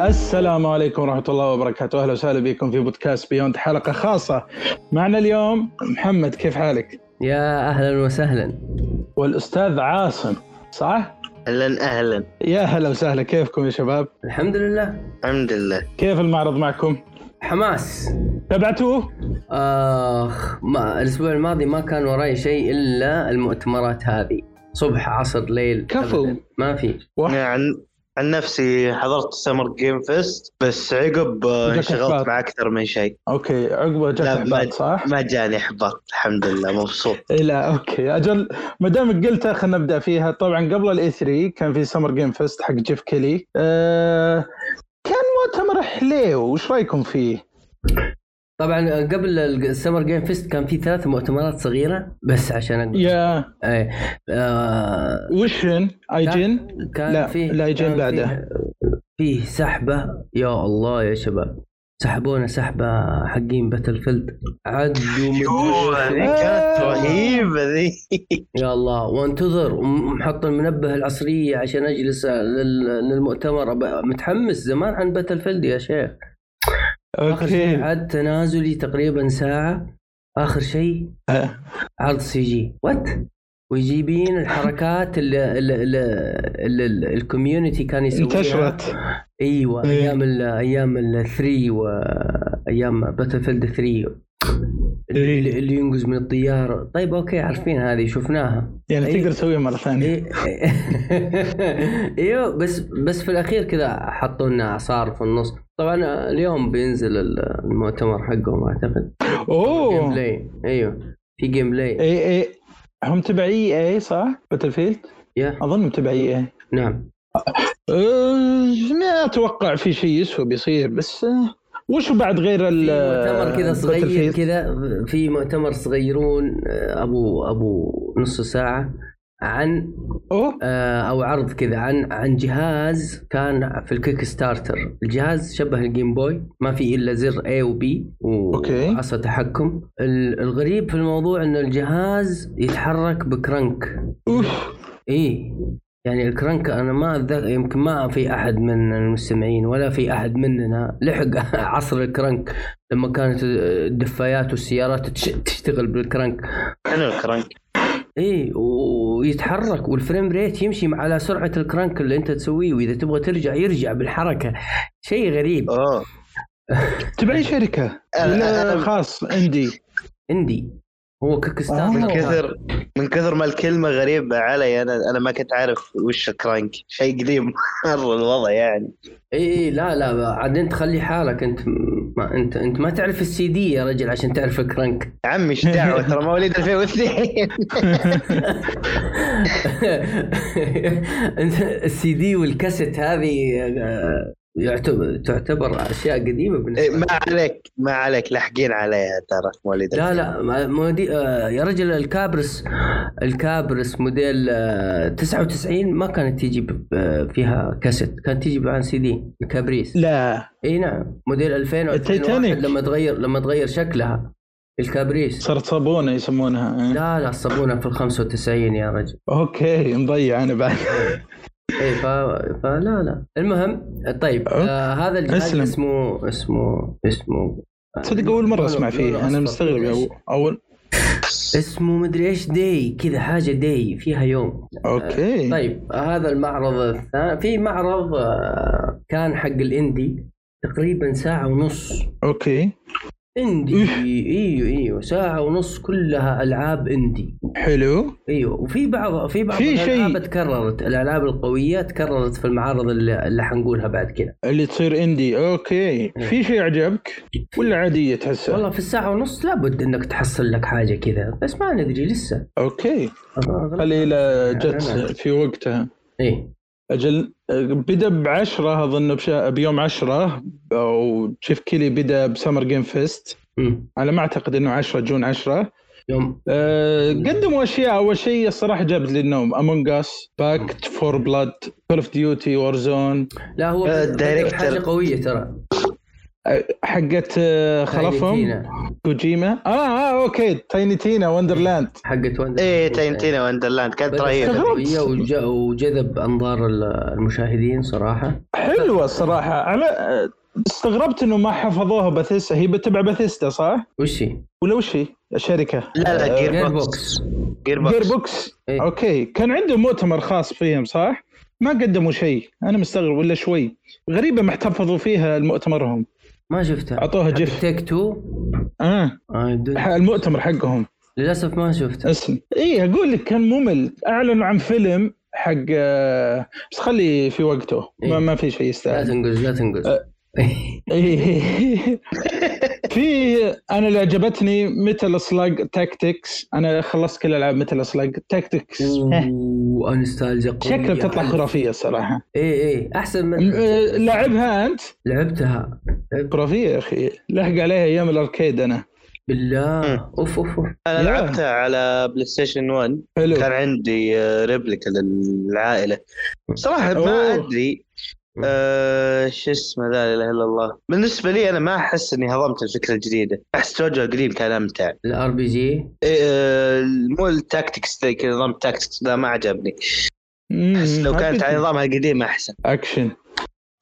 السلام عليكم ورحمة الله وبركاته أهلا وسهلا بكم في بودكاست بيوند حلقة خاصة معنا اليوم محمد كيف حالك؟ يا اهلا وسهلا والأستاذ عاصم صح؟ اهلا اهلا يا هلا وسهلا كيفكم يا شباب؟ الحمد لله الحمد لله كيف المعرض معكم؟ حماس تبعتوه؟ اخ ما الاسبوع الماضي ما كان وراي شيء الا المؤتمرات هذه صبح عصر ليل كفو. أبداً. ما في واحد. أنا عن عن نفسي حضرت سمر جيم فيست بس عقب آه، جاك إحباط. انشغلت مع اكثر من شيء أوكي عقبه جت لا، إحباط ما- صح؟ ما جاني احباط الحمد لله مبسوط إيه لا اوكي اجل ما دامك قلتها خلينا نبدا فيها طبعا قبل الاي 3 كان في سمر جيم فيست حق جيف كيلي أه كان مؤتمر حليو وش رايكم فيه؟ طبعا قبل السمر جيم فيست كان في ثلاث مؤتمرات صغيره بس عشان أقول. يا اي آه وشن ايجن كان لا، فيه لا يجي كان بعده. فيه- فيه سحبه يا الله يا شباب سحبونا سحبه حقين باتل فيلد عدوا يوه، من- هذه كانت رهيبه ذي يا الله وانتظر ومحط المنبه العصرية عشان اجلس لل- للمؤتمر أبقى متحمس زمان عن باتل فيلد يا شيخ اخر شيء اوكي عاد تنازلي تقريبا ساعة اخر شيء آه. عرض سي جي وات ويجيبين الحركات اللي اللي اللي اللي الكوميونتي كان يسويها انتشرت ايوه إيه. ايام ال ايام ال 3 وايام باتل فيلد 3 إيه. اللي, اللي ينقز من الطيارة طيب اوكي عارفين هذه شفناها يعني إيه. تقدر تسويها مره ثانيه إيه. ايوه بس بس في الاخير كذا حطوا لنا اعصار في النص طبعا اليوم بينزل ال- المؤتمر حقهم اعتقد جيم اوه بلاي ايوه في جيم اي بلاي اي إيه، هم تبع اي اي صح؟ باتل فيلد؟ يا اظن تبع اي اي نعم أه، إيه. ما اتوقع في شيء يسوى بيصير بس أه، وش بعد غير في ال مؤتمر كذا صغير Battlefield؟ كذا في مؤتمر صغيرون آه، ابو ابو نص ساعة عن اوه آه، او عرض كذا عن عن جهاز كان في الكيك ستارتر الجهاز شبه الجيم بوي ما في الا زر A و B أوكي. وعصا تحكم ال- الغريب في الموضوع ان الجهاز يتحرك بكرنك اوف اي يعني الكرنك انا ما أتذكر يمكن ما في احد من المستمعين ولا في احد مننا لحق عصر الكرنك لما كانت الدفايات والسيارات تش- تشتغل بالكرنك انا الكرنك ايه ويتحرك والفريم ريت يمشي مع- على سرعه الكرانك اللي انت تسويه واذا تبغى ترجع يرجع بالحركه شيء غريب اوه تبع اي أه، شركه؟ أنا- لا أنا خاص عندي عندي هو إيه، كيك ستارتر آه. من وكان- كثر من كثر ما الكلمه غريبه علي انا انا ما كنت عارف وش الكرنك شيء قديم مره الوضع يعني اي اي إيه، لا لا عاد انت خلي حالك انت ما انت انت ما تعرف السي دي يا رجل عشان تعرف الكرانك يا عمي ايش دعوه ترى مواليد 2002 انت السي دي والكاسيت هذه آه، يعتبر تعتبر اشياء قديمه إيه، بالنسبه ما عليك ما عليك لاحقين عليها ترى مواليد لا لا ما- ما دي آه، يا رجل الكابرس الكابرس موديل آه، 99 ما كانت تيجي ب- ب- فيها كاسيت كانت تيجي عن سي دي الكابريس لا اي نعم موديل 2000 التايتانيك. و2001 لما تغير لما تغير شكلها الكابريس صارت صابونه يسمونها إيه. لا لا صابونه في ال 95 يا رجل اوكي مضيع انا بعد اي ف... فلا لا المهم طيب أوكي. آه هذا الجهاز أسلم. اسمه اسمه اسمه تصدق اول مره لونه- اسمع لونه فيه انا أصفر. مستغرب أو- اول اسمه مدري ايش داي كذا حاجه داي فيها يوم اوكي أه، طيب هذا المعرض الثاني في معرض آه، كان حق الاندي تقريبا ساعة ونص اوكي اندي إيه. ايوه ايوه ساعة ونص كلها العاب اندي حلو ايوه وفي بعض في بعض في الالعاب شيء. تكررت الالعاب القوية تكررت في المعارض اللي, اللي حنقولها بعد كذا اللي تصير اندي اوكي في شيء عجبك ولا عاديه تحسها إيه. والله في الساعة ونص لابد انك تحصل لك حاجة كذا بس ما ندري لسه اوكي أغلب- قليله أنا- جت في وقتها ايه اجل بدا ب 10 اظن بشا... بيوم 10 او شيف كيلي بدا بسمر جيم فيست أمم. على ما اعتقد انه 10 جون 10 يوم أه قدموا اشياء اول شيء الصراحه جابت لي النوم امونج اس باكت فور بلاد كول اوف ديوتي وارزون لا هو آه، بدأ- بدأ الدايركتر. حاجة قوية ترى حقت آه، خلفهم كوجيما اه اه اوكي تايني تينا وندرلاند حقت وندر ايه يعني. تاينتينا وندرلاند كانت بدأت رهيبه سلبية وج- وجذب انظار ال- المشاهدين صراحه حلوه الصراحه على آه، استغربت انه ما حفظوها باثيستا هي بتبع باثيستا صح؟ وش هي؟ ولا وش هي؟ الشركه لا لا جير جير بوكس بوكس جير جير بوكس بوكس إيه. اوكي كان عندهم مؤتمر خاص فيهم صح؟ ما قدموا شيء انا مستغرب ولا شوي غريبه ما احتفظوا فيها مؤتمرهم ما شفتها اعطوها جف تيك تو اه آه، بدون- ح- المؤتمر حقهم للاسف ما شفتها اسم اي اقول لك كان ممل اعلنوا عن فيلم حق آه، بس خلي في وقته إيه. ما, ما في شيء لا يستاهل تنقز لا تنقز إيه. في انا اللي عجبتني مثل سلاج تاكتكس انا خلصت كل العاب مثل سلاج تاكتكس وانستالجيا قوية. شكلها بتطلع خرافيه الصراحه ايه ايه احسن من م- آه، لعبها انت لعبتها خرافيه يا اخي لحق عليها ايام الاركيد انا بالله مم. اوف اوف اوف لا. انا لعبتها على بلاي ستيشن 1 حلو كان عندي آه، ريبليكا للعائله صراحه أوه. ما ادري آه شو اسمه لا اله الا الله بالنسبه لي انا ما احس اني هضمت الفكره الجديده احس توجه القديم كان امتع الار بي جي آه، مو التاكتكس ذا كذا، نظام التاكتكس ذا ما عجبني مم، احس لو ما كانت في على شيء. نظامها القديم احسن اكشن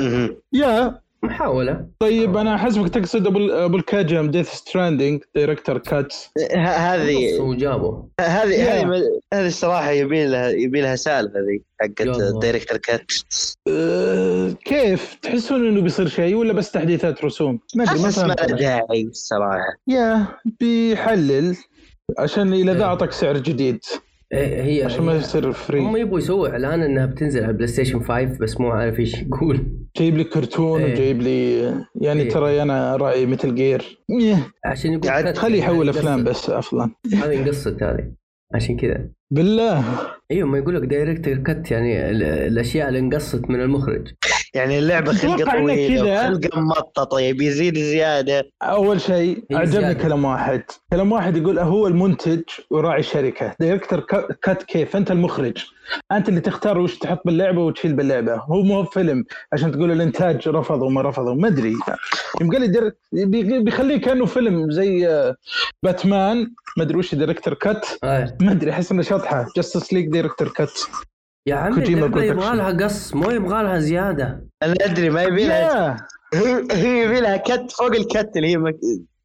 مهم. يا محاوله طيب انا حسبك تقصد ابو ابو الكاجم ديث ستراندنج دايركتر كاتس ه- هذه نصه وجابه هذه يا. هذه م- هذه الصراحه يبي لها يبي لها سالفه ذي حقت يلا. الدايركتر كات أه، كيف تحسون انه بيصير شيء ولا بس تحديثات رسوم؟ ما ادري ما احس ما فهمت لها أنا. داعي الصراحه يا بيحلل عشان اذا ذا اعطاك سعر جديد إيه هي عشان ما هي- يصير هم فري يبغوا يسووا اعلان انها بتنزل على البلاي ستيشن 5 بس مو عارف ايش يقول جايب لي كرتون إيه. وجايب لي يعني إيه. ترى انا رايي مثل جير إيه، عشان يقول يعني قاعد كت- خليه يحول هذه افلام قصة- بس افضل هذه قصة هذه عشان كذا بالله ايوه ما يقول لك دايركتر كت يعني ال- الاشياء اللي انقصت من المخرج يعني اللعبه أتوقع خلقه إنه كذا. طويله خلقه مططه يبي يزيد زياده اول شيء هي عجبني زيادة. كلام واحد كلام واحد يقول "أه، هو المنتج وراعي الشركه دايركتر كات كيف انت المخرج انت اللي تختار وش تحط باللعبه وتشيل باللعبه هو مو فيلم عشان تقول الانتاج رفض وما رفض وما ادري يوم قال لي ديرك- بي- بيخليه كانه فيلم زي آه، باتمان ما ادري وش دايركتر كات آه. ما ادري احس انه شطحه جاستس ليج دايركتر كات يا عمي كوجيما اللعبة يبغى برودكشن. لها قص مو يبغى لها زيادة انا ادري ما يبي لها يا هي هي يبي لها كت فوق الكت اللي هي مك...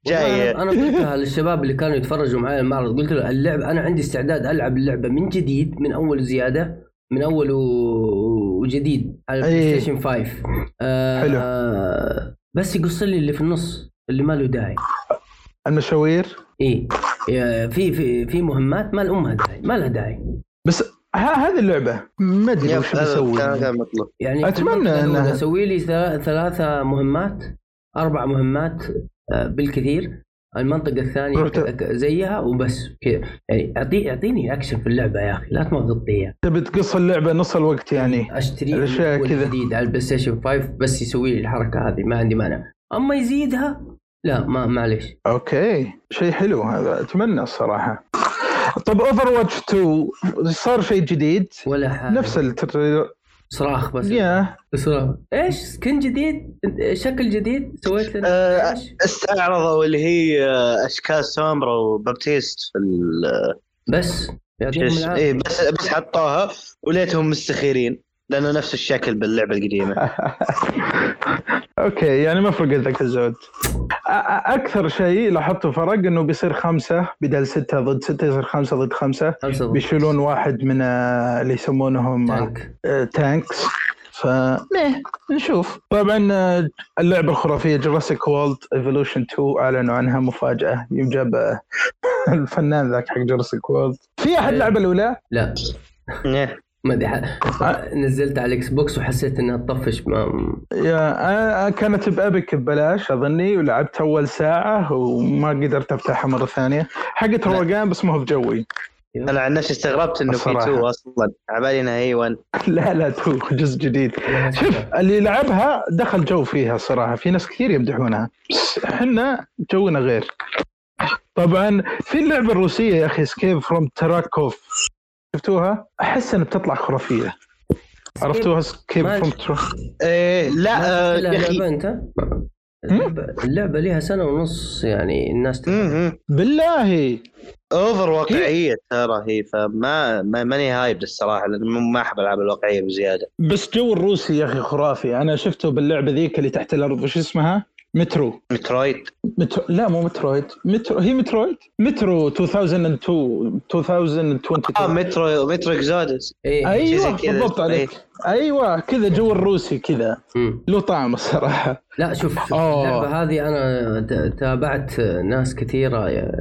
جايه والله انا أنا قلتها للشباب اللي كانوا يتفرجوا معي المعرض قلت له اللعب انا عندي استعداد العب اللعبة من جديد من اول زيادة من اول و- وجديد على البلاي إيه. ستيشن 5 آه حلو. آه، بس يقص لي اللي في النص اللي ما له داعي المشاوير ايه يا- في في في مهمات ما لامها داعي ما لها داعي بس ه- هذه اللعبه ما ادري يب، وش هذا كان بسوي كان مطلوب يعني أتمنى أتمنى أن أنها- أسوي لي ثلا- ثلاثة مهمات أربع مهمات آه، بالكثير المنطقة الثانية رحت- ك- ك- زيها وبس كذا يعني أعطي أعطيني أكشن في اللعبة يا أخي لا تمغطني إياها تبي تقص اللعبه نص الوقت يعني أشتري الأشياء الأول كذا. جديد على البلاي ستيشن 5 بس يسوي لي الحركة هذه ما عندي مانع أما يزيدها لا ما معليش اوكي شيء حلو هذا اتمنى الصراحه طب اوفر واتش 2 صار شيء جديد ولا حاجة نفس التريلر صراخ بس يا صراخ إيش سكن جديد شكل جديد سويت لنا آه، إيش؟ استعرضوا اللي هي آه، اشكال سومبرا وبابتيست في ال- بس يعطيهم إيش- العافية إيه بس بس حطوها وليتهم مستخيرين لانه نفس الشكل باللعبه القديمه اوكي يعني ما فرقت ذاك الزود أ- أ- اكثر شيء لاحظته فرق انه بيصير خمسه بدل سته ضد سته يصير خمسه ضد خمسه خمسة ضد بيشيلون واحد من آه، اللي يسمونهم آه، تانك تانكس ف ميه، نشوف طبعا آه، اللعبه الخرافيه جراسيك وولد ايفولوشن 2 اعلنوا عنها مفاجاه يوم جاب آه، الفنان ذاك حق جراسيك وولد في احد إيه. لعب الاولى؟ لا إيه. ما ادري آه، ح- نزلت على الاكس بوكس وحسيت انها تطفش ما يا أنا- أنا كانت بابك ببلاش اظني ولعبت اول ساعه وما قدرت افتحها مره ثانيه حقت لا. روقان بس ما هو بجوي انا عن نفسي استغربت انه في الصراحة. 2 اصلا عبالي انها هي 1 لا لا تو جزء جديد شوف اللي لعبها دخل جو فيها صراحه في ناس كثير يمدحونها بس احنا جونا غير طبعا في اللعبه الروسيه يا اخي سكيب فروم تراكوف شفتوها؟ احس انها بتطلع خرافيه عرفتوها سكيب ما فروم شفت. تراكوف إيه لا آه، يا يا اخي انت اللعبه اللعبه لها سنه ونص يعني الناس تت- مهم. بالله اوفر واقعيه ترى هي فما ما- ماني هايب الصراحه لان م- ما احب العاب الواقعيه بزياده بس جو الروسي يا اخي خرافي انا شفته باللعبه ذيك اللي تحت الارض وش اسمها؟ مترو مترويد مترو لا مو مترويد مترو هي مترويد مترو 2002 اه 2022 مترو مترو اكزودس ايه شيء ايوه زي كذا. بالضبط عليك ايوه كذا جو الروسي كذا مم. له طعم الصراحه لا شوف شوف آه. اللعبه هذه انا ت- تابعت ناس كثيره ي-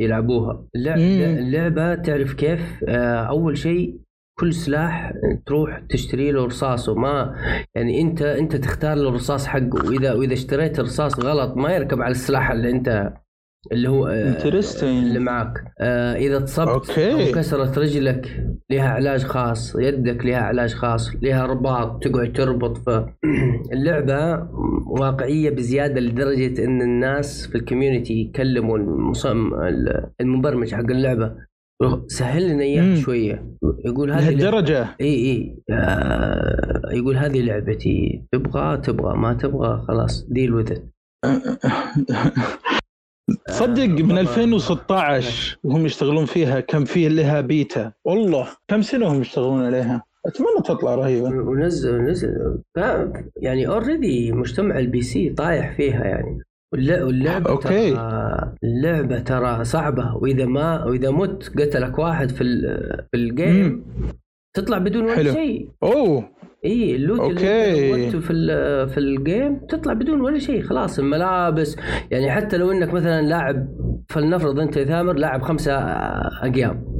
يلعبوها اللع- مم. اللعبه تعرف كيف آه، اول شيء كل سلاح تروح تشتري له رصاصه ما يعني انت انت تختار له الرصاص حقه واذا واذا اشتريت رصاص غلط ما يركب على السلاح اللي انت اللي هو آه، اللي انترستنج معك آه اذا اتصبت أوكي. او كسرت رجلك لها علاج خاص يدك لها علاج خاص لها رباط تقعد تربط ف اللعبه واقعيه بزياده لدرجه ان الناس في الكوميونتي يكلموا المصمم المبرمج حق اللعبه يقول سهل لنا اياها مم. شويه يقول هذه لعبة- لهالدرجه اي اي آه يقول هذه لعبتي تبغى تبغى ما تبغى خلاص ديل وذ تصدق من والله. 2016 وهم يشتغلون فيها كان فيه لها بيتا والله كم سنه هم يشتغلون عليها اتمنى تطلع رهيبه ونزل نزل كان يعني اوريدي مجتمع البي سي طايح فيها يعني والل- واللعبة أوكي. ترى اللعبة ترى صعبة وإذا ما وإذا مت قتلك واحد في ال- في الجيم تطلع بدون ولا حلو. شيء اوه اي اللوت أوكي. اللي أنت لوتته في ال- في الجيم تطلع بدون ولا شيء خلاص الملابس يعني حتى لو انك مثلا لاعب فلنفرض انت يا ثامر لاعب خمسة اقيام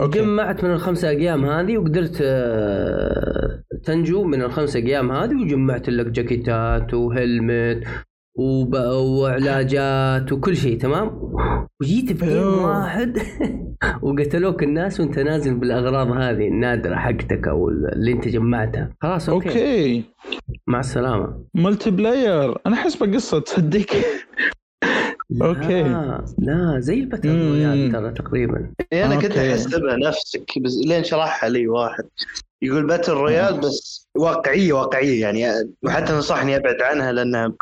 أوكي. جمعت من الخمسة أقيام هذه وقدرت آه، تنجو من الخمسة أقيام هذه وجمعت لك جاكيتات وهلمت وب... وعلاجات وكل شيء تمام وجيت في جيم أوه. واحد وقتلوك الناس وانت نازل بالاغراض هذه النادره حقتك او اللي انت جمعتها خلاص اوكي, أوكي. اوكي مع السلامه ملتي بلاير انا حسب قصه تصدق أوكي. لا, لا زي الباتل مم. رويال ترى تقريبا انا كنت أوكي. احسبها نفسك بس لين شرحها لي واحد يقول باتل رويال بس واقعيه واقعيه يعني وحتى نصحني ابعد عنها لانها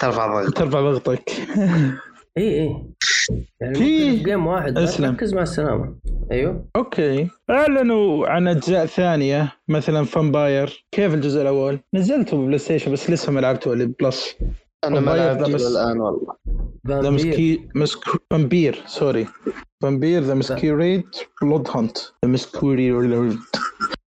ترفع ضغط ترفع ضغطك اي اي إيه، يعني في- ممكن في جيم واحد بس أسلم. ركز مع السلامه ايوه اوكي اعلنوا عن اجزاء ثانيه مثلا فامباير كيف الجزء الاول نزلته بلاي ستيشن بس لسه ما لعبته اللي بلس انا ما والله لعبت يفضل بس- الان والله ذا مسكي مسك فامبير سوري فامبير ذا مسكيريد بلود هانت ذا مسكيريد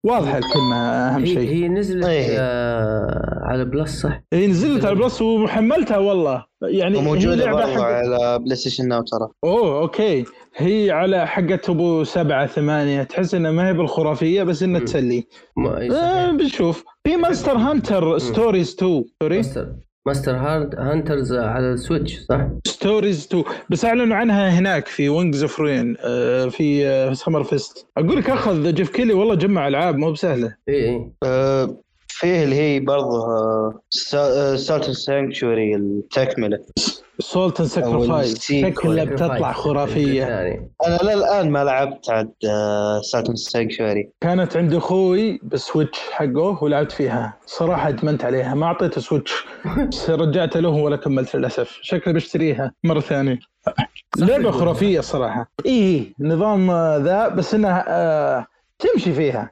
واضحه الكلمه اهم هي, شيء هي نزلت طيب. إيه. آه على بلس صح هي نزلت على بلس وحملتها والله يعني هي وموجوده لعبة برضه حق- على بلاي ستيشن ناو ترى اوه اوكي هي على حقت ابو سبعة ثمانية تحس انها ما هي بالخرافية بس انها مم. تسلي ما إيه، آه صحيح. بنشوف في ماستر هانتر ستوريز 2 سوري ماستر ماستر هارد هانترز على السويتش صح؟ ستوريز 2 بس اعلنوا عنها هناك في وينجز اوف روين في آه، سمر فيست اقول لك اخذ جيف كيلي والله جمع العاب مو بسهله اي اي أه، فيه اللي هي برضه آه، سالت سانكشوري التكمله سولت اند أو ساكرفايس السيكول. شكلها بتطلع خرافيه يعني انا للان ما لعبت عاد آه، سالت سانكشوري كانت عند اخوي بسويتش حقه ولعبت فيها صراحه ادمنت عليها ما اعطيته سويتش بس رجعت له ولا كملت للاسف شكلي بشتريها مره ثانيه لعبه يقول. خرافيه صراحه اي نظام آه، ذا بس انها آه تمشي فيها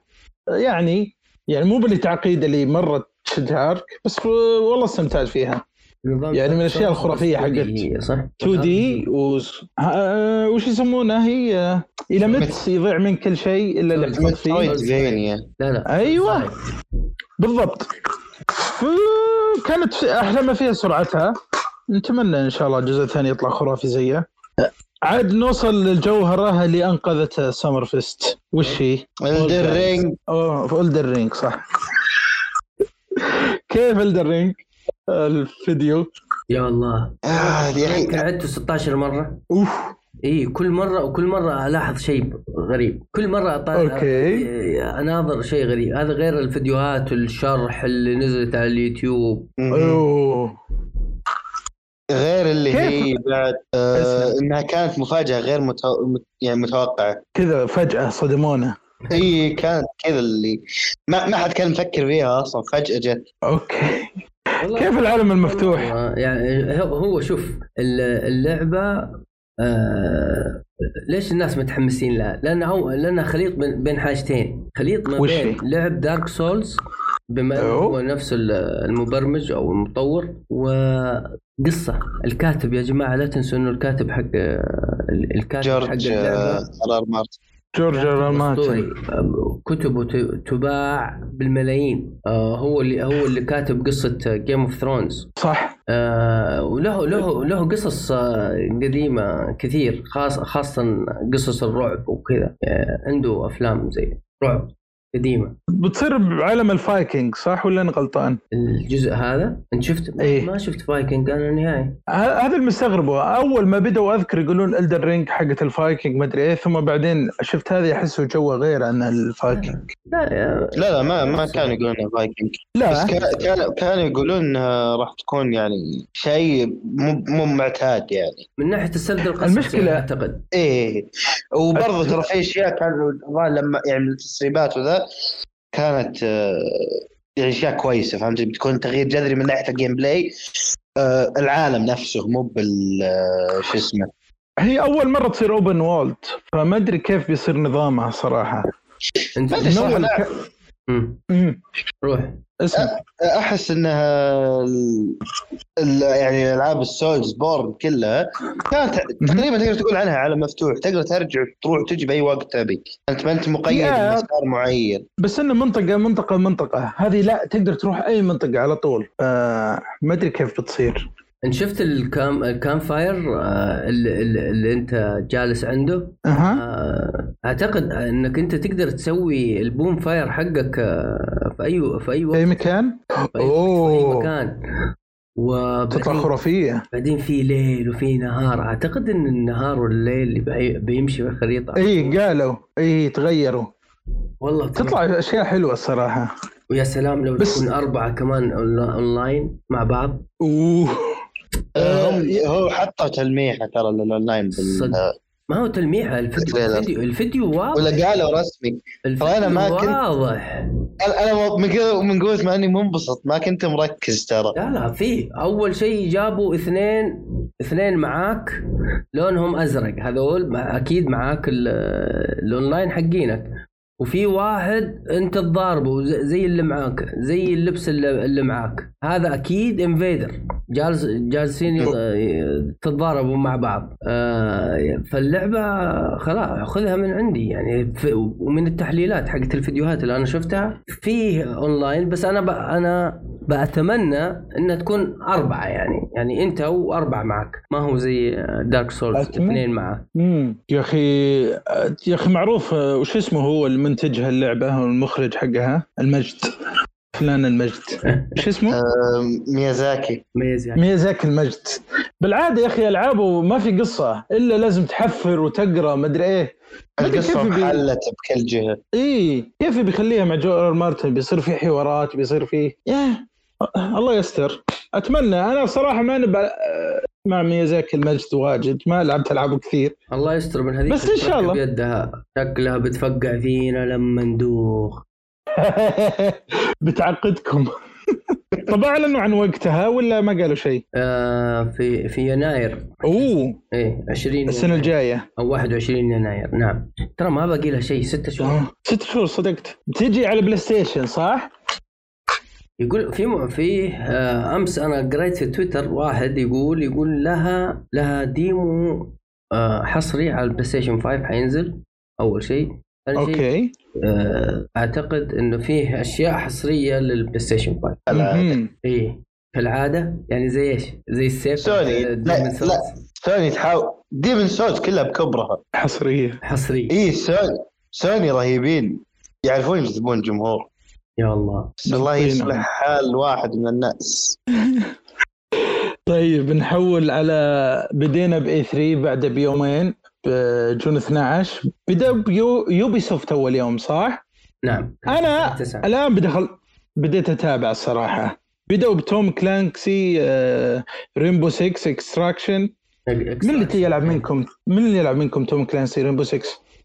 يعني يعني مو بالتعقيد اللي مره تشد عارك بس آه، والله استمتعت فيها يعني من الأشياء الخرافية حقت- صح؟ 2 دي و... آه، وش يسمونها هي آه، اذا مت يضيع من كل شيء الا اللي حصل طيب. فيه مترويدفينيا لا لا أيوة. بالضبط ف- كانت في- احلى ما فيها سرعتها نتمنى ان شاء الله الجزء الثاني يطلع خرافي زيه عاد نوصل للجوهره اللي انقذت سمر فيست وش هي؟ الدرينج اوه اه، في الدر رينج صح كيف الدر رينج؟ الفيديو يا الله آه، يا يمكن اخي عدته 16 مره اوف اي إيه، كل مره وكل مره الاحظ شيء غريب كل مره اطالع أوكي. إيه، اناظر شيء غريب هذا غير الفيديوهات الشرح اللي نزلت على اليوتيوب مم. اوه غير اللي كيف؟ هي بعد آه انها كانت مفاجاه غير متو... مت- يعني متوقعه كذا فجاه صدمونا هي كانت كذا اللي ما, ما حد كان مفكر فيها اصلا فجاه جت اوكي والله- كيف العالم المفتوح آه، يعني هو- هو شوف ال- اللعبه آه ليش الناس متحمسين لها؟ لانها هو لانها خليط بين بين حاجتين، خليط ما وش بين في؟ لعب دارك سولز بما انه أيوه. هو نفس ال- المبرمج او المطور وقصه الكاتب يا جماعه لا تنسوا انه الكاتب حق آه، الكاتب حق جورج اللعبه ار مارتن جورج ار مارتن اسطوري كتبه ت- تباع بالملايين آه، هو اللي هو اللي كاتب قصه جيم اوف ثرونز صح آه، وله له له قصص آه، قديمه كثير خاص خاصه قصص الرعب وكذا آه، عنده افلام زي رعب قديمه بتصير بعالم الفايكنج صح ولا انا غلطان؟ الجزء هذا انت شفت إيه. ما شفت فايكنج انا نهائي ه- هذا المستغربه اول ما بدأوا اذكر يقولون الدر رينج حقت الفايكنج ما ادري ايه ثم بعدين شفت هذه احسه جوه غير عن الفايكنج لا يا- لا لا ما ما كانوا يقولون إنها فايكنج بس لا كا- كانوا كانوا يقولون انها راح تكون يعني شيء مو مو معتاد يعني من ناحيه السرد يعني القصصي المشكلة- اعتقد ايه وبرضه ترى في اشياء كانوا الظاهر لما يعني من التسريبات وذا كانت آه، يعني اشياء كويسه فهمت بتكون تغيير جذري من ناحيه الجيم بلاي آه، العالم نفسه مو بال آه، شو اسمه هي اول مره تصير اوبن وولد فما ادري كيف بيصير نظامها صراحه انت ما أدري صراحة، نوع لا، الك- مم. مم. روح اسم أه. احس انها ال- ال- يعني العاب السولز بورن كلها كانت تقريبا تقدر تقول عنها عالم مفتوح تقدر ترجع تروح تجي باي وقت تبي انت ما انت مقيد يا. بمسار معين بس انه منطقه منطقه منطقه هذه لا تقدر تروح اي منطقه على طول آه ما ادري كيف بتصير انت شفت الكام الكام فاير آه، اللي, اللي اللي انت جالس عنده اها آه، اعتقد انك انت تقدر تسوي البوم فاير حقك آه، في اي في اي في وقت اي مكان في أي, في طيب. أي اوه مكان تطلع وبعدين خرافيه بعدين في ليل وفي نهار اعتقد ان النهار والليل اللي بي- بيمشي في الخريطه إيه. اي قالوا اي تغيروا والله طيب. تطلع اشياء حلوه الصراحه ويا سلام لو بس- تكون اربعه كمان أون- اونلاين مع بعض اوه آه، هم- هو حطوا تلميحه ترى للاونلاين بال- صدق. ما هو تلميحه الفيديو تريلر. الفيديو, الفيديو واضح ولا قالوا رسمي الفيديو أنا ما كنت- واضح انا أنا من كذا من قوه ما اني منبسط ما كنت مركز ترى لا لا في اول شيء جابوا اثنين اثنين معاك لونهم ازرق هذول مع اكيد معاك ال- الاونلاين حقينك وفي واحد انت تضاربه ز- زي اللي معاك زي اللبس اللي اللي معاك هذا اكيد انفيدر جالس جالسين يض- تتضاربوا مع بعض آه، فاللعبه خلاص خذها من عندي يعني ف- ومن التحليلات حقت الفيديوهات اللي انا شفتها فيه اونلاين بس انا ب... انا بتمنى انها تكون اربعه يعني يعني انت واربعه معك ما هو زي دارك سولز أتمنى. اثنين معك امم يا اخي يا اخي معروف آه، وش اسمه هو المنتجها اللعبه والمخرج حقها المجد فلان المجد وش اسمه؟ آم، ميازاكي ميز يعني ميازاكي المجد بالعاده يا اخي العابه ما في قصه الا لازم تحفر وتقرا مدري ايه ما أدري القصه كيف بي... محلت بكل جهه اي إيه، كيف بيخليها مع جو آر آر مارتن بيصير في حوارات بيصير في ياه الله يستر اتمنى انا صراحه ما نبع... مع ميازاكي المجد واجد ما لعبت العابه كثير الله يستر من هذيك بس إن شاء الشركة الله. بيدها شكلها بتفقع فينا لما ندوخ بتعقدكم طب اعلنوا عن وقتها ولا ما قالوا شيء؟ آه في في يناير اوه ايه 20 السنه الجايه او 21 يناير نعم ترى ما باقي لها شيء ست شهور آه، ست شهور صدقت بتجي على بلاي ستيشن صح؟ يقول في م... في آه امس انا قريت في تويتر واحد يقول يقول لها لها ديمو آه حصري على البلاي ستيشن 5 حينزل اول شيء ثاني شيء اوكي آه اعتقد انه فيه اشياء حصريه للبلاي ستيشن 5 لا، مهم. ايه كالعاده يعني زي ايش؟ زي السيف سوني. آه، لا، Demon's Souls. لا. سوني تحاول ديمن سولز كلها بكبرها حصريه حصري اي إيه، سوني سوني رهيبين يعرفون يجذبون جمهور يا الله بس الله نعم. يصلح حال واحد من الناس طيب نحول على بدينا باي 3 بعد بيومين بجون 12 بدا بيو يوبي سوفت اول يوم صح؟ نعم أنا- تسعة. الان بدخل بديت اتابع الصراحه بدأوا بتوم كلانكسي آه، ريمبو 6 اكستراكشن من اللي يلعب منكم من اللي يلعب منكم توم كلانسي ريمبو 6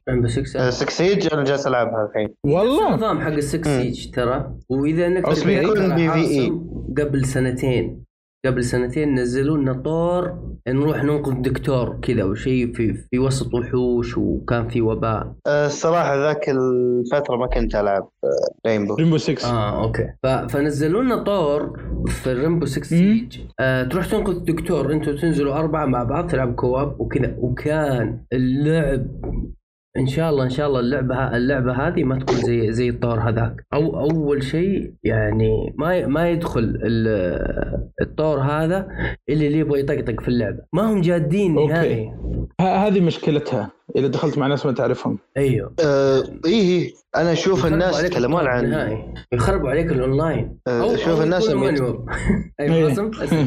ريمبو 6 سكسيج انا أه، جالس العبها الحين والله النظام حق السكس مم. سيج ترى واذا انك أوكي. تبي بيكون تقرأ PvE. عاصم قبل سنتين قبل سنتين نزلوا لنا طور نروح ننقذ دكتور كذا وشيء في في وسط وحوش وكان في وباء آه، الصراحه ذاك الفتره ما كنت العب آه، رينبو ريمبو 6 اه اوكي ف- فنزلوا لنا طور في الريمبو 6 مم. سيج آه تروح تنقذ الدكتور انتوا تنزلوا اربعه مع بعض تلعب كواب وكذا وكان اللعب ان شاء الله ان شاء الله اللعبه ه- اللعبه هذه ما تكون زي زي الطور هذاك او اول شيء يعني ما ي- ما يدخل ال- الطور هذا اللي اللي يبغى يطقطق في اللعبه ما هم جادين أوكي. نهائي هذه مشكلتها اذا دخلت مع ناس ما تعرفهم ايوه آه، ايه انا اشوف يخربوا الناس عليك يتكلمون الطور عن نهائي يخربوا عليك الاونلاين آه، شوف الناس يكونوا لما يت- مانيوال. إيه. ايوه قاسم اسمع.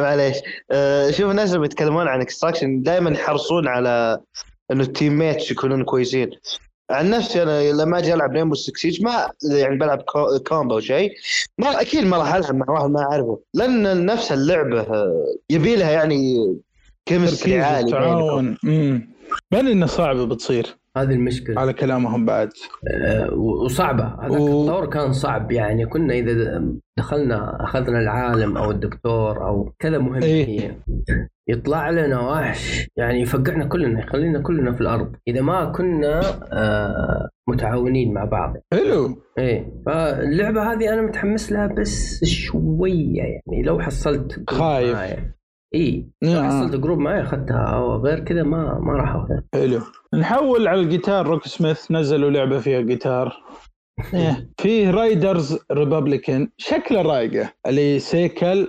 معليش آه، شوف الناس اللي بيتكلمون عن اكستراكشن دائما يحرصون على انه التيم ميتس يكونون كويسين عن نفسي انا لما اجي العب ريمبو 6 سيج ما يعني بلعب كو- كومبو او شيء ما اكيد ما راح العب مع واحد ما اعرفه لان نفس اللعبه آه، يبي لها يعني كيمستري تركيز عالي بينكم. التعاون امم بل انها صعبه بتصير هذه المشكله على كلامهم بعد آه، و- وصعبه هذاك و- الطور كان صعب يعني كنا اذا دخلنا اخذنا العالم او الدكتور او كذا مهم إيه. هي. يطلع لنا وحش يعني يفقعنا كلنا يخلينا كلنا في الارض اذا ما كنا آه، متعاونين مع بعض حلو ايه فاللعبه هذه انا متحمس لها بس شويه يعني لو حصلت جروب خايف. معايا. اي لو نعم حصلت جروب معي اخذتها او غير كذا ما ما راح اخذها حلو نحول على الجيتار روك سميث نزلوا لعبه فيها جيتار إيه. فيه رايدرز ريبابليكان شكله رايقه اللي سيكل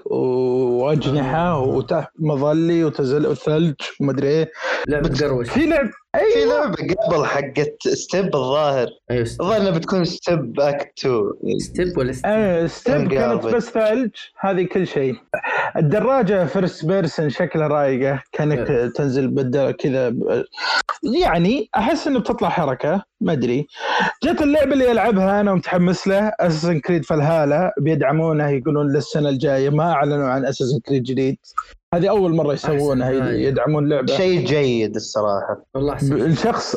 واجنحه وتحت مظلي وتزل وثلج ومدري ايه لعبه قروش في لعب في ايوه لعبه قبل حقت ستيب الظاهر ايوه الظاهر انها بتكون ستيب اكت 2 ستيب ولا ستيب آه، ستيب Angry كانت Arcade. بس ثلج هذه كل شيء الدراجه فيرست بيرسون شكلها رايقه كانك تنزل بالدر كذا ب- يعني احس انه بتطلع حركه ما ادري جت اللعبه اللي العبها انا ومتحمس له اساسن كريد فالهالا بيدعمونه يقولون للسنه الجايه ما اعلنوا عن اساسن كريد جديد هذه اول مره يسوونها أحسن حاجة. يدعمون لعبه شيء جيد الصراحه والله ب- احسن الشخص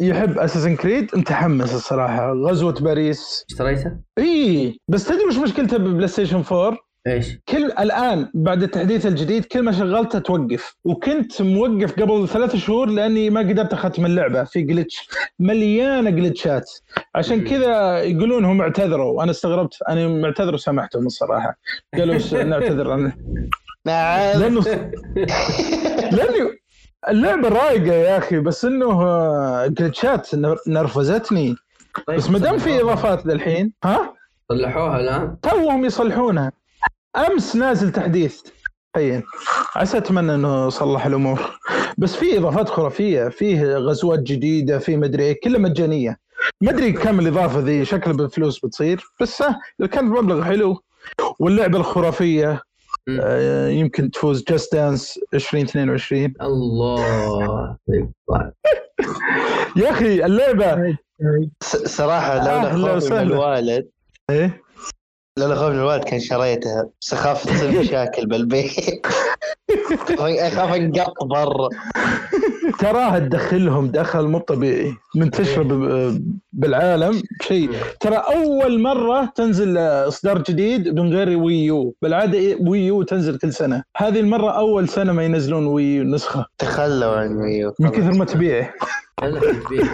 يحب اساسن كريد متحمس الصراحه غزوه باريس اشتريته؟ اي بس تدري وش مشكلته ببلاي ستيشن 4 ايش؟ كل الان بعد التحديث الجديد كل ما شغلته توقف وكنت موقف قبل ثلاث شهور لاني ما قدرت اختم اللعبه في جلتش مليانه جلتشات عشان مم. كذا يقولون هم اعتذروا انا استغربت انا معتذر وسامحتهم الصراحه قالوا س- نعتذر عن- مع لانه لاني اللعبه رايقه يا اخي بس انه آه، جلتشات نر- نرفزتني طيب بس ما دام في صلحوها. اضافات للحين ها صلحوها الان توهم يصلحونها امس نازل تحديث تخيل عسى اتمنى انه صلح الامور بس في اضافات خرافيه فيه غزوات جديده في مدري إيه، كلها مجانيه مدري كم الاضافه ذي شكلها بالفلوس بتصير بس آه، إذا كان مبلغ حلو واللعبه الخرافيه مم. آه، يمكن تفوز جاست دانس 2022 الله طيب، أكبر. يا اخي اللعبه ص- صراحه لولا أهلا خوفي من وسهلا. الوالد ايه لولا خوفي من الوالد كان شريتها بس اخاف تصير مشاكل بالبيت اخاف انقط برا تراها تدخلهم دخل مو طبيعي منتشره ب- بالعالم شيء ترى اول مره تنزل اصدار جديد بدون غير وي يو بالعاده وي يو تنزل كل سنه هذه المره اول سنه ما ينزلون وي يو نسخه تخلوا عن ميو من كثر ما تبيع هلا حبيبي.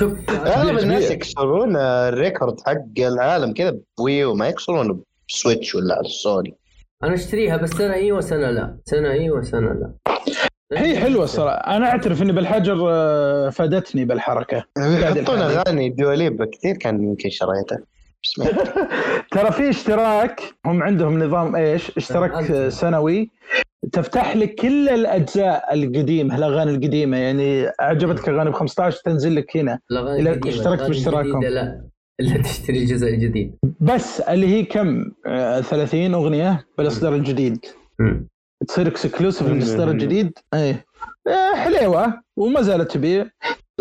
شوف اغلب آه، الناس كبير. يكسرون الريكورد حق العالم كذا بويو ما يكسرونه بسويتش ولا على السوني انا اشتريها بس سنه اي وسنه لا سنه اي وسنه لا هي حلوه الصراحه انا اعترف اني بالحجر آه، فادتني بالحركه يحطون الحالي. اغاني دوليب كثير كان يمكن شريته بس ما- ترى في اشتراك هم عندهم نظام ايش اشتراك آه، سنوي تفتح لك كل الاجزاء القديمه الاغاني القديمه يعني عجبتك اغاني ب 15 تنزل لك هنا الاغاني إذا القديمة، اشتركت الأغاني باشتراكهم. الجديدة لا الا تشتري جزء جديد بس اللي هي كم آه، 30 اغنيه بالاصدار الجديد تصير اكسكلوسيف مم. للاصدار الجديد ايه آه، حليوه وما زالت تبيع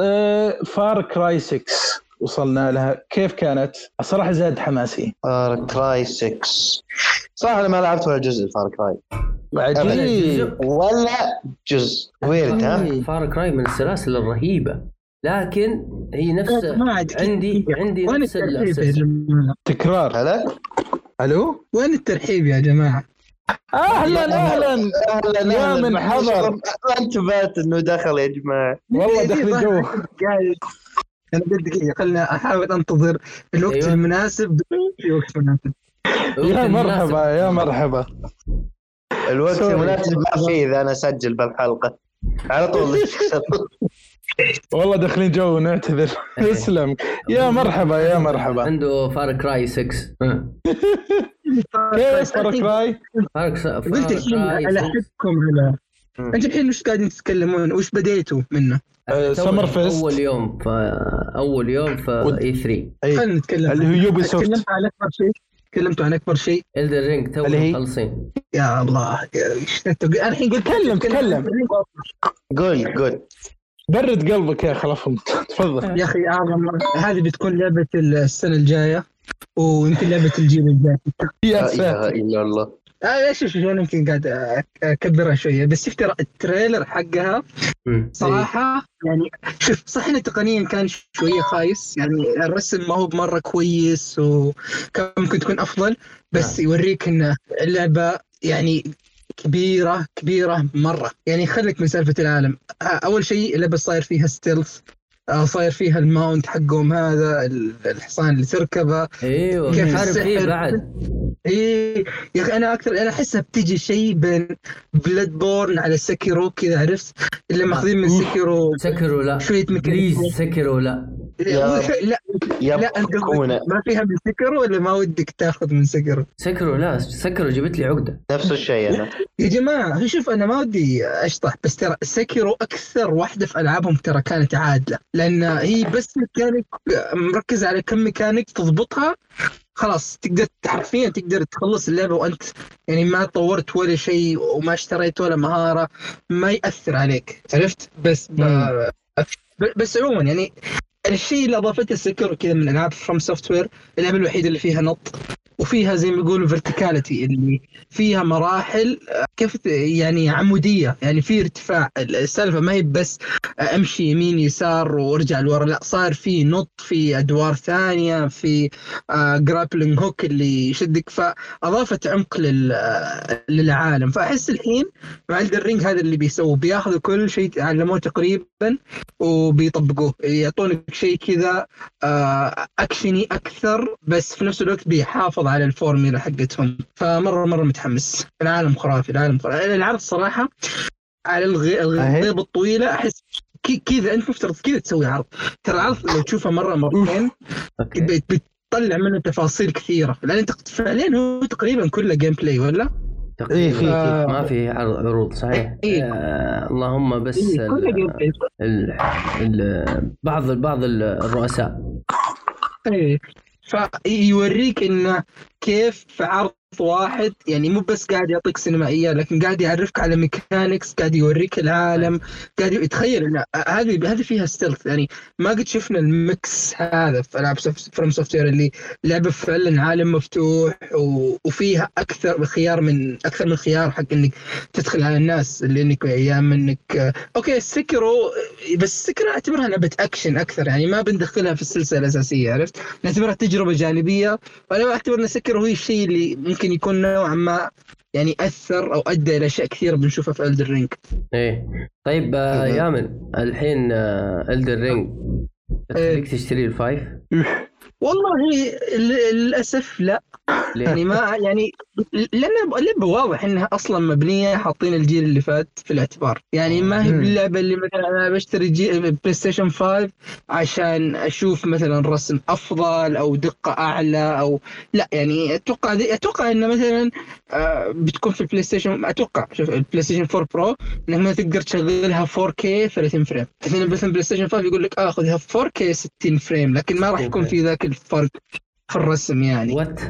آه، فار كراي 6 وصلنا لها كيف كانت؟ الصراحه زاد حماسي فار كراي 6 صح انا ما لعبت ولا جزء فار كراي عجيب ولا جزء ويرد طيب. ها فار كراي من السلاسل الرهيبه لكن هي نفس ما عاد عندي عندي وين نفس الترتيب يا السلسلة. جماعه؟ تكرار هلا الو وين الترحيب يا جماعه؟ اهلا اهلا اهلا يا من حضر. انتبهت انه دخل يا جماعه والله دخل جو قاعد انا قلت دقيقه خلنا احاول انتظر أيوة. الوقت أيوة. المناسب في وقت مناسب يا مرحبا يا مرحبا الوقت سوري. المناسب ما فيه اذا انا اسجل بالحلقه على طول والله داخلين جو نعتذر أوكي. اسلم يا مرحبا يا مرحبا عنده فار كراي 6 ها. كيف فار كراي؟ فار كس- فار طيب، قلت الحين كراي 6. على حدكم على مم. انت الحين وش قاعدين تتكلمون وش بديتوا منه؟ آه، تو- سمر فيست. اول يوم ف اول يوم ف ود- اي 3 اي خلينا نتكلم إيه. اللي هو يوبي سوفت تكلمت عن اكبر شيء تكلمتوا عن اكبر شيء الدر رينج تو اللي هي؟ مخلصين يا الله يا- ايش أنت- انا الحين قلت تكلم تكلم قول قول برد قلبك يا خلفهم تفضل يا اخي اعظم هذه بتكون لعبه السنه الجايه ويمكن لعبه الجيل الجاي يا لا اله ساتر الا الله آه شوف شوف انا يمكن قاعد أك- اكبرها شويه بس شفت التريلر حقها مم. صراحه يعني شوف صح انه تقنيا كان شويه خايس يعني الرسم ما هو بمره كويس وكان ممكن تكون افضل بس يوريك ان اللعبه يعني كبيرة كبيرة مرة يعني خليك من سالفة العالم آه، أول شيء اللعبة صاير فيها ستيلث آه، صاير فيها الماونت حقهم هذا ال- الحصان اللي تركبه ايوه كيف تعرف فيه السحر؟ بعد ايه يا اخي انا اكثر انا احسها بتجي شيء بين بلاد بورن على سكيرو كذا عرفت اللي ماخذين من أوف. سكيرو سكروا لا شويه بليز ميكانيكية. سكروا لا لا يا مو شوي- لا يا لا انت بكونة. ما فيها من سكيرو ولا ما ودك تاخذ من سكيرو سكروا لا سكروا جبت لي عقده نفس الشيء انا يا جماعه شوف انا ما ودي اشطح بس ترى سكيرو اكثر واحده في العابهم ترى كانت عادله لان هي بس ميكانيك مركزه على كم ميكانيك تضبطها خلاص تقدر حرفيا تقدر تخلص اللعبه وانت يعني ما طورت ولا شيء وما اشتريت ولا مهاره ما ياثر عليك عرفت بس ب... ب- بس عموما يعني الشيء اللي اضافته سكر كذا من العاب فروم سوفت وير اللعبه الوحيده اللي فيها نط وفيها زي ما يقولوا فيرتيكاليتي اللي فيها مراحل آه، كيف يعني عموديه يعني في ارتفاع السالفه ما هي بس آه، امشي يمين يسار وارجع لورا لا صار في نط في ادوار ثانيه في جرابلنج هوك اللي يشدك فاضافت عمق لل آه، للعالم فاحس الحين مع الرينج هذا اللي بيسووه بياخذوا كل شيء تعلموه تقريبا وبيطبقوه يعطونك شيء كذا آه، اكشني اكثر بس في نفس الوقت بيحافظ على الفورميلا حقتهم فمره مره متحمس العالم خرافي العالم خرافي العرض صراحه على الغي- الغيبه الطويله احس ك- كذا انت مفترض كذا تسوي عرض ترى العرض لو تشوفه مره مرتين اوكي بت- بتطلع منه تفاصيل كثيره لان انت فعليا هو تقريبا كله جيم بلاي ولا؟ إيه، في- تقريبا آه، ما في عرض عروض صحيح إيه. آه، اللهم بس إيه، كله ال- جيم بلاي ال- ال- بعض بعض ال- الرؤساء ايه فيوريك انه كيف في عرض واحد يعني مو بس قاعد يعطيك سينمائيه لكن قاعد يعرفك على ميكانكس قاعد يوريك العالم قاعد يتخيل انه هذه هذه فيها ستيلث يعني ما قد شفنا المكس هذا في العاب فروم سوفت وير اللي لعبه فعلا عالم مفتوح و- وفيها اكثر خيار من اكثر من خيار حق انك تدخل على الناس اللي انك يا اما انك اوكي سكرو بس سكرو اعتبرها لعبه اكشن اكثر يعني ما بندخلها في السلسله الاساسيه عرفت؟ نعتبرها تجربه جانبيه وانا اعتبر ان سكر هو الشيء اللي ممكن يكون نوعا ما يعني اثر او ادى الى اشياء كثيره بنشوفها في الدر رينج ايه طيب آه، إيه. مهم. يامن الحين الدر رينج إيه. تخليك تشتري الفايف والله ل- للاسف لا ليه؟ يعني ما يعني لان اللعبه واضح انها اصلا مبنيه حاطين الجيل اللي فات في الاعتبار يعني ما هي مم. باللعبه اللي مثلا انا بشتري جي بلاي ستيشن 5 عشان اشوف مثلا رسم افضل او دقه اعلى او لا يعني اتوقع اتوقع انه مثلا آه، بتكون في البلاي ستيشن اتوقع شوف البلاي ستيشن 4 برو انك ما تقدر تشغلها 4K 30 فريم مثلا مثلا بلاي ستيشن 5 يقول لك اخذها 4K 60 فريم لكن ما راح يكون في ذاك الفرق في الرسم يعني وات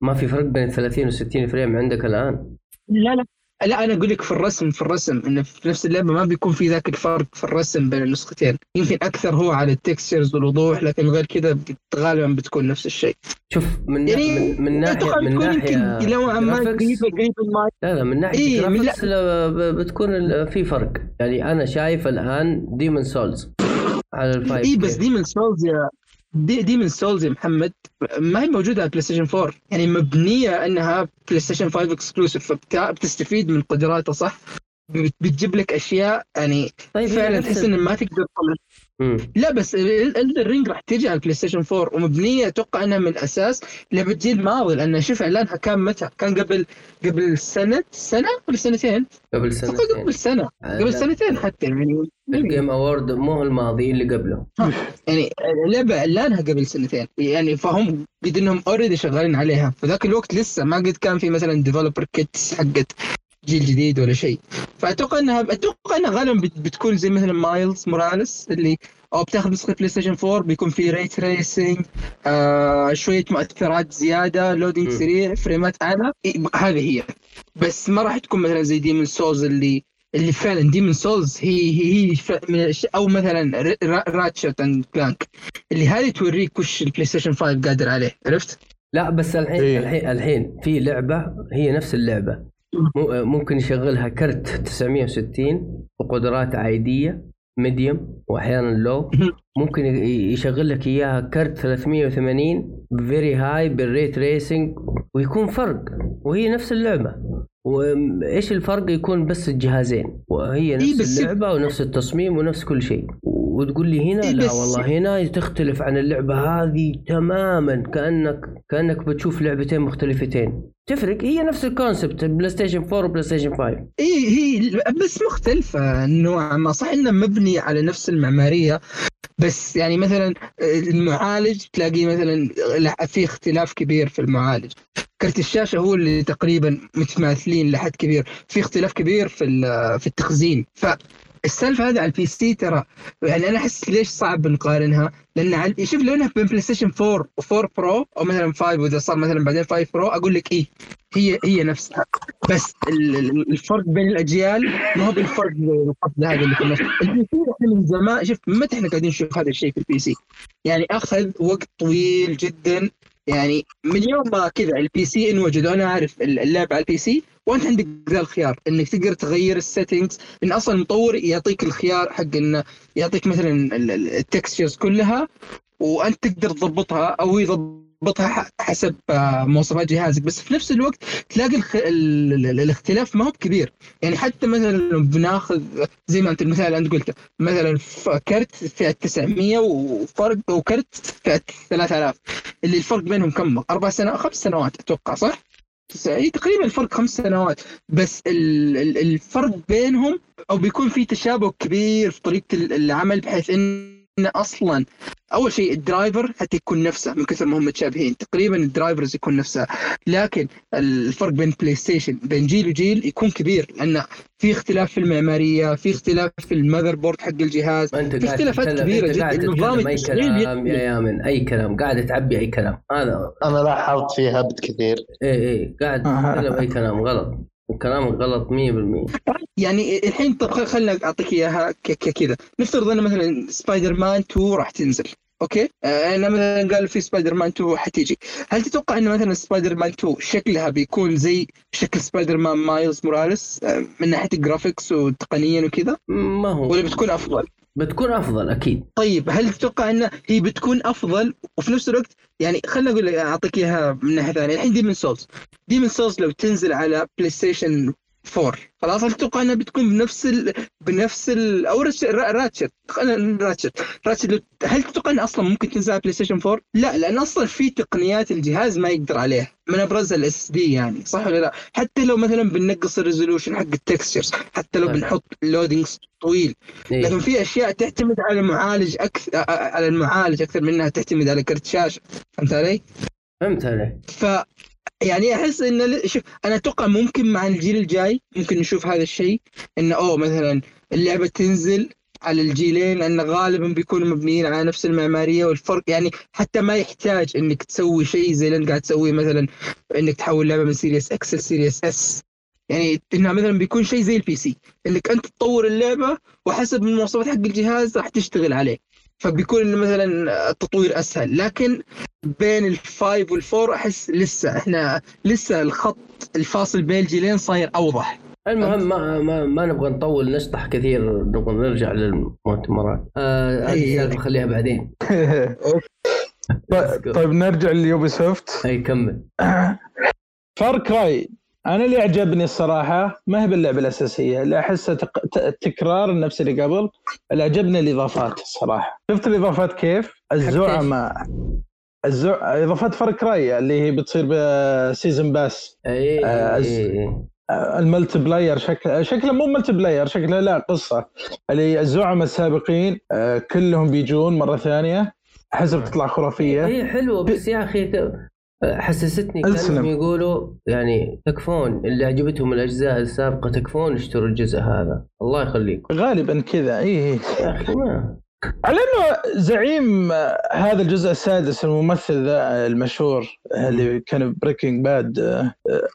ما في فرق بين 30 و 60 فريم عندك الان لا لا لا انا اقول لك في الرسم في الرسم انه في نفس اللعبه ما بيكون في ذاك الفرق في الرسم بين النسختين يمكن اكثر هو على التكستشرز والوضوح لكن غير كذا بت- غالبا بتكون نفس الشيء شوف من نا- يعني من, من ناحيه أتوقع من بتكون ناحيه يمكن نوعا ما graphics. قريبه قريبه ما لا لا من ناحيه إيه، من الجرافيكس لا ب- بتكون ال- في فرق يعني انا شايف الان ديمون سولز على الفايف اي إيه، بس كيف. ديمن سولز يا دي دي من سولز يا محمد ما هي موجوده على بلاي ستيشن 4 يعني مبنيه انها بلاي ستيشن 5 اكسكلوسيف فبتستفيد من قدراتها صح بت- بتجيب لك اشياء يعني طيب هي فعلا نفس تحس ال- ان ما تقدر تطلع مم. لا بس الدر رينج راح تجي على البلاي ستيشن 4 ومبنيه اتوقع انها من الاساس لعبه جيل ماضي لان شوف اعلانها كان متى؟ كان قبل قبل سنه سنه قبل سنتين قبل اتوقع سنتين قبل سنه قبل سنتين حتى يعني الجيم اوورد مو الماضي اللي قبله يعني اللعبه اعلانها قبل سنتين يعني فهم قد انهم اوريدي شغالين عليها في ذاك الوقت لسه ما قد كان في مثلا ديفلوبر كيتس حقت جيل جديد ولا شيء فاتوقع انها اتوقع انها غالبا بت- بتكون زي مثلا مايلز موراليس اللي او بتاخذ نسخه بلاي ستيشن 4 بيكون في ريت ريسنج آه شويه مؤثرات زياده لودينج م. سريع فريمات اعلى إيه، هذه هي بس ما راح تكون مثلا زي ديمون سولز اللي اللي فعلا ديمون سولز هي هي هي ف- من الأشياء- او مثلا ر- را- راتشت اند كلانك اللي هذه توريك وش البلاي ستيشن 5 قادر عليه عرفت؟ لا بس الحين إيه. الحين الحين في لعبه هي نفس اللعبه مو- ممكن يشغلها كرت 960 وقدرات عاديه ميديوم واحيانا لو ممكن ي- يشغل لك اياها كرت 380 فيري هاي بالريت ريسنج ويكون فرق وهي نفس اللعبه وايش الفرق يكون بس الجهازين وهي إيه نفس بس- اللعبه ونفس التصميم ونفس كل شيء وتقول لي هنا إيه لا بس- والله هنا تختلف عن اللعبه هذه تماما كانك كانك بتشوف لعبتين مختلفتين تفرق هي نفس الكونسبت بلاي ستيشن 4 وبلاي ستيشن 5 اي إيه، هي بس مختلفة نوعا ما صح انها مبنية على نفس المعمارية بس يعني مثلا المعالج تلاقيه مثلا لا- في اختلاف كبير في المعالج كرت الشاشة هو اللي تقريبا متماثلين لحد كبير في اختلاف كبير في ال- في التخزين فالسالفة هذا على البي سي ترى يعني انا احس ليش صعب نقارنها لان على شوف لو انها بين بلاي ستيشن 4 و4 برو او مثلا 5 واذا صار مثلا بعدين 5 برو اقول لك ايه هي هي نفسها بس ال- ال- الفرق بين الاجيال ما هو بالفرق القفزه هذا اللي كنا البي سي احنا من زمان شفت متى احنا قاعدين نشوف هذا الشيء في البي سي يعني اخذ وقت طويل جدا يعني من يوم ما كذا البي سي انوجد انا عارف ال- اللعب على البي سي وانت عندك ذا الخيار انك تقدر تغير السيتنجز ان اصلا المطور يعطيك الخيار حق انه يعطيك مثلا التكستشرز كلها وانت تقدر تضبطها او يضبطها ح- حسب آه، مواصفات جهازك بس في نفس الوقت تلاقي الخ... ال... ال- الاختلاف ما هو بكبير يعني حتى مثلا لو بناخذ زي ما انت المثال اللي انت قلته مثلا ف- كرت فئه 900 وفرق وكرت فئه 3000 اللي الفرق بينهم كم اربع سنوات خمس سنوات اتوقع صح؟ تس- اي تقريبا الفرق خمس سنوات بس ال... ال- الفرق بينهم او بيكون في تشابه كبير في طريقه ال- العمل بحيث ان اصلا اول شيء الدرايفر حتى يكون نفسه من كثر ما هم متشابهين تقريبا الدرايفرز يكون نفسها لكن الفرق بين بلاي ستيشن بين جيل وجيل يكون كبير لان في اختلاف في المعماريه في اختلاف في المذر بورد حق الجهاز ما انت في قاعد اختلافات تتكلم- كبيرة انت قاعد جداً. نظام تتكلم اي التشغيل كلام يا يختلف. يامن اي كلام قاعد تعبي اي كلام هذا انا لاحظت في هبد كثير اي اي قاعد آه. تتكلم اي كلام غلط كلامك غلط 100% يعني الحين طب خل- خلنا اعطيك اياها ك- ك- كذا نفترض ان مثلا سبايدر مان 2 راح تنزل اوكي آه، انا مثلا قال في سبايدر مان 2 حتيجي هل تتوقع ان مثلا سبايدر مان 2 شكلها بيكون زي شكل سبايدر مان مايلز موراليس آه، من ناحيه الجرافيكس وتقنيا وكذا ما هو ولا بتكون افضل بتكون افضل اكيد طيب هل تتوقع ان هي بتكون افضل وفي نفس الوقت يعني خلينا اقول لك اعطيك اياها من ناحيه ثانيه الحين ديمن سولز ديمن سولز لو تنزل على بلاي ستيشن 4 خلاص هل تتوقع انها بتكون بنفس ال... بنفس ال... او راتش- را- راتشت خلينا راتشت راتشت لو... هل تتوقع انها اصلا ممكن تنزل على بلاي ستيشن 4؟ لا لان اصلا في تقنيات الجهاز ما يقدر عليها من ابرزها الاس اس دي يعني صح ولا لا؟ حتى لو مثلا بنقص الريزولوشن حق التكستشرز حتى لو طيب. بنحط لودينج طويل إيه. لكن في اشياء تعتمد على المعالج اكثر على المعالج اكثر منها تعتمد على كرت شاشه فهمت علي؟ فهمت عليك ف يعني احس ان ل- شوف انا اتوقع ممكن مع الجيل الجاي ممكن نشوف هذا الشيء انه اوه مثلا اللعبه تنزل على الجيلين لان غالبا بيكونوا مبنيين على نفس المعماريه والفرق يعني حتى ما يحتاج انك تسوي شيء زي اللي انت قاعد تسويه مثلا انك تحول لعبه من سيريس اكس لسيريس اس يعني انها مثلا بيكون شيء زي البي سي انك انت تطور اللعبه وحسب المواصفات حق الجهاز راح تشتغل عليه فبيكون إنه مثلا التطوير اسهل لكن بين الفايف والفور احس لسه احنا لسه الخط الفاصل بين الجيلين صاير اوضح المهم ما, ما, ما نبغى نطول نشطح كثير نبغى نرجع للمؤتمرات آه هذه إيه. السالفه خليها بعدين ط- طيب نرجع ليوبي سوفت اي كمل فار كراي انا اللي عجبني الصراحه ما هي باللعبه الاساسيه لا احسها تق- ت- تكرار نفس اللي قبل اللي عجبني الاضافات الصراحه شفت الاضافات كيف الزعماء الزع... اضافات فار كراي اللي هي بتصير بسيزن باس اي آه، اي أز- اي الملتي بلاير شكله شكله مو ملتي بلاير شكله لا قصه اللي الزعماء السابقين آه، كلهم بيجون مره ثانيه احس بتطلع خرافيه هي حلوه إيه، بس يا اخي ت- حسستني أسلم. كانهم يقولوا يعني تكفون اللي عجبتهم الاجزاء السابقه تكفون اشتروا الجزء هذا الله يخليكم غالبا كذا إيه، اي يا اخي ما على انه زعيم آه، هذا الجزء السادس الممثل ذا المشهور آه، اللي كان بريكنج باد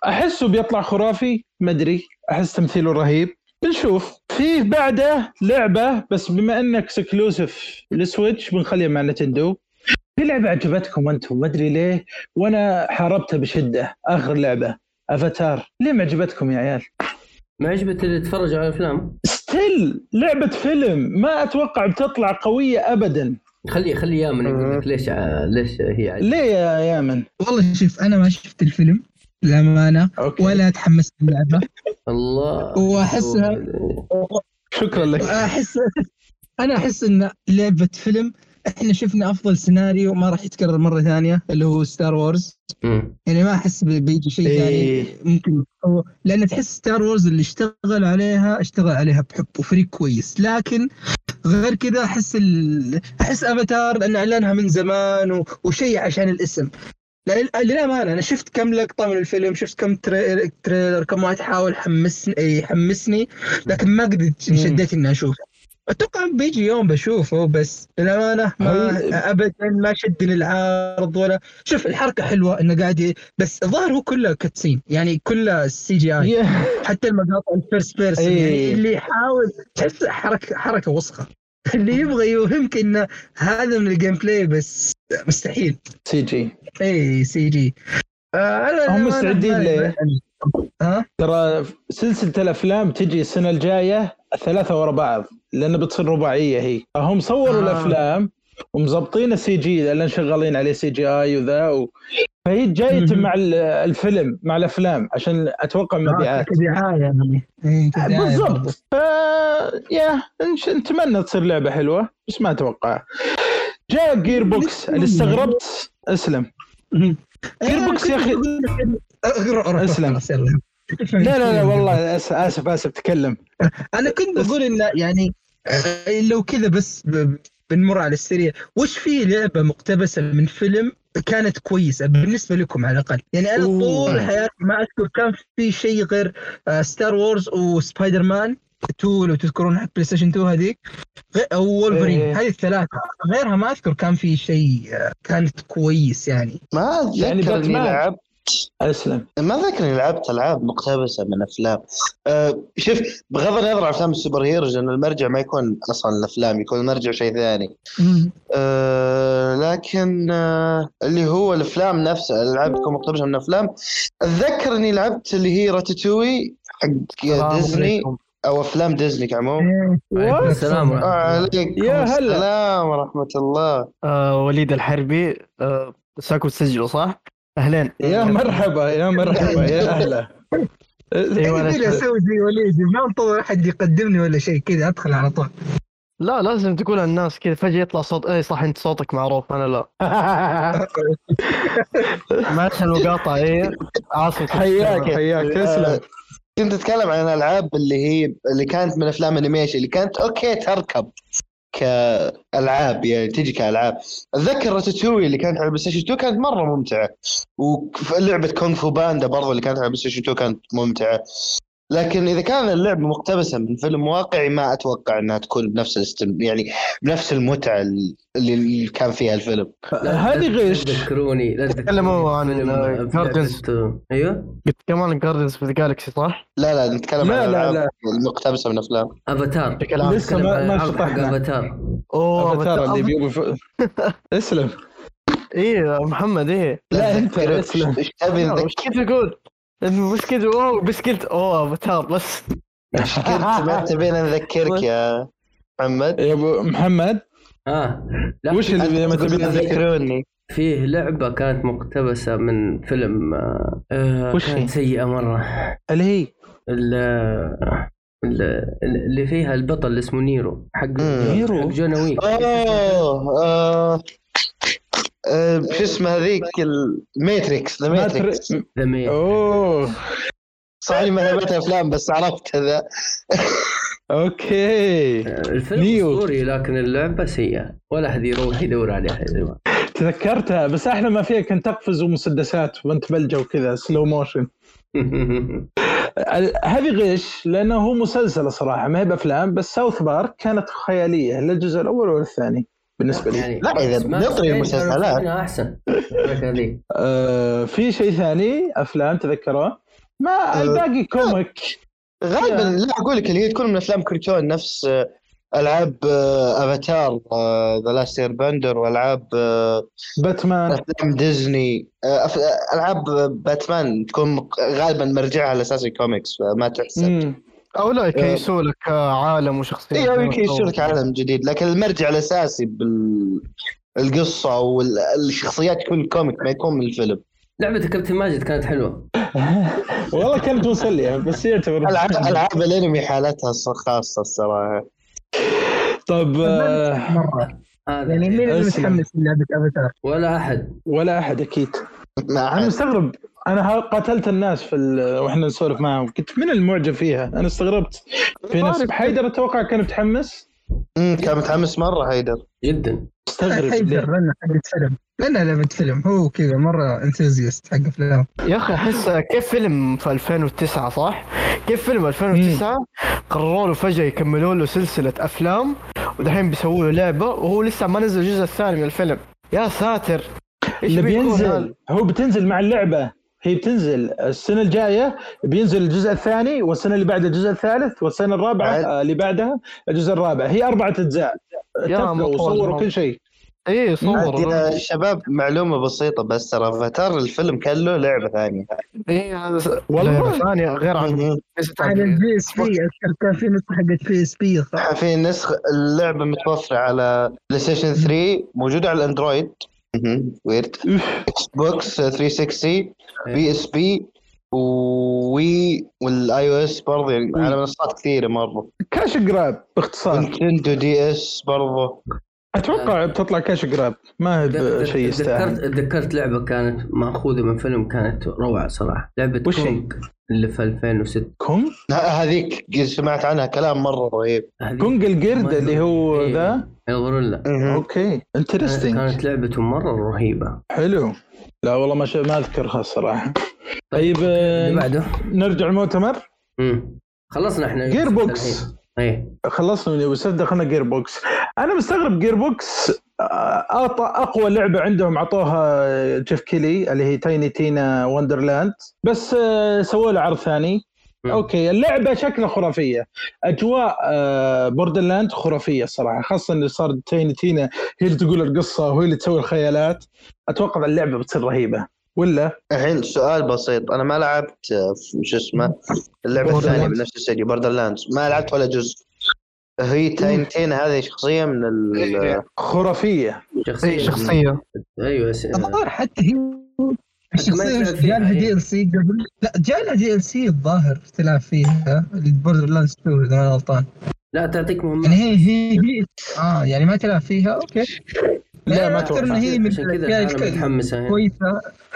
احسه بيطلع خرافي مدري احس تمثيله رهيب بنشوف في بعده لعبه بس بما انك اكسكلوسيف لسويتش بنخليها مع نتندو في لعبه عجبتكم انتم ما ادري ليه وانا حاربتها بشده اخر لعبه افاتار ليه ما عجبتكم يا عيال ما عجبت اللي يتفرجوا على الافلام ستيل لعبه فيلم ما اتوقع بتطلع قويه ابدا خليه خليه يامن يقول لك ليش ع- ليش هي عجبت. ليه يا يامن والله شوف انا ما شفت الفيلم للامانه اوكي ولا تحمست للعبه الله وأحسها- شكرا لك احس انا احس ان لعبه فيلم احنا شفنا افضل سيناريو ما راح يتكرر مره ثانيه اللي هو ستار وورز أمم. يعني ما احس بي- بيجي شيء ثاني إيه. ممكن هو- لان تحس ستار وورز اللي اشتغل عليها اشتغل عليها بحب وفريق كويس لكن غير كذا احس ال... احس افاتار لان اعلانها من زمان و... وشيء عشان الاسم لأن- للامانه انا شفت كم لقطه من الفيلم شفت كم تريلر, تريلر كم واحد حاول حمسني يحمسني لكن ما قد انشديت اني اشوفه اتوقع بيجي يوم بشوفه بس للامانه ما هل- ابدا ما شدني العرض ولا شوف الحركه حلوه انه قاعد ي- بس الظاهر هو كله كاتسين يعني كله سي جي اي يا- حتى المقاطع الفيرست بيرسون إيه. يعني اللي يحاول تحس حركه حركه وسخه اللي يبغى يوهمك انه هذا من الجيم بلاي بس مستحيل سي جي اي سي جي آه أنا- هم أنا- مستعدين أنا- ليه؟ ها ترى سلسله الافلام تجي السنه الجايه ثلاثه ورا بعض لان بتصير رباعيه هي هم صوروا آه. آه. الافلام ومظبطين السي جي لان شغالين عليه سي جي اي وذا و... فهي جايه مهم. مع ال- الفيلم مع الافلام عشان اتوقع مبيعات كدعايه آه، يعني إيه، كدعاية آه، برضو. بالضبط ف يا نش- نتمنى تصير لعبه حلوه بس ما اتوقع جاء جير بوكس اللي استغربت اسلم مهم. جير إيه، بوكس يا أخي. أقول لك إنه- اقرا اقرا أسلم. خلاص، يلا. لا لا لا والله آس- اسف اسف تكلم انا كنت بقول انه يعني آه، لو كذا بس ب- بنمر على السريع وش في لعبه مقتبسه من فيلم كانت كويسه بالنسبه لكم على الاقل يعني انا أوه. طول حياتي ما اذكر كان في شيء غير آه، ستار وورز وسبايدر مان 2 لو تذكرون حق بلاي ستيشن 2 هذيك غ- او وولفرين إيه. هذه الثلاثه غيرها ما اذكر كان في شيء آه، كانت كويس يعني ما يعني اتذكر اني باتمان. لعبت اسلم ما اتذكر اني لعبت العاب مقتبسه من افلام أه شوف بغض النظر عن افلام السوبر هيروز لان المرجع ما يكون اصلا الافلام يكون المرجع شيء ثاني أه لكن أه اللي هو الافلام نفسها الالعاب تكون مقتبسه من افلام اتذكر اني لعبت اللي هي راتاتوي آه، حق ديزني او افلام ديزني إيه، كعموم إيه، وعليكم السلام آه، عليكم يا هلا. السلام ورحمه الله آه وليد الحربي آه ساكو تسجله صح؟ اهلين يا مرحبا يا مرحبا يا اهلا أيوة، أنا انا شفت. اسوي إيه، زي وليد ما انتظر احد يقدمني ولا شيء كذا ادخل على طول لا لازم تقول الناس كذا فجاه يطلع صوت اي صح انت صوتك معروف انا لا معلش المقاطعه اي إيه؟ عاصف آه، حياك حياك تسلم آه، كنت اتكلم عن الالعاب اللي هي اللي كانت من افلام انيميشن اللي كانت اوكي تركب كالعاب يعني تجي كالعاب اتذكر راتاتوي اللي كانت على بلاي ستيشن 2 كانت مره ممتعه ولعبه كونغ فو باندا برضه اللي كانت على بلاي ستيشن 2 كانت ممتعه لكن اذا كان اللعبه مقتبسه من فيلم واقعي ما اتوقع انها تكون بنفس الاستم... يعني بنفس المتعه اللي- اللي كان فيها الفيلم هذه غيش تذكروني لا تكلموا عن، فيلم آه، بلعبة- Guardians. ايوه قلت كمان جاردنز اوف ذا جالكسي صح؟ لا لا نتكلم لا عن لا الالعاب لا المقتبسه من افلام افاتار بشكل عام لسه ما- ما نتكلم عن شطحنا. حق افاتار اوه افاتار اللي بت- بيبي ف- اسلم اي إيه، محمد اي لا انت أتذكر اسلم ايش تبي وش نذكر؟ كنت اقول؟ مش كذا واو بس قلت اوه افاتار بس كنت ما تبينا نذكرك يا محمد يا ابو محمد اه لا وش اللي ما أنت تبي تقول تذكر تذكروني فيه لعبة كانت مقتبسة من فيلم آه، آه، وش هي؟ كانت سيئة مرة اللي هي ال- ال- اللي فيها البطل اللي اسمه نيرو حق نيرو؟ حق جونوي آه. اوه آه، آه، شو اسمه هذيك الماتريكس ذا ماتريكس ماتري- ذا ميل اوه صح اني ما تابعت افلام بس عرفت هذا اوكي آه، الفيلم نيو. اسطوري لكن اللعبة سيئة ولا احد يروح يدور عليها يا جماعة. تذكرتها بس احلى ما فيها كنت اقفز ومسدسات وانت بلجه وكذا سلو موشن ال- هذه غش لانه هو مسلسل صراحه ما هي بافلام بس ساوث بارك كانت خياليه لا الجزء الاول ولا الثاني بالنسبه لي يعني لا، إذا بس ما بنطري كانوا المسلسلات. مسوينها احسن هذيك. آه في شيء ثاني افلام تذكره ما آه. الباقي كوميك غالبا لا اقول لك اللي هي تكون من افلام كرتون نفس آه، العاب آه، افاتار ذا لاست اير بندر والعاب آه، باتمان افلام ديزني آه، أف- آه، العاب باتمان تكون مق- غالبا مرجعها الاساسي كوميكس فما تحسب مم. او لا يكيسوا لك آه، عالم وشخصيه اي يمكن يشترك عالم جديد لكن المرجع الاساسي بال القصه والشخصيات تكون كوميك ما يكون من الفيلم لعبة كابتن ماجد كانت حلوة والله كانت مسليه بس يعتبر العاب العاب الانمي حالتها خاصه الصراحه طب آه مره هذا يعني مين اللي أسلم. متحمس للعبه افاتار؟ ولا احد ولا احد اكيد ما انا أحد. مستغرب انا ها- قاتلت الناس في ال... واحنا نسولف معهم قلت من المعجب فيها انا استغربت في ناس حيدر اتوقع كان متحمس أمم، كان متحمس مره هيدر جدا استغرب حيدر ليه؟ لنا حقة فيلم لنا لعبة فيلم هو كذا مرة انثوزيست حق افلام يا اخي احس كيف فيلم في 2009 صح؟ كيف فيلم 2009 قرروا له فجاه يكملوا له سلسله افلام ودحين بيسووا له لعبه وهو لسه ما نزل الجزء الثاني من الفيلم يا ساتر إيش اللي بيكون هذا؟ بينزل هو بتنزل مع اللعبه هي بتنزل السنه الجايه بينزل الجزء الثاني والسنه اللي بعدها الجزء الثالث والسنه الرابعه عاد. آه، اللي بعدها الجزء الرابع هي اربعه اجزاء يا اتفقوا مطول وصوروا الموضوع. كل شيء ايه عاد صور يا شباب معلومه بسيطه بس ترى افاتار الفيلم كان له لعبه ثانيه ايه هذا والله. والله ثاني غير عن الجزء الثاني. على البي اس بي اذكر كان في نسخة حقت بي اس بي في نسخة اللعبة متوفرة على بلاي ستيشن 3 موجودة على الاندرويد مهم، ويرد اكس بوكس 360 بي اس بي ووي والاي او اس برضه يعني على منصات كثيرة مرة كاش جراب باختصار نينتندو دي اس برضه اتوقع بتطلع كاش جراب ما هي بشيء تذكرت يستاهل تذكرت لعبة كانت ماخوذة من فيلم كانت روعة صراحة لعبة وش هي؟ كونج اللي في 2006 كونج ه- هذيك سمعت عنها كلام مرة رهيب هذه كونج القرد اللي هو إيه. ذا الغوريلا اوكي انترستنج كانت لعبته مرة رهيبة حلو لا والله ما ش... ما اذكرها الصراحه طيب آه، اللي بعده نرجع المؤتمر مم. خلصنا احنا جير الحين. بوكس ايه خلصنا من يوسف دخلنا جير بوكس انا مستغرب جير بوكس آه، أعطى اقوى لعبه عندهم عطوها جيف كيلي اللي هي تايني تينا وندرلاند بس آه، سووا له عرض ثاني مم. اوكي اللعبه شكلها خرافيه اجواء آه، بوردرلاند خرافيه صراحه خاصه انه صار تيني تينا هي اللي تقول القصه وهي اللي تسوي الخيالات اتوقع اللعبه بتصير رهيبه ولا الحين سؤال بسيط انا ما لعبت آه، في- شو اسمه اللعبة الثانية Borderlands. بنفس الاستديو بوردر لاندز ما لعبت ولا جزء هي تاينتين هذه شخصية من ال إيه، خرافيه شخصية ايه شخصيه ايوه س... الظاهر حتى هي الشخصية يلعب مش فيها، جالها إيه. دي ال سي قبل لا جالها دي ال سي الظاهر تلعب فيها البوردر لاندز 2 اذا ما أنا غلطان لا تعطيك يعني مهمات هي هي هي اه يعني ما تلعب فيها اوكي لا، ما اكثر أتوقع. ان هي من عشان كذا الاشياء انا الك- متحمسة يعني. الكويسه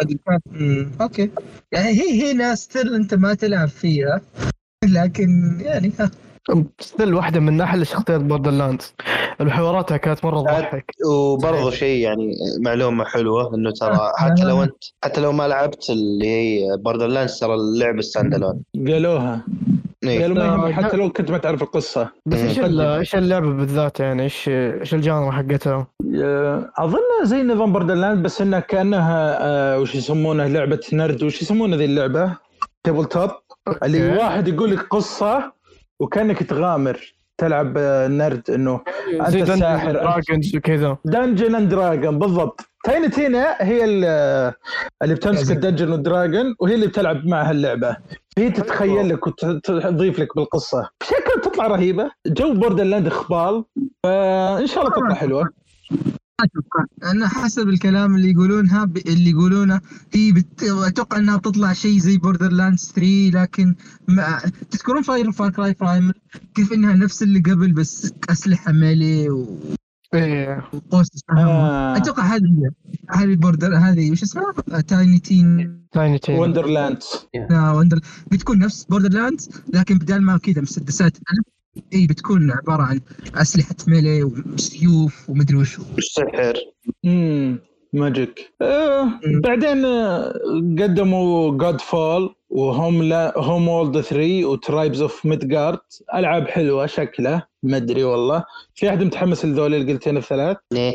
اللي كانت- أمم، اوكي يعني هي هي ناس تل انت ما تلعب فيها لكن يعني ها ستيل واحده من احلى شخصيات بوردر لاندز حواراتها كانت مره تضحك وبرضه شيء يعني معلومه حلوه انه ترى حتى لو انت حتى لو ما لعبت اللي هي بوردر لاندز ترى اللعبه ستاند الون قالوها إيه. قالوا ما يهم آه، حتى لو كنت ما تعرف القصه بس مم. ايش ال- ايش اللعبه بالذات يعني ايش ايش الجانرا حقتها؟ آه، اظنها زي نظام بوردرلاند بس انها كانها آه، وش يسمونه لعبه نرد وش يسمونه ذي اللعبه؟ تيبل توب اللي واحد يقول لك قصه وكانك تغامر تلعب آه، نرد انه أنت زي الساحر، دراجونز وكذا دنجن اند دراجون بالضبط تاينا تينا هي ال- آه، اللي بتمسك لازم. الدنجن والدراجون وهي اللي بتلعب معها اللعبه هي تتخيل لك وتضيف لك بالقصه بشكل تطلع رهيبه جو بوردرلاند اخبال فان شاء الله تطلع حلوه اتوقع انا حسب الكلام اللي يقولونها ب... اللي يقولونه هي بت... اتوقع انها بتطلع شيء زي بوردر لاندز 3 لكن ما... تذكرون فاير فار كراي برايمر كيف انها نفس اللي قبل بس اسلحه ميلي و... إيه، ايه وقوس تستخدمها. آه. اتوقع هذه هي. هذه بوردر هذه وش اسمها تايني تين تايني تين وندرلاند وندر بتكون نفس بوردر لاندز لكن بدل ما كذا مسدسات اي بتكون عباره عن اسلحه ميلي وسيوف ومدري وش السحر امم ماجيك آه مم. بعدين آه، قدموا جاد فول وهوم لا هوم وولد 3 وترايبز اوف ميدجارد العاب حلوه شكله ما ادري والله في احد متحمس لذول القلتين الثلاث ليه؟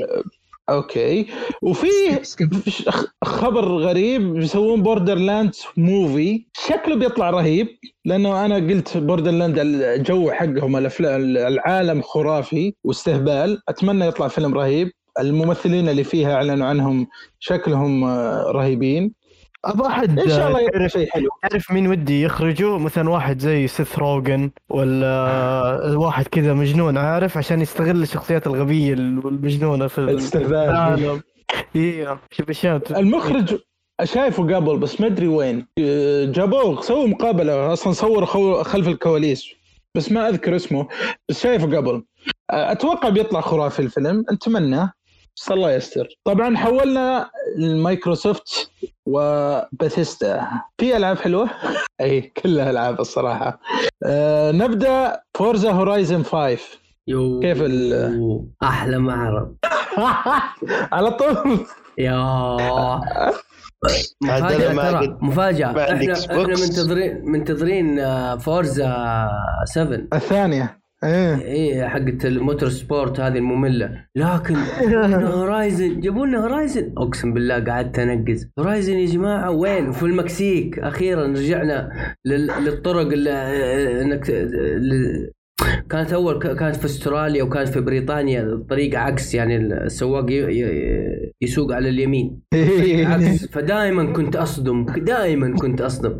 اوكي وفي سكيب. خ- خبر غريب بيسوون بوردر لاند موفي شكله بيطلع رهيب لانه انا قلت بوردر لاند الجو حقهم الافلام العالم خرافي واستهبال اتمنى يطلع فيلم رهيب الممثلين اللي فيها اعلنوا عنهم شكلهم آه، رهيبين ابغى احد ان شاء الله يطلع تعرف شيء حلو تعرف مين ودي يخرجه مثلا واحد زي سيث روجن ولا واحد كذا مجنون عارف عشان يستغل الشخصيات الغبيه والمجنونه في الاستهبال العالم ايوه شوف اشياء بت- المخرج شايفه قبل بس ما ادري وين آه، جابوه سووا مقابله اصلا صور خو- خلف الكواليس بس ما اذكر اسمه بس شايفه قبل آه، اتوقع بيطلع خرافي الفيلم نتمنى بس الله يستر طبعا حولنا المايكروسوفت وباثيستا في العاب حلوه اي كلها العاب الصراحه أه نبدا فورزا هورايزن 5 يو كيف ال- يو، احلى معرض على طول يا مفاجأة عدل ما ترى قد- مفاجأة ما عندك احنا Xbox. احنا منتظرين منتظرين آه، فورزا 7 الثانيه ايه ايه حقت الموتور سبورت هذه المملة لكن إنه هورايزن جابوا لنا هورايزن اقسم بالله قعدت انقز هورايزن يا جماعة وين في المكسيك اخيرا رجعنا لل- للطرق اللي انك ل- كانت اول ك- كانت في استراليا وكانت في بريطانيا الطريق عكس يعني السواق ي- ي- يسوق على اليمين عكس فدائما كنت اصدم دائما كنت اصدم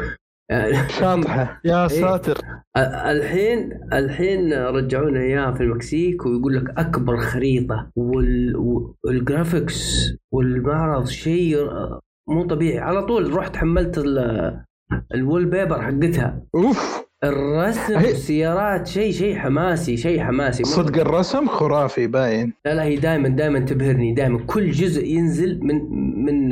شاطحه يا إيه. ساتر أ- الحين الحين رجعونا اياها في المكسيك ويقول لك اكبر خريطه وال- والجرافيكس والمعرض شيء مو طبيعي على طول رحت حملت ال- الوول بيبر حقتها اوف الرسم هي- والسيارات شيء شيء حماسي شيء حماسي مو- صدق الرسم خرافي باين لا لا هي دائما دائما تبهرني دائما كل جزء ينزل من من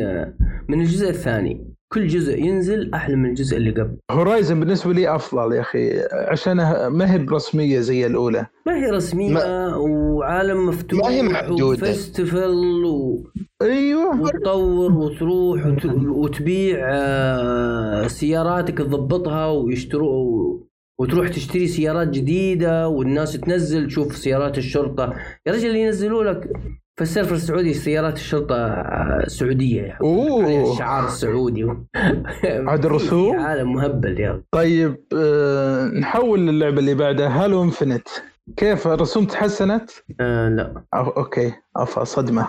من الجزء الثاني كل جزء ينزل احلى من الجزء اللي قبل هورايزن بالنسبه لي افضل يا اخي عشانها ما هي برسميه زي الاولى ما هي رسمية ما- وعالم مفتوح ما هي محدودة. وفستيفال و... ايوه وتطور وتروح وت... وتبيع آه، سياراتك تضبطها ويشتروا وتروح تشتري سيارات جديدة والناس تنزل تشوف سيارات الشرطة يا رجل ينزلوا لك في السيرفر السعودي سيارات الشرطة آه، سعودية يعني اوه الشعار السعودي عاد الرسوم؟ في عالم مهبل يا رجل. طيب آه نحول للعبه اللي بعدها هالو انفنت كيف الرسوم تحسنت؟ آه لا أو اوكي افا صدمه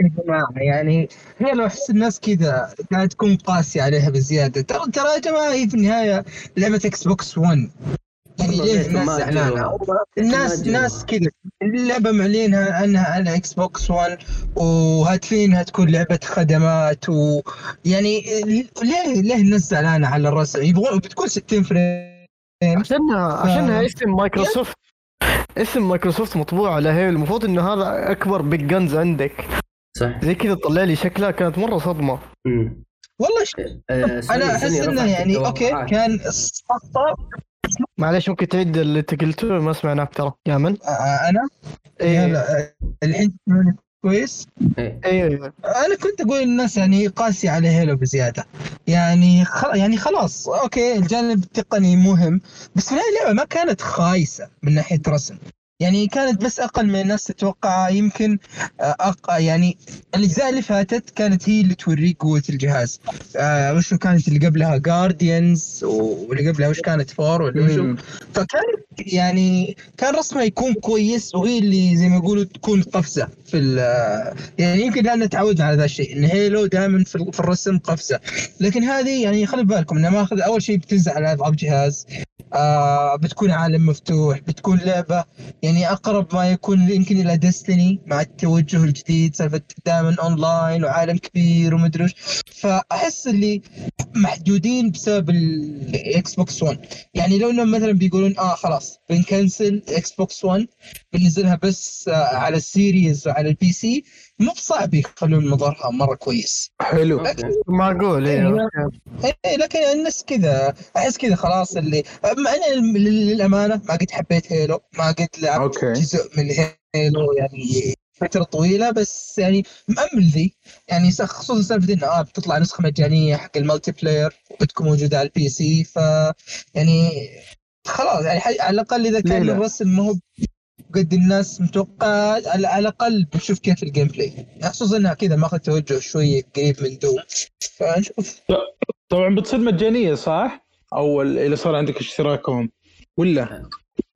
يا جماعه يعني هي لو احس الناس كذا قاعد تكون قاسيه عليها بزياده ترى ترى يا جماعه هي في النهايه لعبه اكس بوكس 1 يعني والله ليه ليش الناس ما زعلانه؟ أجلوها؟ الناس ليش ما ناس كذا اللعبه معلينها انها على اكس بوكس 1 وهاتفينها تكون لعبه خدمات و يعني ليه ليه الناس زعلانه على الرسم يبغون بتكون 60 فريم آه. عشانها عشانها اسم مايكروسوفت اسم مايكروسوفت مطبوع على هي المفروض انه هذا اكبر بيج جنز عندك صح زي كذا طلع لي شكلها كانت مره صدمه مم. آه، والله ش- انا احس انه يعني اوكي كان صفقه معلش ممكن تعيد اللي انت قلته ما سمعناك ترى يا من آه، انا ايه يلا الحين تسمعوني كويس إيه، ايوه ايوه انا كنت اقول الناس يعني قاسي على هيلو بزياده يعني خل... يعني خلاص اوكي الجانب التقني مهم بس في النهايه اللعبه ما كانت خايسه من ناحيه رسم يعني كانت بس اقل من الناس تتوقع يمكن آه، أق... يعني الاجزاء اللي فاتت كانت هي اللي توريك قوه الجهاز آه وشو كانت اللي قبلها جارديانز واللي قبلها وش كانت فور ولا وشو فكان يعني كان رسمه يكون كويس وهي اللي زي ما يقولوا تكون قفزه في ال- يعني يمكن لان تعودنا على ذا الشيء ان هيلو دائما في ال- في الرسم قفزه لكن هذه يعني خلي بالكم انها ماخذ اول شيء بتنزل على العاب جهاز آه بتكون عالم مفتوح بتكون لعبه يعني اقرب ما يكون يمكن الى ديستني مع التوجه الجديد سالفه دائما اونلاين وعالم كبير ومدري وش فاحس اللي محدودين بسبب الاكس بوكس 1 يعني لو انهم مثلا بيقولون اه خلاص بنكنسل اكس بوكس 1 بننزلها بس آه على السيريز وعلى البي سي مو بصعب يخلون مظهرها مره كويس حلو أوكي. أيوه. معقول ايه إيه لكن الناس كذا احس كذا خلاص اللي أما انا لل- للامانه ما قد حبيت هيلو ما قد لعبت اوكي جزء من هيلو يعني فترة طويلة بس يعني مأمل ذي يعني س- خصوصا سالفة انه آه بتطلع نسخة مجانية حق المالتي بلاير وبتكون موجودة على البي سي ف يعني خلاص يعني حي- على الأقل إذا ليه كان لا؟ الرسم ما هو قد الناس متوقعة على على الأقل بنشوف كيف الجيم بلاي خصوصا انها كذا ماخذ توجه شوية قريب من دوم فنشوف طبعا بتصير مجانيه صح؟ اول اللي صار عندك اشتراكهم ولا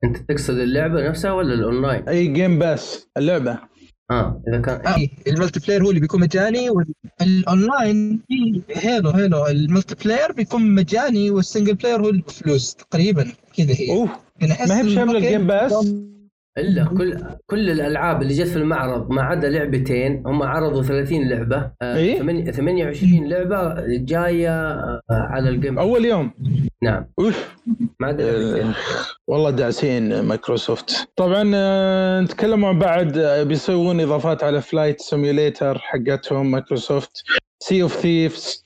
انت تقصد اللعبه نفسها ولا الاونلاين؟ اي جيم باس اللعبه اه اذا كان آه، الملتي بلاير هو اللي بيكون مجاني والاونلاين هيلو هيلو الملتي بلاير بيكون مجاني والسنجل بلاير هو اللي بفلوس تقريبا كذا هي اوه يعني أحس ما هي بشامله إنه الجيم باس الا كل كل الالعاب اللي جت في المعرض ما عدا لعبتين هم عرضوا 30 لعبه آه، إيه؟ ثمانية- 28 لعبه جايه آه، على الجيم اول يوم نعم اوف ما عدا لعبتين والله داعسين مايكروسوفت طبعا آه، نتكلم عن بعد آه، بيسوون اضافات على فلايت سيميوليتر حقتهم مايكروسوفت سي اوف ثيفز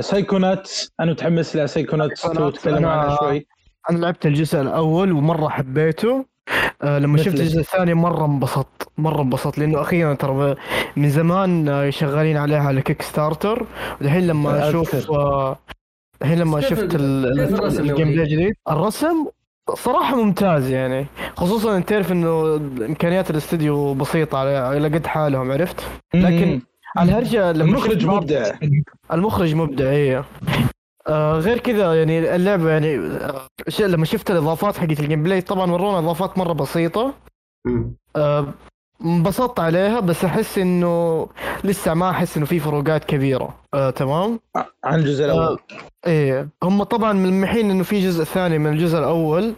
سايكونات انا آه، متحمس لسايكونات Psychonauts، وتكلم أنا- عنها شوي انا لعبت الجزء الاول ومره حبيته آه لما شفت مثلك. الجزء الثاني مره انبسطت مره انبسطت لانه اخيرا ترى ب- من زمان آه، شغالين عليها على كيك ستارتر الحين لما أذكر. اشوف آه، الحين لما بس كيف شفت ال- ال- كيف الرسم يا الجيم بلاي وليد؟ الجديد الرسم صراحة ممتاز يعني خصوصا انت تعرف انه امكانيات الاستديو بسيطة على على قد حالهم عرفت لكن- على الهرجة لما المخرج شفت بعض- مبدع المخرج مبدع ايه آه غير كذا يعني اللعبة يعني آه ش- لما شفت الاضافات حقت الجيم بلاي طبعا ورونا اضافات مرة بسيطة مم. آه، انبسطت عليها بس احس انه لسه ما احس انه في فروقات كبيرة آه تمام عن آه، الجزء الاول ايه هم طبعا ملمحين انه في جزء ثاني من الجزء الاول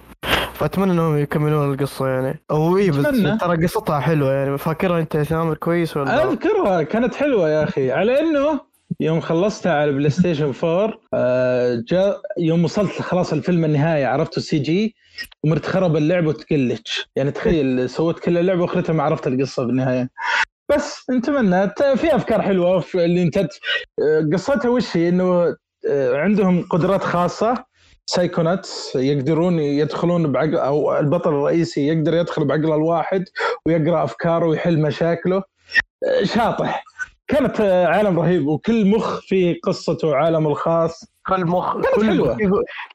فاتمنى انهم يكملون القصة يعني او ايه بس أتمنى. ترى قصتها حلوة يعني فاكرها انت يا سامر كويس ولا اذكرها كانت حلوه يا اخي على انه يوم خلصتها على بلاي ستيشن 4 آه، جاء يوم وصلت خلاص الفيلم النهايه عرفت السي جي ومرت خرب اللعبه وتقلتش يعني تخيل سويت كل اللعبه واخرتها ما عرفت القصه بالنهايه بس نتمنى ت- في افكار حلوه في اللي انت آه، قصتها وش هي انه آه، عندهم قدرات خاصه سايكوناتس يقدرون يدخلون بعقل او البطل الرئيسي يقدر يدخل بعقل الواحد ويقرا افكاره ويحل مشاكله شاطح كانت آه، عالم رهيب وكل مخ فيه قصته وعالمه الخاص كل مخ كانت كل حلوة. كيف,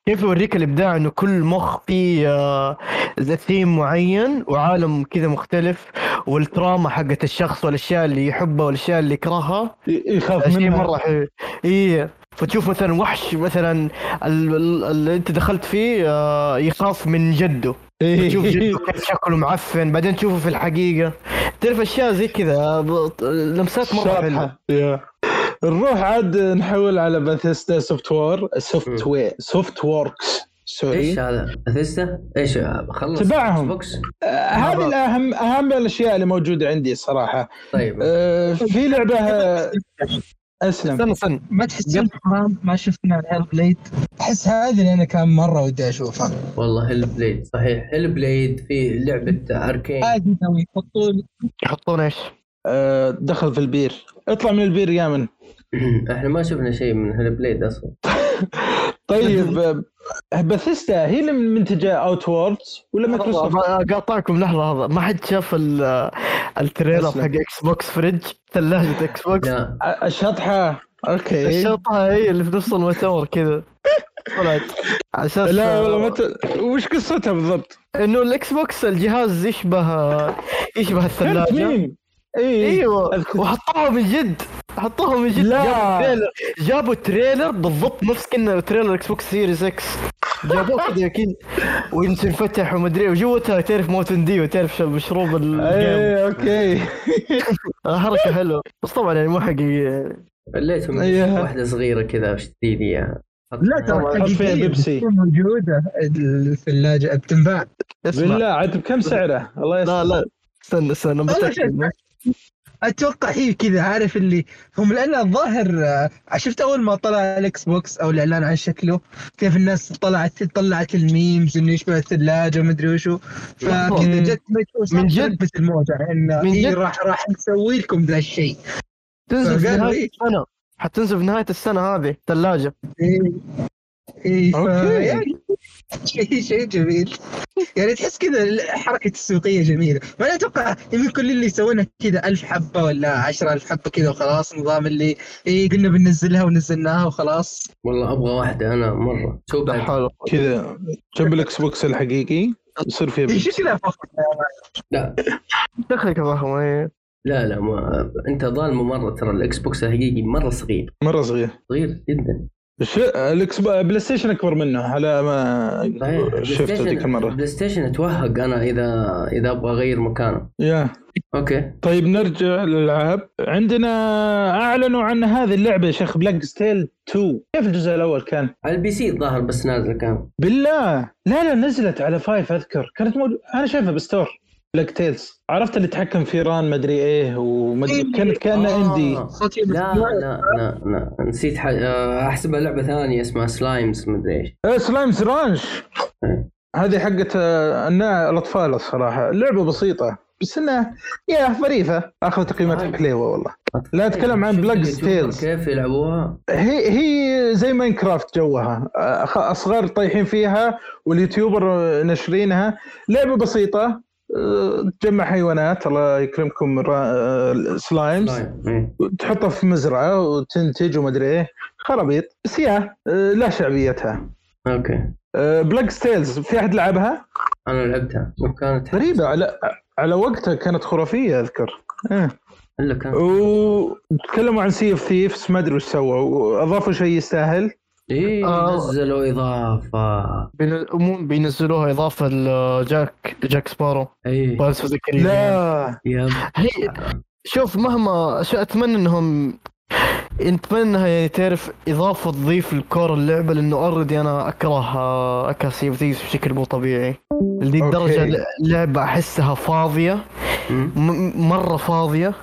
كيف يوريك الابداع انه كل مخ فيه آه، ذا ثيم معين وعالم كذا مختلف والتراما حقت الشخص والاشياء اللي يحبها والاشياء اللي يكرهها ي- يخاف شيء منها مره حلو ايه فتشوف مثلا وحش مثلا ال- ال- اللي انت دخلت فيه آه، يخاف من جده إيه. تشوف جده كيف شكله معفن بعدين تشوفه في الحقيقه تعرف اشياء زي كذا آه، ب- لمسات مره حلوه شاطحة يا. نروح عاد نحول على باثيستا سوفت وير سوفت مم. وير سوفت ووركس ايش سوري هذا؟ اثيستا؟ ايش خلص إيه؟ تبعهم. Xbox؟ آه، هذه الاهم اهم الاشياء اللي موجوده عندي صراحه طيب آه، في لعبه آه، اسلم استنى استنى ما تحسون حرام ما شفنا هيل بليد احس هذه اللي انا كان مره ودي اشوفها والله هيل بليد صحيح هيل بليد في لعبه اركين هذه ناوي يحطون يحطون ايش؟ آه، دخل في البير اطلع من البير يا من احنا ما شفنا شيء من هيل بليد اصلا طيب آه، باثيستا هي اللي من منتجه اوت ووردز ولا مايكروسوفت؟ لحظة، قاطعكم لحظه لحظه ما حد شاف ال- التريلر أسلم. حق اكس بوكس فريج ثلاجه اكس بوكس لا الشطحه اوكي الشطها هي اللي في نص المؤتمر كذا طلعت على اساس لا آه، والله ما ت- وش قصتها بالضبط؟ انه الاكس بوكس الجهاز يشبه يشبه كانت الثلاجه مين؟ إيه. إيه، اي ايوه أذكر. وحطوها من جد حطوها من جد لا. جابوا تريلر جابوا تريلر بالضبط نفس كنا تريلر اكس بوكس سيريز اكس جابوه كذا اكيد وانت انفتح ومدري وجوتها تعرف موتن دي وتعرف شو مشروب الجيم اي اوكي حركه حلوه بس طبعا يعني مو حقيقيه خليتهم أيها. واحده صغيره كذا ايش تديني اياها لا ترى حط فيها حقيقية بيبسي. بتكون موجوده الثلاجه بتنباع اسمع بالله عاد بكم سعره الله يسلمك لا لا استنى استنى بتاكد اتوقع هي كذا عارف اللي هم لان الظاهر آه، شفت اول ما طلع الاكس بوكس او الاعلان عن شكله كيف الناس طلعت طلعت الميمز انه يشبه الثلاجه ومدري وشو فكذا جت مايكروسوفت من جد؟ لبت الموجه انه من إيه جد؟ راح راح نسوي لكم ذا الشيء تنزل في فقالوا نهايه إيه؟ السنه حتنزل في نهايه السنه هذه ثلاجه إيه. إيه، ف- أوكي. يعني شيء شيء جميل يعني تحس كذا الحركه التسويقيه جميله ما أنا اتوقع يمكن كل اللي يسوونه كذا ألف حبه ولا عشرة ألف حبه كذا وخلاص نظام اللي إيه قلنا بننزلها ونزلناها وخلاص والله ابغى واحده انا مره شو لا بعد حول كذا جنب الاكس بوكس الحقيقي يصير فيه إيه بيبسي. شو كذا فقط لا دخلك يا فخم إيه. لا لا ما انت ظالمه مره ترى الاكس بوكس الحقيقي مره صغير مره صغير صغير جدا ش... الاكس بو- بلاي ستيشن اكبر منه على ما شفته إيه، بلاي ذيك ستيشن- المره بلاي ستيشن اتوهق انا اذا اذا ابغى اغير مكانه يا اوكي طيب نرجع للالعاب عندنا اعلنوا عن هذه اللعبه يا شيخ بلاك ستيل 2 كيف الجزء الاول كان؟ على البي سي الظاهر بس نازله كان بالله لا لا نزلت على فايف اذكر كانت موجود انا شايفها بستور بلاك تيلز عرفت اللي تحكم في ران مدري ايه ومدري كانت كانها آه. اندي صوتي لا لا لا لا نسيت ح... آه، احسبها لعبه ثانيه اسمها سلايمز مدري ايش إيه، سلايمز رانش إيه. هذه حقت آه، النا الاطفال الصراحه لعبه بسيطه بس انها يا فريفه اخذ تقييمات آه. حلوه والله لا أتكلم عن Black Tales. كيف يلعبوها هي هي زي ماينكرافت جوها أخ- اصغر طايحين فيها واليوتيوبر نشرينها لعبه بسيطه أه، تجمع حيوانات الله يكرمكم را- أه، سلايمز سلايم. إيه. تحطها في مزرعه وتنتج ومدري ايه خرابيط بس يا أه، لا شعبيتها اوكي بلاك ستيلز في احد لعبها؟ انا لعبتها وكانت غريبه على على وقتها كانت خرافيه اذكر إيه. الا كان وتكلموا عن سي اوف ثيفز ما ادري وش سووا اضافوا شيء يستاهل ايه آه. نزلوا اضافه بين- مو بينزلوها اضافه لجاك جاك سبارو ايه بس في ذكري. لا يب هي شوف مهما شو اتمنى انهم اتمنى انها يعني تعرف اضافه تضيف الكور اللعبه لانه اوريدي انا اكره اكره سي اوف ثيفز بشكل مو طبيعي لذي الدرجه أوكي. اللعبه احسها فاضيه مم. م- مره فاضيه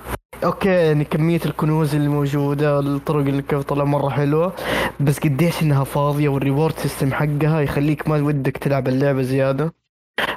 اوكي يعني كميه الكنوز اللي موجوده الطرق اللي كيف طلع مره حلوه بس قديش انها فاضيه والريورد سيستم حقها يخليك ما ودك تلعب اللعبه زياده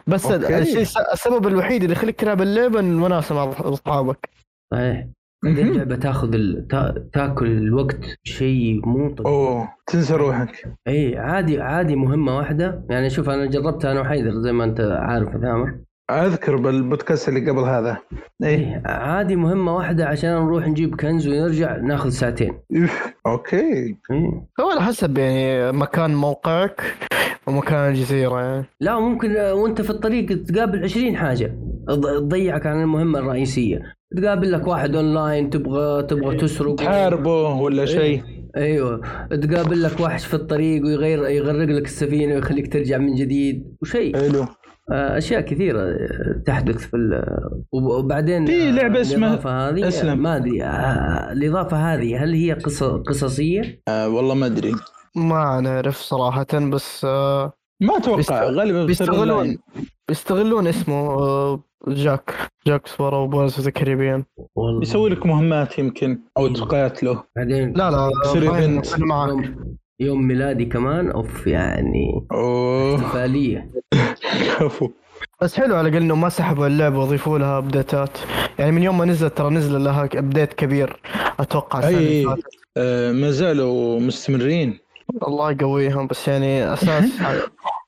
بس أوكي. الشيء السبب الوحيد اللي يخليك تلعب اللعبه المناسبه مع اصحابك صحيح هذه اللعبه طيب. تاخذ ال... تا... تاكل الوقت شيء مو طبيعي اوه تنسى روحك اي عادي عادي مهمه واحده يعني شوف انا جربتها انا وحيدر زي ما انت عارف يا ثامر اذكر بالبودكاست اللي قبل هذا ايه اي إيه، عادي مهمه واحده عشان نروح نجيب كنز ونرجع ناخذ ساعتين إف. اوكي إيه. هو على حسب يعني مكان موقعك ومكان الجزيرة يعني لا ممكن آه، وانت في الطريق تقابل 20 حاجه تض- تضيعك عن المهمه الرئيسيه تقابل لك واحد اونلاين تبغى إيه، تبغى تسرق تحاربه ولا شيء ايوه تقابل لك وحش في الطريق ويغير يغرق لك السفينه ويخليك ترجع من جديد وشيء حلو آه، اشياء كثيره آه، تحدث في ال- وب- وبعدين في آه، لعبة اسمها- الإضافة هذه اسلم. ما ادري آه، الاضافه هذه هل هي قص- قصصيه؟ آه والله ما ادري ما نعرف صراحة بس آه، ما اتوقع بيست- غالبا بيصير بيستغلون أونلاين. بيستغلون اسمه آه، جاك جاك سبارو وبونز ذا كاريبيان والله بيسوي لك مهمات يمكن او تقاتله بعدين لا لا يصير ما event. ينزل معك يوم, يوم ميلادي كمان اوف يعني اوه احتفاليه كفو بس حلو على الاقل انه ما سحبوا اللعبة وضيفوا لها ابديتات يعني من يوم ما نزلت ترى نزل لها ابديت كبير اتوقع السنة أي- اللي أي. فاتت. آه ما زالوا مستمرين الله يقويهم بس يعني اساس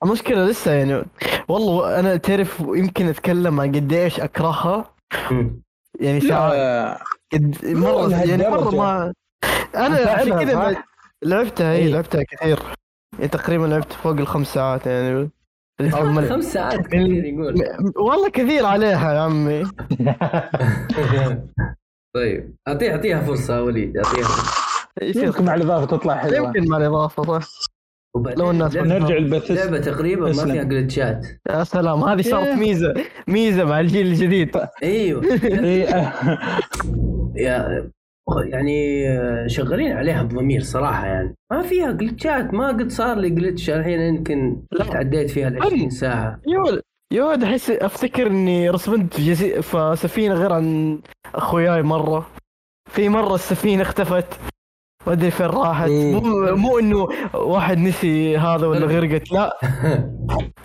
المشكله لسه يعني والله انا تعرف يمكن اتكلم عن قد ايش اكرهها مم. يعني ساعات لا آه، قد مره لا، يعني مره لهالدرجة. ما انا أنت عشان تلعبها، كذا صح؟ ما- لعبتها إيه. اي لعبتها كثير يعني تقريبا لعبت فوق الخمس ساعات يعني أو مل- خمس ساعات كثير يقول والله كثير عليها يا عمي طيب اعطيها اعطيها فرصه يا وليد اعطيها فرصة. يصير يمكن مع الاضافه تطلع حلوه يمكن مع الاضافه صح وبعدين لو الناس اللعبة- نرجع للبث اللعبه تقريبا ما اسلم. فيها جلتشات يا سلام هذه إيه. صارت ميزه ميزه مع الجيل الجديد ايوه إيه، آه. أيوه. يا يعني آه، شغالين عليها بضمير صراحه يعني ما فيها جلتشات ما قد صار لي جلتش الحين يمكن لا. تعديت فيها ال 20 ساعه يو يو احس افتكر اني رسمت في جزي... في سفينه غير عن اخوياي مره في مره السفينه اختفت ما ادري فين راحت أوه. مو مو انه واحد نسي هذا ولا لا. غرقت لا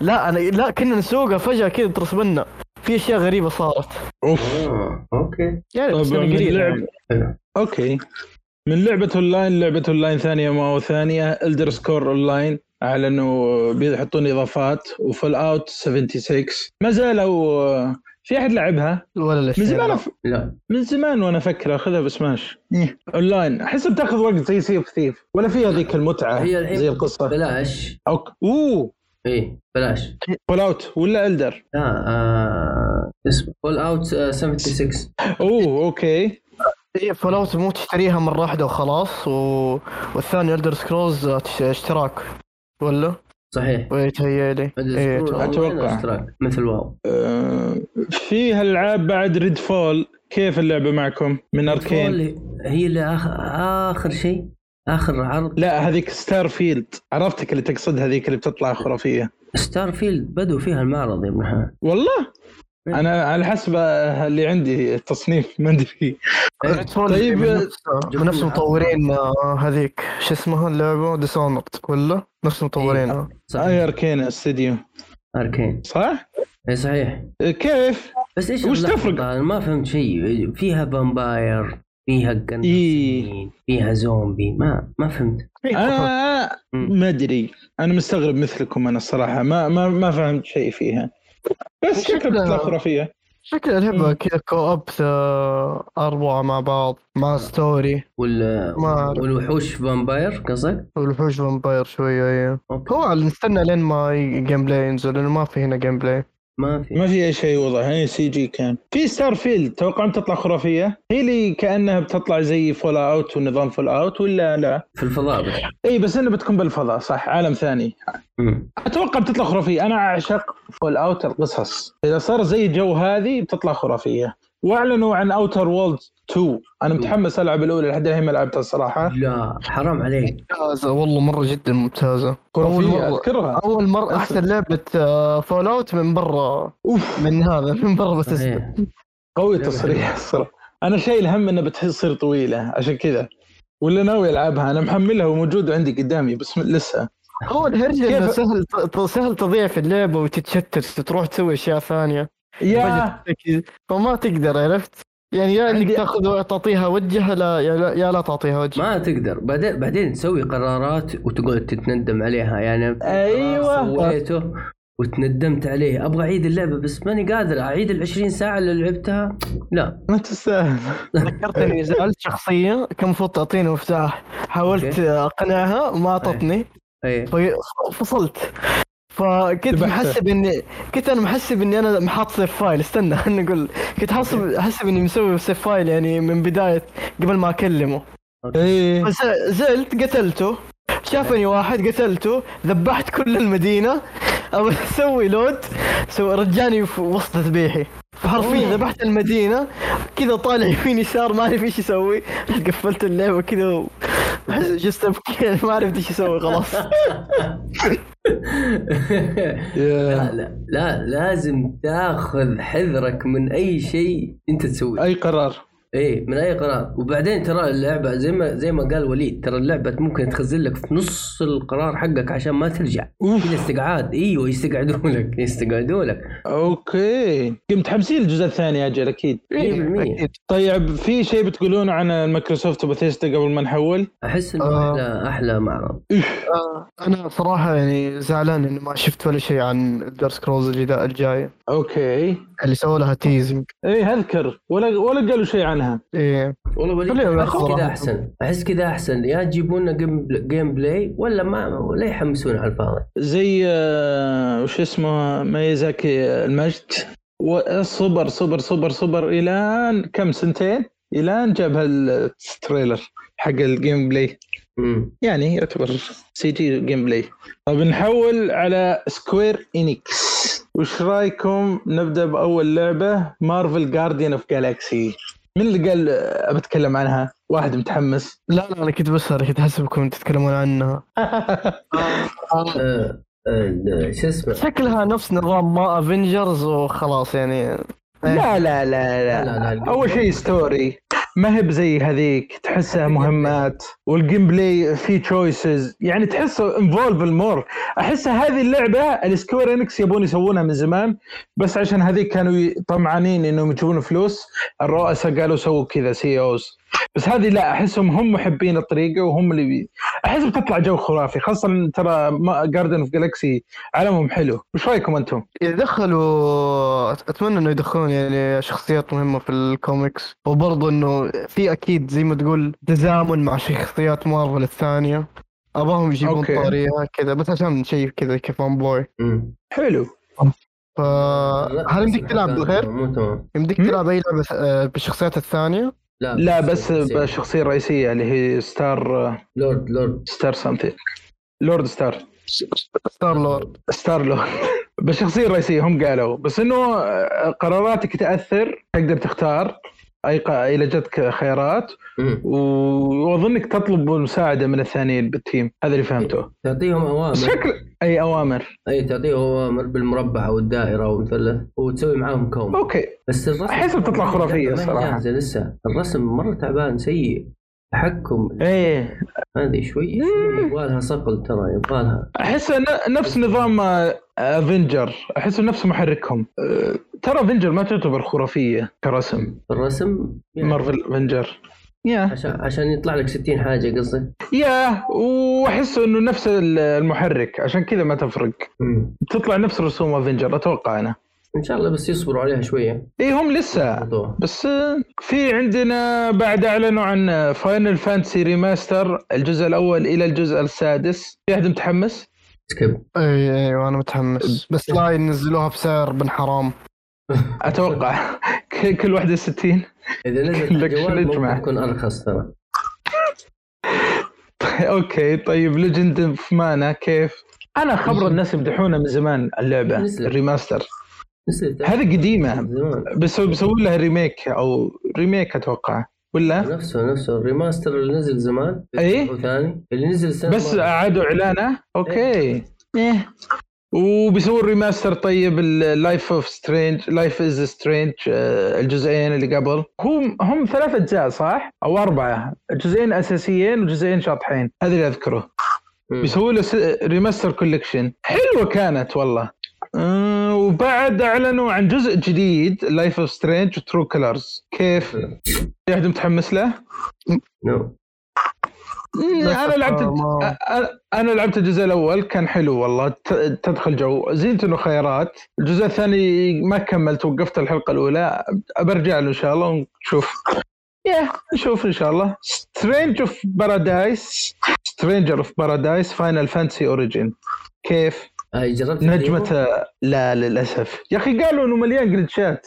لا انا لا كنا نسوقها فجاه كذا ترسبنا في اشياء غريبه صارت اوف آه، اوكي يعني بس طبعا أنا طيب، من قليل لعب حلو. اوكي من لعبة اونلاين لعبة اونلاين ثانية ما ثانية الدر سكور اونلاين اعلنوا بيحطون اضافات وفول اوت 76 ما زالوا آه، في احد لعبها ولا لا من شيء. زمان أف- لا من زمان وانا افكر اخذها بسماش اونلاين احس بتاخذ وقت زي سي اوف ثيف ولا فيها ذيك المتعه هي الحين زي القصه بلاش أوك. اوه اي بلاش فول اوت ولا الدر لا آه، اسمه آه، فول اوت 76 اوه اوكي إيه، فلو مو تشتريها مره واحده وخلاص و... والثاني الدر سكرولز اشتراك ولا؟ صحيح ويتهيألي إيه، أتوقع. اتوقع مثل واو آه، في هالالعاب بعد ريد فول كيف اللعبه معكم من اركين فول هي اللي آخر, اخر شيء اخر عرض لا هذيك ستار فيلد عرفتك اللي تقصدها هذيك اللي بتطلع خرافيه ستار فيلد بدوا فيها المعرض يا ابن الحلال والله انا على حسب اللي عندي التصنيف ما ادري ريد فول طيب، من نفس- من نفس جميل. مطورين آه، هذيك شو اسمها اللعبه ديسونرد ولا نفس آه. مطورينها اي أيوة. صحيح اركين استديو اركين صح؟ اي صحيح آه، كيف؟ بس ايش وش اللخبطة؟ تفرق؟ انا ما فهمت شيء فيها بامباير فيها قناصين إيه. فيها زومبي ما ما فهمت إيه. آه. انا مم. ما ادري انا مستغرب مثلكم انا الصراحه ما ما ما فهمت شيء فيها بس شكلها بتطلع خرافيه شكل اللعبه كذا كو اب آه، اربعه مع بعض مع ستوري وال... ما أعرف. والوحوش فامباير قصدك؟ والوحوش فامباير شويه ايه اوكي هو نستنى لين ما ي- جيم بلاي ينزل لانه ما في هنا جيم بلاي ما في ما في اي شيء وضع هي سي جي كان في ستار فيلد توقع بتطلع خرافيه هي اللي كانها بتطلع زي فول اوت ونظام فول اوت ولا لا في الفضاء بس اي بس انها بتكون بالفضاء صح عالم ثاني مم. اتوقع بتطلع خرافيه انا اعشق فول اوت القصص اذا صار زي الجو هذه بتطلع خرافيه واعلنوا عن اوتر وولد 2 انا متحمس العب الاولى لحد الحين ما لعبتها أه. الصراحه لا حرام عليك ممتازه والله مره جدا ممتازه أول خرافيه مرة. اذكرها اول مره احسن لعبه فول اوت آه، من برا اوف من هذا من برا بس اسمه. صحيح قوي لعبة التصريح الصراحه انا شايل هم انها بتصير طويله عشان كذا ولا ناوي العبها انا محملها وموجوده عندي قدامي بس لسه هو الهرجه انه كيف- سهل ت- ت- سهل تضيع في اللعبه وتتشتت تروح تسوي اشياء ثانيه يا فجأة- فما تقدر عرفت يعني يا انك تاخذ تعطيها وجه لا يا لا, يا لا تعطيها وجه ما تقدر بعدين بعدين تسوي قرارات وتقعد تتندم عليها يعني آه. أيوة. سويته وتندمت عليه ابغى اعيد اللعبه بس ماني قادر اعيد ال 20 ساعه اللي لعبتها لا ما تستاهل ذكرتني زعلت شخصيه كان المفروض تعطيني مفتاح حاولت أوكي. اقنعها وما اعطتني ايه في- طيب، فصلت فكنت ذبحتها. محسب اني كنت انا محسب اني انا محط سيف فايل استنى خليني اقول كنت حاسب حاسب اني مسوي سيف فايل يعني من بدايه قبل ما اكلمه ايه فز- زلت قتلته شافني واحد قتلته ذبحت كل المدينه او اسوي لود سو رجعني في وسط ذبيحي فحرفيا ذبحت المدينه كذا طالع يمين يسار ما اعرف ايش اسوي قفلت اللعبه كذا و... جست أبكي، ما عرفت ايش اسوي خلاص يا. لا لا لا لازم تاخذ حذرك من اي شيء انت تسويه اي قرار ايه من اي قرار وبعدين ترى اللعبه زي ما زي ما قال وليد ترى اللعبه ممكن تخزن لك في نص القرار حقك عشان ما ترجع أوف. كذا استقعاد ايوه يستقعدوا لك يستقعدوا لك اوكي متحمسين الجزء الثاني اجل اكيد 100% أكيد. طيب في شيء بتقولون عن مايكروسوفت وبثيستا قبل ما نحول احس انه آه. احلى احلى معرض آه، انا صراحه يعني زعلان اني ما شفت ولا شيء عن الدار سكرولز الجدا- الجايه اوكي اللي سووا لها تيزنج ايه اذكر ولا ولا قالوا شيء عنها ايه والله وليد خلينا احس ناخذها. كذا احسن احس كذا احسن يا تجيبوا لنا جيم بل- جيم بلاي ولا ما ولا يحمسونا على الفاضي زي آه، وش اسمه ميزاكي آه، المجد وصبر صبر صبر صبر الى كم سنتين الى جاب هالتريلر حق الجيم بلاي مم. يعني يعتبر سي جي جيم بلاي طب نحول على سكوير انكس وش رايكم نبدا باول لعبه مارفل جارديان اوف جالاكسي من اللي قال آه، بتكلم عنها واحد متحمس لا لا انا كنت بسهر كنت احسبكم تتكلمون عنها آه، آه، شو اسمه شكلها نفس نظام ما افنجرز وخلاص يعني لا لا لا لا، لا, لا، لا. اول شيء ستوري ما هي بزي هذيك تحسها مهمات والجيم بلاي فيه تشويسز يعني تحسه انفولف المور احس هذه اللعبه السكوير انكس يبون يسوونها من زمان بس عشان هذيك كانوا ي- طمعانين انهم يجيبون فلوس الرؤساء قالوا سووا كذا سي اوز بس هذه لا احسهم هم محبين الطريقه وهم اللي بي... احس بتطلع جو خرافي خاصه ترى جاردن اوف جالكسي عالمهم حلو وش رايكم انتم؟ يدخلوا اتمنى انه يدخلون يعني شخصيات مهمه في الكوميكس وبرضه انه في اكيد زي ما تقول تزامن مع شخصيات مارفل الثانيه اباهم يجيبون أوكي. طاريها كذا بس عشان شيء كذا كفان بوي مم. حلو فهل يمديك تلعب لا، بالغير؟ مو تمام يمديك مم. تلعب اي لعبه آه، بالشخصيات الثانيه؟ لا بس بس- الشخصيه الرئيسيه اللي هي ستار لورد لورد ستار سمثينج لورد ستار ستار لورد ستار لورد بالشخصيه الرئيسيه هم قالوا بس انه آه، قراراتك تاثر تقدر تختار اي ق- الى جتك خيارات مم. و- واظنك تطلب المساعده من الثانيين بالتيم هذا اللي فهمته تعطيهم بس اوامر شكل اي اوامر اي تعطيهم اوامر بالمربع او الدائره او مثلث وتسوي معاهم كوم اوكي بس الرسم أحسها بتطلع خرافية ما هي صراحة. جاهزة لسه الرسم مره تعبان سيء تحكم ايه هذه شوي يبغالها صقل ترى يبغالها احس ن- نفس نظام آه، افنجر احس نفس محركهم آه، ترى افنجر ما تعتبر خرافيه كرسم الرسم يعني مارفل افنجر يا عشان عشان يطلع لك 60 حاجه قصدك يا واحس انه نفس ال- المحرك عشان كذا ما تفرق مم. تطلع نفس رسوم افنجر اتوقع انا ان شاء الله بس يصبروا عليها شويه اي هم لسه الموضوع. بس آه، في عندنا بعد اعلنوا عن فاينل فانتسي ريماستر الجزء الاول الى الجزء السادس في احد متحمس؟ سكيب اي ايوه انا متحمس بس لا ينزلوها بسعر بن حرام اتوقع ك- كل واحده 60 اذا نزلت لك شو الجوال نجمع. ممكن تكون ارخص ترى اوكي طيب ليجند اوف مانا كيف؟ انا خبر الناس يمدحونها من زمان اللعبه نزلت. الريماستر نزلت هذه قديمه زمان بس بيسوون لها ريميك او ريميك اتوقع ولا؟ نفسه نفسه الريماستر اللي نزل زمان إيه. وثاني اللي نزل السنه بس الماضية. إيه. اعادوا اعلانه اوكي ايه وبيسووا الريماستر طيب اللايف اوف سترينج لايف از سترينج آه، الجزئين اللي قبل هم هم ثلاث اجزاء صح؟ او اربعه جزئين اساسيين وجزئين شاطحين هذا اللي اذكره مم. بيسووا له س- ريماستر كوليكشن حلوه كانت والله أه، وبعد اعلنوا عن جزء جديد لايف اوف سترينج ترو كلرز كيف؟ في احد متحمس له؟ نو انا لعبت ما- أ- انا لعبت الجزء الاول كان حلو والله ت- تدخل جو زينت انه خيارات الجزء الثاني ما كملت وقفت الحلقه الاولى برجع له ان شاء الله ونشوف يا نشوف ان شاء الله سترينج اوف بارادايس سترينجر اوف بارادايس فاينل فانتسي اوريجين كيف هاي جربت الديمو؟ نجمة لا للاسف يا اخي قالوا انه مليان جلتشات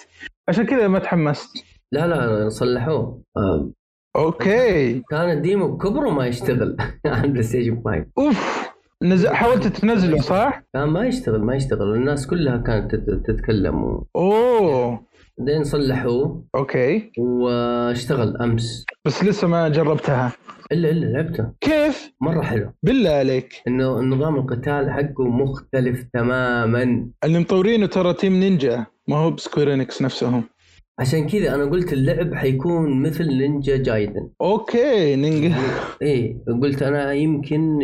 عشان كذا ما تحمست لا لا صلحوه آه، اوكي كان الديمو بكبره ما يشتغل على بلاي ستيشن 5 اوف نزل حاولت تنزله صح؟ كان ما يشتغل ما يشتغل الناس كلها كانت تت- تتكلم و- اوه بعدين صلحوه اوكي واشتغل امس بس لسه ما جربتها الا الا لعبته كيف مره حلو بالله عليك انه نظام القتال حقه مختلف تماما اللي مطورينه ترى تيم نينجا ما هو بسكويرينكس نفسهم عشان كذا انا قلت اللعب حيكون مثل نينجا جايدن اوكي نينجا ايه قلت انا يمكن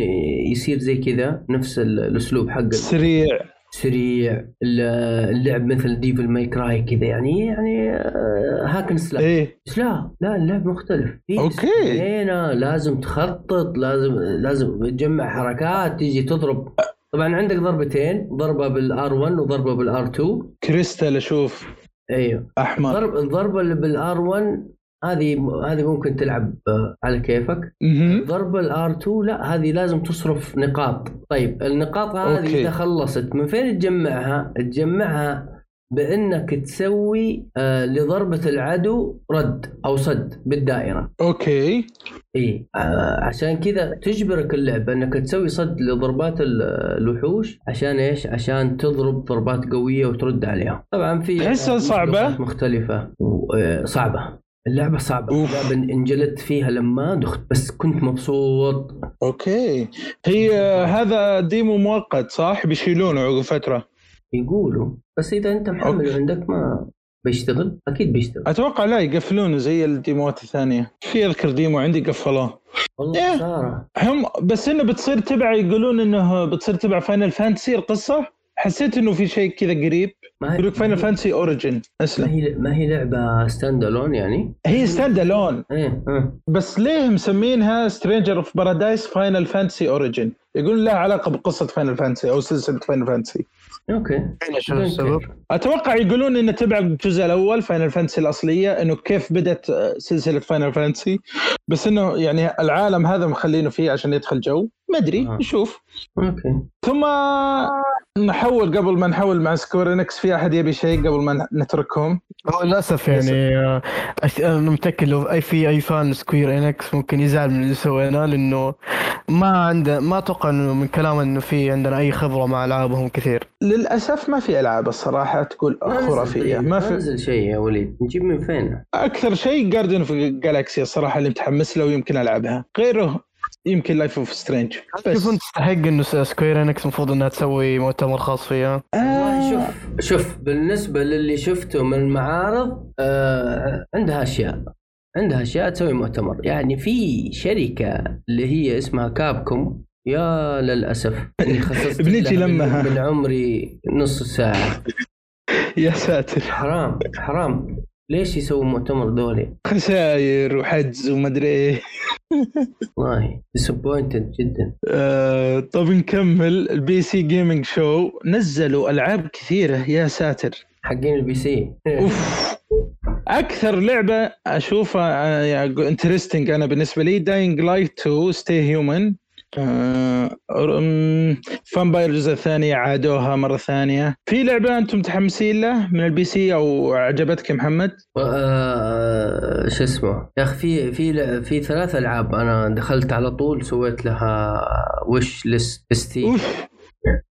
يصير زي كذا نفس ال- الاسلوب حقه سريع سريع ال- اللعب مثل ديفل ماي كراي كذا يعني يعني آه، هاكن سلاش ايه بس لا لا اللعب مختلف في أوكي. هنا لازم تخطط لازم لازم تجمع حركات تيجي تضرب طبعا عندك ضربتين ضربه بالار 1 وضربه بالار 2 كريستال اشوف ايوه احمر ضرب الضربه اللي بالار 1 هذه هذه ممكن تلعب آه، على كيفك مهم. ضرب الار 2 لا هذه لازم تصرف نقاط طيب النقاط هذه أوكي. اذا خلصت من فين تجمعها تجمعها بانك تسوي آه لضربه العدو رد او صد بالدائره اوكي اي آه عشان كذا تجبرك اللعبه انك تسوي صد لضربات ال- الوحوش عشان ايش عشان تضرب ضربات قويه وترد عليها طبعا في تحسها صعبة؟ لغات مختلفه و- آه، صعبه اللعبه صعبه أوف. اللعبه انجلت فيها لما دخت بس كنت مبسوط اوكي هي آه، هذا ديمو مؤقت صح بيشيلونه عقب فتره يقولوا بس اذا انت محمل أوكي. عندك ما بيشتغل اكيد بيشتغل اتوقع لا يقفلونه زي الديموات الثانيه في اذكر ديمو عندي قفلوه والله إيه. خساره هم بس انه بتصير تبع يقولون انه بتصير تبع فاينل فانتسي القصه حسيت انه في شيء كذا قريب ما يقول لك فاينل فانتسي اوريجن ما اسلم هي ما هي لعبه ستاند الون يعني هي ستاند الون ايه اه بس ليه مسمينها سترينجر اوف بارادايس فاينل فانتسي اوريجن يقول لها علاقه بقصه فاينل فانتسي او سلسله فاينل فانتسي اوكي شنو السبب؟ اتوقع يقولون انه تبع الجزء الاول فاينل فانتسي الاصليه انه كيف بدات آه، سلسله فاينل فانتسي بس انه يعني العالم هذا مخلينه فيه عشان يدخل جو ما ادري آه. نشوف اوكي ثم نحول قبل ما نحول مع سكوير انكس في احد يبي شيء قبل ما نتركهم هو للاسف يعني آه، أش- انا متاكد لو اي في اي فان سكوير انكس ممكن يزعل من اللي سويناه لانه ما عنده ما اتوقع انه من كلامه انه في عندنا اي خبره مع العابهم كثير للاسف ما في العاب الصراحه تقول ما نزل خرافيه طيب، ما ما في نزل شيء يا وليد نجيب من فين؟ اكثر شيء جاردن اوف جالاكسي الصراحه اللي متحمس له ويمكن العبها غيره يمكن لايف اوف سترينج شوف انت تستحق انه سكوير انكس المفروض انها تسوي مؤتمر خاص فيها آه. والله شوف شوف بالنسبه للي شفته من المعارض آه عندها اشياء عندها اشياء تسوي مؤتمر يعني في شركه اللي هي اسمها كابكوم يا للاسف اللي خصصت بنجي لها من- لما ها. من عمري نص ساعه يا ساتر حرام حرام ليش يسووا مؤتمر دولي؟ خساير وحجز ومدري ايه والله ديسابوينتد جدا آه، طب نكمل البي سي جيمنج شو نزلوا العاب كثيره يا ساتر حقين البي سي اوف اكثر لعبه اشوفها يعني انترستنج انا بالنسبه لي داينج لايت 2 ستي هيومن آه، فامباير الجزء الثاني عادوها مره ثانيه في لعبه انتم متحمسين له من البي سي او عجبتك يا محمد آه، شو اسمه يا اخي في في في ثلاث العاب انا دخلت على طول سويت لها وش ليست ستيم اوف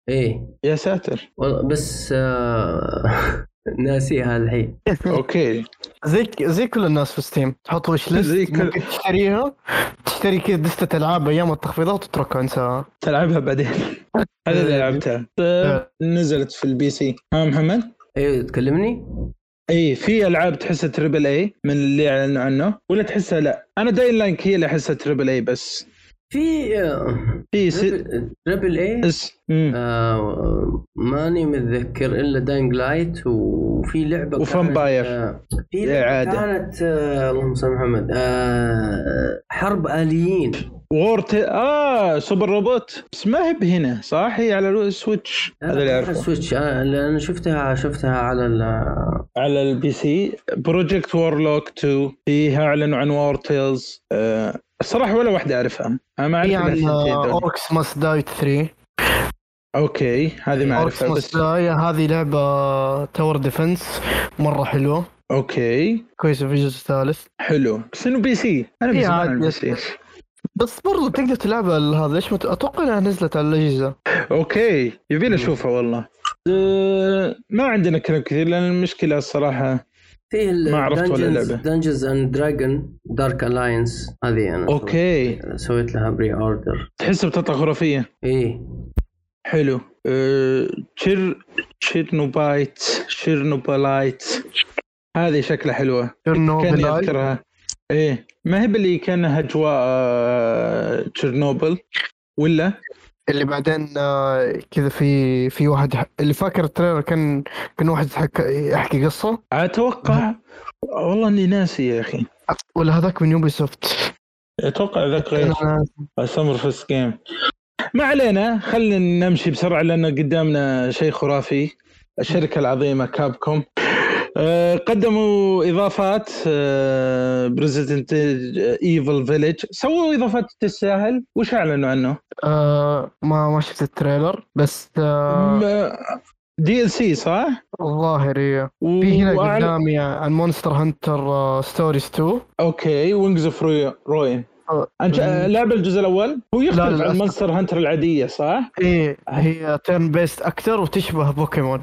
ايه يا ساتر والله بس آه، ناسيها الحين اوكي زي زي كل الناس في ستيم تحط وش زي ليست كل- ممكن تشتريها تشتري كذا دستة العاب ايام التخفيضات وتتركها انساها تلعبها بعدين هذا اللي لعبتها طيب، نزلت في البي سي ها آه، محمد ايه تكلمني؟ اي إيه، في العاب تحسها تريبل اي من اللي اعلنوا عنه ولا تحسها لا انا داين لاينك هي اللي احسها تريبل اي بس في آه، في س- تريبل- تريبل اي اس مم. آه، ماني متذكر الا داينج لايت وفي لعبه وفامباير. كانت- آه، في لعبه إعادة. كانت آه، اللهم صل على محمد آه، حرب اليين وورت اه سوبر روبوت بس ما هي بهنا صح هي على السويتش هذا اللي على اعرفه السويتش آه، لان شفتها شفتها على ال على البي سي بروجكت وورلوك 2 فيها اعلنوا عن وورتيلز آه. الصراحه ولا واحده اعرفها انا ما اعرف في إلا عن آه، الشيء ده. اوركس ماست دايت 3 اوكي هذه ما اوركس اعرفها بس ماست داي هذه لعبة تاور ديفنس مرة حلوة اوكي كويسة في الجزء الثالث حلو بس انه بي سي انا من إيه، زمان عاد البي سي بس برضو تقدر تلعبها ال- هذا ليش مت... اتوقع انها نزلت على الاجهزه اوكي يبينا نشوفها والله آه، ما عندنا كلام كثير لان المشكله الصراحه فيه ما عرفت ولا دنجنز لعبة. دنجنز اند دراجون دارك الاينس هذه انا اوكي سويت- سويت لها بري اوردر تحس بتطلع خرافيه ايه حلو أه، تشير تشيرنوبايت شيرنوبلايت هذه شكلها حلوه كان تشيرنوبل اذكرها ايه ما هي باللي كان اجواء أه، تشيرنوبل ولا اللي بعدين آه، كذا في في واحد ح- اللي فاكر التريلر كان كان واحد يحكي, يحكي قصه اتوقع والله اني ناسي يا اخي ولا هذاك من يوبي سوفت اتوقع ذاك غير أنا- سمر فيست جيم ما علينا خلينا نمشي بسرعه لان قدامنا شيء خرافي الشركه العظيمه كابكوم آه، قدموا آه، اضافات بريزدنت ايفل فيلج سووا اضافات تستاهل وش اعلنوا عنه؟ آه ما ما شفت التريلر بس آه دي ال سي صح؟ الظاهر هي و- في هنا وأعل- قدامي آه، عن مونستر هانتر ستوريز 2 اوكي وينجز اوف روي آه، انت آه، لعب الجزء الاول هو يختلف للأسف. عن مونستر هانتر العاديه صح؟ ايه هي تيرن بيست اكثر وتشبه بوكيمون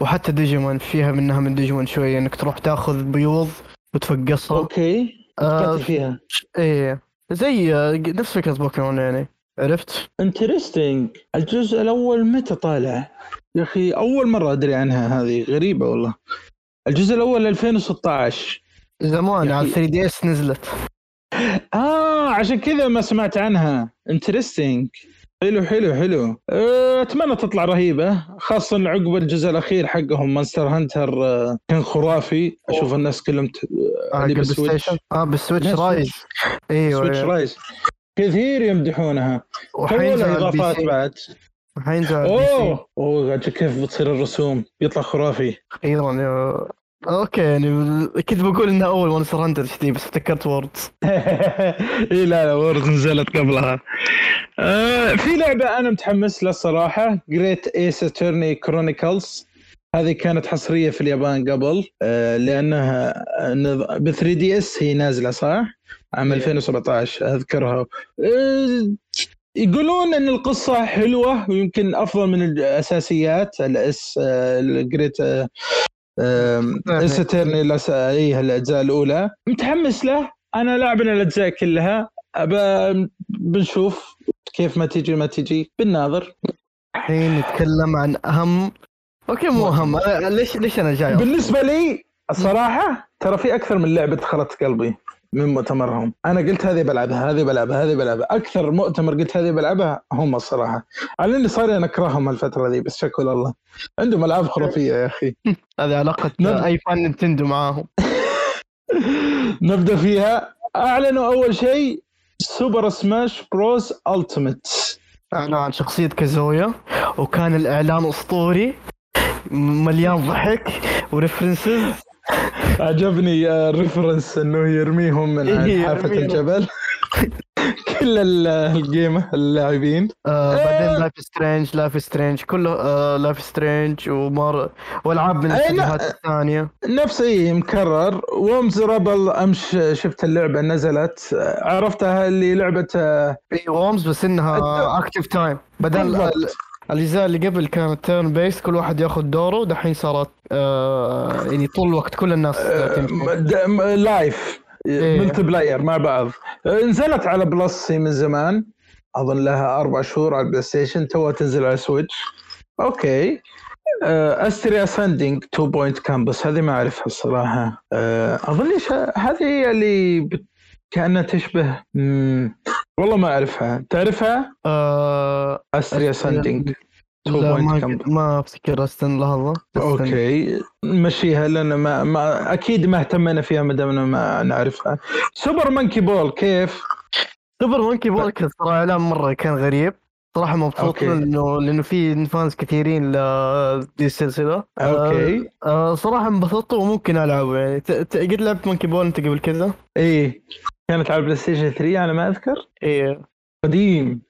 وحتى ديجيمون فيها منها من ديجيمون شويه انك تروح تاخذ بيوض وتفقصها اوكي آه، قتل فيها ايه زي آه، نفس فكره بوكيمون يعني عرفت؟ انترستنج الجزء الاول متى طالع؟ يا اخي اول مره ادري عنها هذه غريبه والله الجزء الاول 2016 زمان يا على أخي. 3 دي اس نزلت اه عشان كذا ما سمعت عنها انترستنج حلو حلو حلو أه، اتمنى تطلع رهيبه خاصه عقب الجزء الاخير حقهم مانستر هانتر أه، كان خرافي اشوف الناس كلهم ت... على آه، اللي البلاي بالسويتش. ستيشن اه بالسويتش لا، رايز ايوه سويتش أيوة. رايز كثير يمدحونها وحينزل وحينزل على البي اضافات سي بعد وحينزل على البي سي اوه اوه أجل كيف بتصير الرسوم بيطلع خرافي ايضا آه، اوكي يعني كنت بقول انها اول مونستر هانتر دي بس افتكرت ووردز اي إيه، لا لا وورد نزلت قبلها آه في لعبه انا متحمس لها الصراحه جريت ايس اتورني كرونيكلز هذه كانت حصريه في اليابان قبل آه لانها ب 3 دي اس هي نازله صح؟ عام 2017 اذكرها آه، يقولون ان القصه حلوه ويمكن افضل من الاساسيات الاس الجريت اس اترني اي الاجزاء الاولى إيه، متحمس له انا لاعب الاجزاء كلها أبا بنشوف كيف ما تجي ما تجي بنناظر الحين نتكلم عن اهم اوكي مو اهم أنا- ليش ليش انا جاي أصلاً؟ بالنسبه لي الصراحه ترى في اكثر من لعبه دخلت قلبي من مؤتمرهم انا قلت هذه بلعبها هذه بلعبها هذه بلعبها اكثر مؤتمر قلت هذه بلعبها هم الصراحه على اني صار انا اكرههم الفتره ذي بس شكو الله عندهم العاب خرافيه يا اخي هذه علاقه نعم. اي فان نينتندو معاهم نبدا فيها اعلنوا اول شيء سوبر سماش بروز التيمت اعلن عن شخصيه كازويا وكان الاعلان اسطوري مليان ضحك وريفرنسز عجبني آه، الريفرنس انه يرميهم من إيه، عن حافه يرميهم. الجبل كل ال- الجيم اللاعبين آه بعدين آه. لايف سترينج لايف سترينج كله آه لايف سترينج ومار والعاب من أي لا. الاتجاهات الثانيه نفس اي إيه، مكرر وومز ربل امس شفت اللعبه نزلت آه، عرفتها اللي لعبه آه، اي وومز إيه، بس انها اكتف تايم بدل بالضبط. ال- الاجزاء اللي قبل كانت تيرن بيس كل واحد ياخذ دوره دحين صارت آه يعني طول الوقت كل الناس آه، تمشي. د- م- لايف إيه. ملتي بلاير مع بعض آه، نزلت على بلس هي من زمان اظن لها اربع شهور على البلاي ستيشن توها تنزل على سويتش اوكي آه، استريا ساندينج 2 بوينت كامبس هذه ما اعرفها الصراحه آه، اظن إيش ه- هذه هي اللي ب- كانها تشبه مم. والله ما اعرفها تعرفها آه استريا ساندينج 2 لا بوينت ما كامبس ما افتكر استنى لحظه استنى. اوكي نمشيها لان ما, ما اكيد ما اهتمينا فيها ما دامنا ما نعرفها سوبر مانكي بول كيف؟ سوبر مونكي بول كان صراحه اعلان مره كان غريب صراحه مبسوط أوكي. لانه لانه في فانز كثيرين لدي السلسله آه، اوكي آه صراحه انبسطت وممكن العبه يعني ت- ت- قد لعبت مونكي بول انت قبل كذا؟ ايه كانت على البلاي ستيشن 3 انا ما اذكر ايه إيه. قديم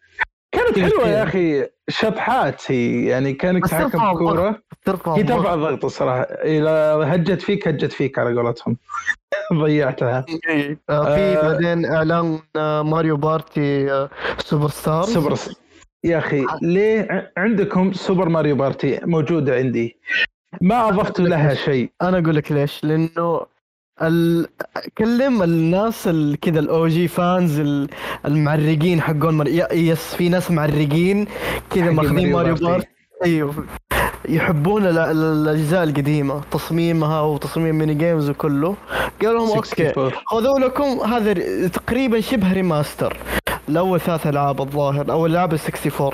كانت إيه، حلوه إيه. يا اخي شطحات هي يعني كانك بس تحكم ترفع الضغط. كوره ترفع هي الضغط. ترفع الضغط الصراحه اذا هجت فيك هجت فيك على قولتهم ضيعتها إيه. آه، في آه، بعدين اعلان آه، ماريو بارتي آه، سوبر ستار سوبر يا اخي ليه ع- عندكم سوبر ماريو بارتي موجوده عندي ما اضفت لها شيء انا اقول لك ليش لانه ال... كلم الناس ال... كذا الاو جي فانز ال... المعرقين حقون ماري... ي- يس في ناس معرقين كذا حقين ماخذين ماريو ماريو بارتي. بارتي ايوه يحبون ال- ال- الاجزاء القديمه تصميمها وتصميم ميني جيمز وكله قالوا لهم اوكي 64. خذوا لكم هذا ر- تقريبا شبه ريماستر لاول ثلاث العاب الظاهر او العاب ال 64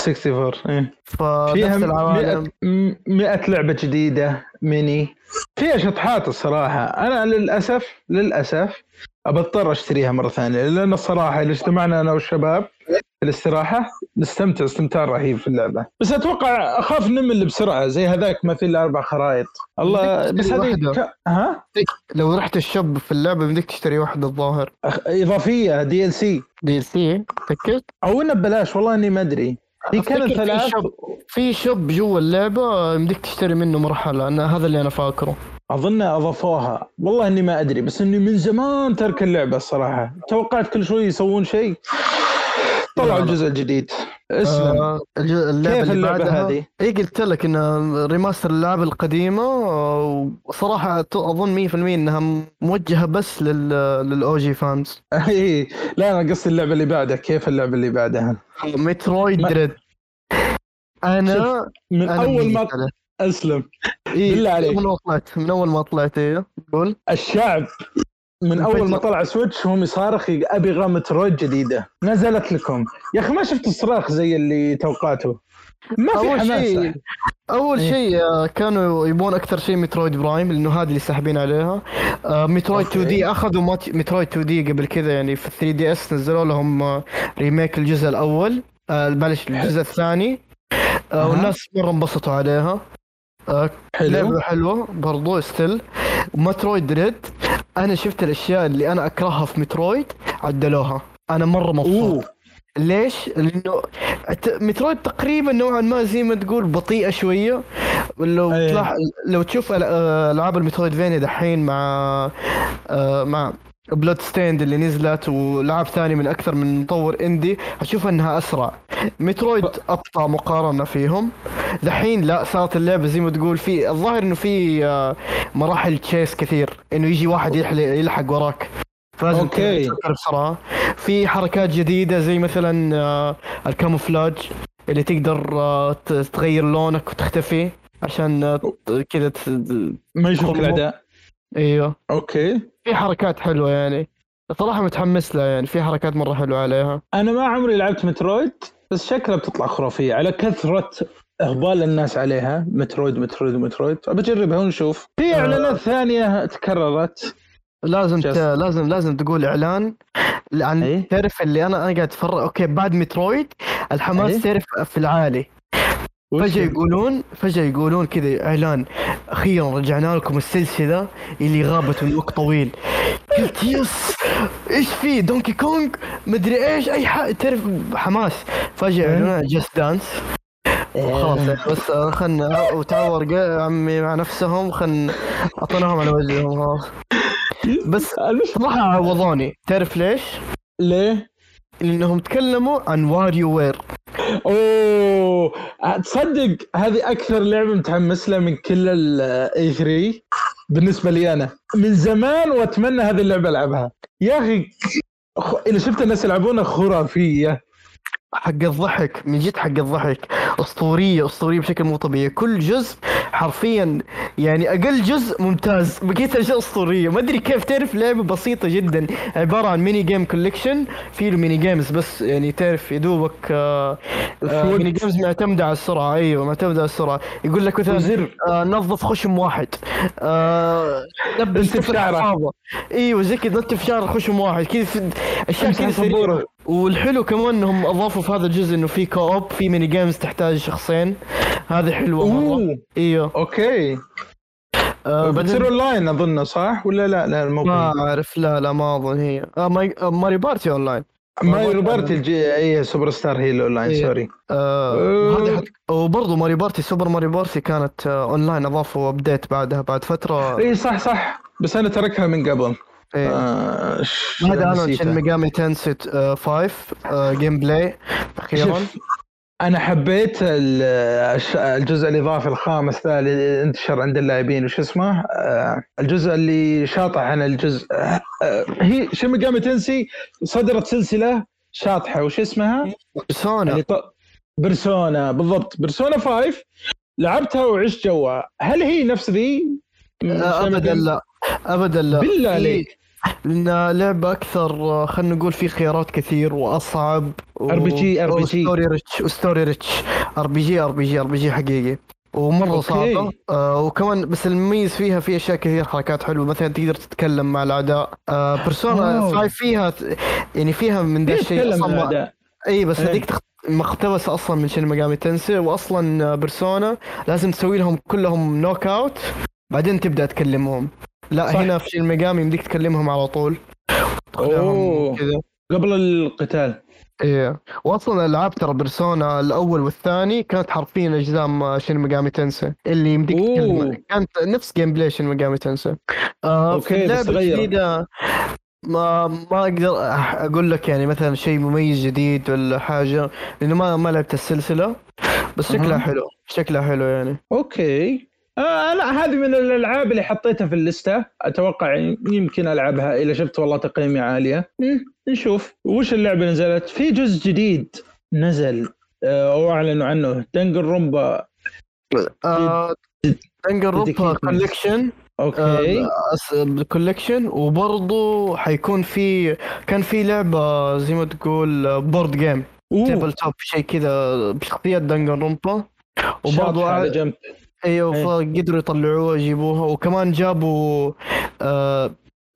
64 إيه. فيها فنفس العوالم 100 لعبه جديده ميني فيها شطحات الصراحه انا للاسف للاسف بضطر اشتريها مره ثانيه لان الصراحه اللي اجتمعنا انا والشباب في الاستراحه نستمتع استمتاع رهيب في اللعبه بس اتوقع اخاف نمل بسرعه زي هذاك ما في الا اربع خرائط الله بدك بس تشتري هذه واحدة. ك... ها لو رحت الشب في اللعبه بدك تشتري واحد الظاهر أخ- اضافيه دي ال سي دي ال سي تاكدت او انه ببلاش والله اني ما ادري هي كانت في ثلاث شب في شب جوا اللعبه بدك تشتري منه مرحله انا هذا اللي انا فاكره اظن اضافوها والله اني ما ادري بس اني من زمان ترك اللعبه الصراحه توقعت كل شوي يسوون شيء طلعوا الجزء الجديد اسلم آه، الج- اللعبة كيف اللي اللعبه بعدها هذه؟ اي قلت لك انها ريماستر الالعاب القديمه وصراحه أت- اظن 100% انها موجهه بس لل للاو جي فانز اي إيه. لا انا قصدي اللعبه اللي بعدها كيف اللعبه اللي بعدها؟ مترويد ما- دريد انا من أنا اول ما بالنسبة لي- اسلم إيه، بالله عليك. من اول ما طلعت من اول ما طلعت ايه قول الشعب من اول ما طلع سويتش هم يصارخ يق- ابي غامترويد جديده نزلت لكم يا اخي ما شفت صراخ زي اللي توقعته ما في أول حماسه شيء- اول إيه. شيء آه، كانوا يبون اكثر شيء مترويد برايم لانه هذا اللي ساحبين عليها آه، مترويد 2 أوكي. دي اخذوا مات- مترويد 2 دي قبل كذا يعني في 3 دي اس نزلوا لهم آه، ريميك الجزء الاول آه، معلش الجزء الثاني آه، أها. والناس مره انبسطوا عليها آه، حلو لعبة حلوة برضو ستيل مترويد ريد انا شفت الاشياء اللي انا اكرهها في مترويد عدلوها انا مرة مبسوط اوه ليش؟ لانه ت- مترويد تقريبا نوعا ما زي ما تقول بطيئه شويه لو أيه. تلاح... لو تشوف أل- العاب المترويد فينيا دحين مع آه، مع بلود ستيند اللي نزلت ولعب ثاني من اكثر من مطور اندي حتشوف انها اسرع مترويد ابطا مقارنه فيهم دحين لا صارت اللعبه زي ما تقول في الظاهر انه في آه، مراحل تشيس كثير انه يجي واحد يحل- يلحق وراك فلازم أوكي. تفكر بسرعه في حركات جديده زي مثلا آه، الكاموفلاج اللي تقدر آه، ت- تغير لونك وتختفي عشان آه، ت- كذا ت- ما يشوف الاعداء ايوه اوكي في حركات حلوه يعني صراحه متحمس لها يعني في حركات مره حلوه عليها انا ما عمري لعبت مترويد بس شكلها بتطلع خرافيه على كثره اهبال الناس عليها مترويد مترويد مترويد بجربها ونشوف في اعلانات ثانيه تكررت لازم ت... Just- لازم لازم تقول اعلان عن إيه. تعرف اللي انا انا قاعد اتفرج اوكي بعد مترويد الحماس إيه. تعرف في العالي فجاه يقولون فجاه يقولون كذا اعلان اخيرا رجعنا لكم السلسله اللي غابت من وقت طويل قلت يس ايش في دونكي كونغ مدري ايش اي حق تعرف حماس فجاه يعلنون جاست دانس خلاص يعني بس خلنا وتعور قا- عمي مع نفسهم خلنا اعطيناهم على وجههم خلاص بس المش- صراحه عوضوني تعرف ليش؟ ليه؟ لانهم تكلموا عن واريو وير اوه تصدق هذه اكثر لعبه متحمس لها من كل الاي 3 بالنسبه لي انا من زمان واتمنى هذه اللعبه العبها يا اخي خ- اللي شفت الناس يلعبونها خرافيه حق الضحك من جد حق الضحك اسطوريه اسطوريه بشكل مو طبيعي كل جزء حرفيا يعني اقل جزء ممتاز بقيت اشياء اسطوريه ما ادري كيف تعرف لعبه بسيطه جدا عباره عن ميني جيم كوليكشن في له ميني جيمز بس يعني تعرف يا دوبك آه، آه، شوت. ميني جيمز معتمده على السرعه ايوه معتمده على السرعه يقول لك مثلا وزر آه نظف خشم واحد آه لبس انت في طفل شعره. حفاضة. ايوه زي كذا نتف شعر خشم واحد كذا في- اشياء امسح كذا سريعة. صبوره والحلو كمان انهم اضافوا في هذا الجزء انه في كوب في ميني جيمز تحتاج شخصين هذه حلوه مره اوه ايوه اوكي آه طيب، بتصير بعدين اونلاين اظن صح ولا لا لا مو ما اعرف لا لا ما اظن هي آه ماي- آه، ماري بارتي اونلاين ما روبرت الجي اي سوبر ستار هي الاونلاين إيه. سوري آه أه. وهذه حت- وبرضه ماري بارتي سوبر ماري بارتي كانت آه اونلاين اضافوا ابديت بعدها بعد إيه. فتره اي إيه، صح صح بس انا تركها من قبل إيه. آه، ش- هذا انا نسيتها. شن ميجامي تنسي 5 جيم بلاي اخيرا شوف انا حبيت ال- الش- الجزء الاضافي الخامس ذا اللي انتشر عند اللاعبين وش اسمه آه، الجزء اللي شاطح عن الجزء آه، آه، هي شيميجامي تنسي صدرت سلسله شاطحه وش اسمها؟ بيرسونا اللي ط... يعني برسونا بالضبط برسونا 5 لعبتها وعشت جوا هل هي نفس ذي؟ آه، ابدا لا ابدا لا بالله في- عليك لان لعبه اكثر آه، خلينا نقول في خيارات كثير واصعب و... RPG. وستوري ريتش وستوري ريتش ار بي جي ار بي جي ار بي جي حقيقي ومره أوكي. صعبه آه وكمان بس المميز فيها في اشياء كثير حركات حلوه مثلا تقدر تتكلم مع الاعداء آه بيرسونا واو. 5 فيها ت- يعني فيها من ذا ليش الشيء تكلم اصلا الأعداء؟ اي بس إيه. هذيك تخت... مقتبسه اصلا من شين مقامي تنسي واصلا بيرسونا لازم تسوي لهم كلهم نوك اوت بعدين تبدا تكلمهم لا صح. صح. هنا في شين مقامي يمديك تكلمهم على طول أوه. تخليهم كذا قبل القتال ايه واصلا العاب ترى بيرسونا الاول والثاني كانت حرفيا اجزام شين مقامي تنسي اللي يمديك أوه. تكلمه كانت نفس جيم بلاي شين مقامي تنسي آه في أوكي، بس اللعبة غيرت. الجديدة ما ما اقدر أح- اقول لك يعني مثلا شيء مميز جديد ولا حاجه لانه ما ما لعبت السلسله بس شكلها أها. حلو شكلها حلو يعني اوكي آه لا هذه من الالعاب اللي حطيتها في اللسته اتوقع يمكن العبها اذا شفت والله تقييمي عاليه مم، نشوف وش اللعبه اللي نزلت في جزء جديد نزل آه، او اعلنوا عنه دنجل رومبا آه دنجل روبا Dedicated. كوليكشن اوكي آه، كوليكشن وبرضه حيكون في كان في لعبه زي ما تقول بورد جيم تيبل أوه، توب شيء كذا بشخصيات دنجل رومبا شاطحة على وبرضه جنب ايوه إيه. فقدروا يطلعوها يجيبوها وكمان جابوا آه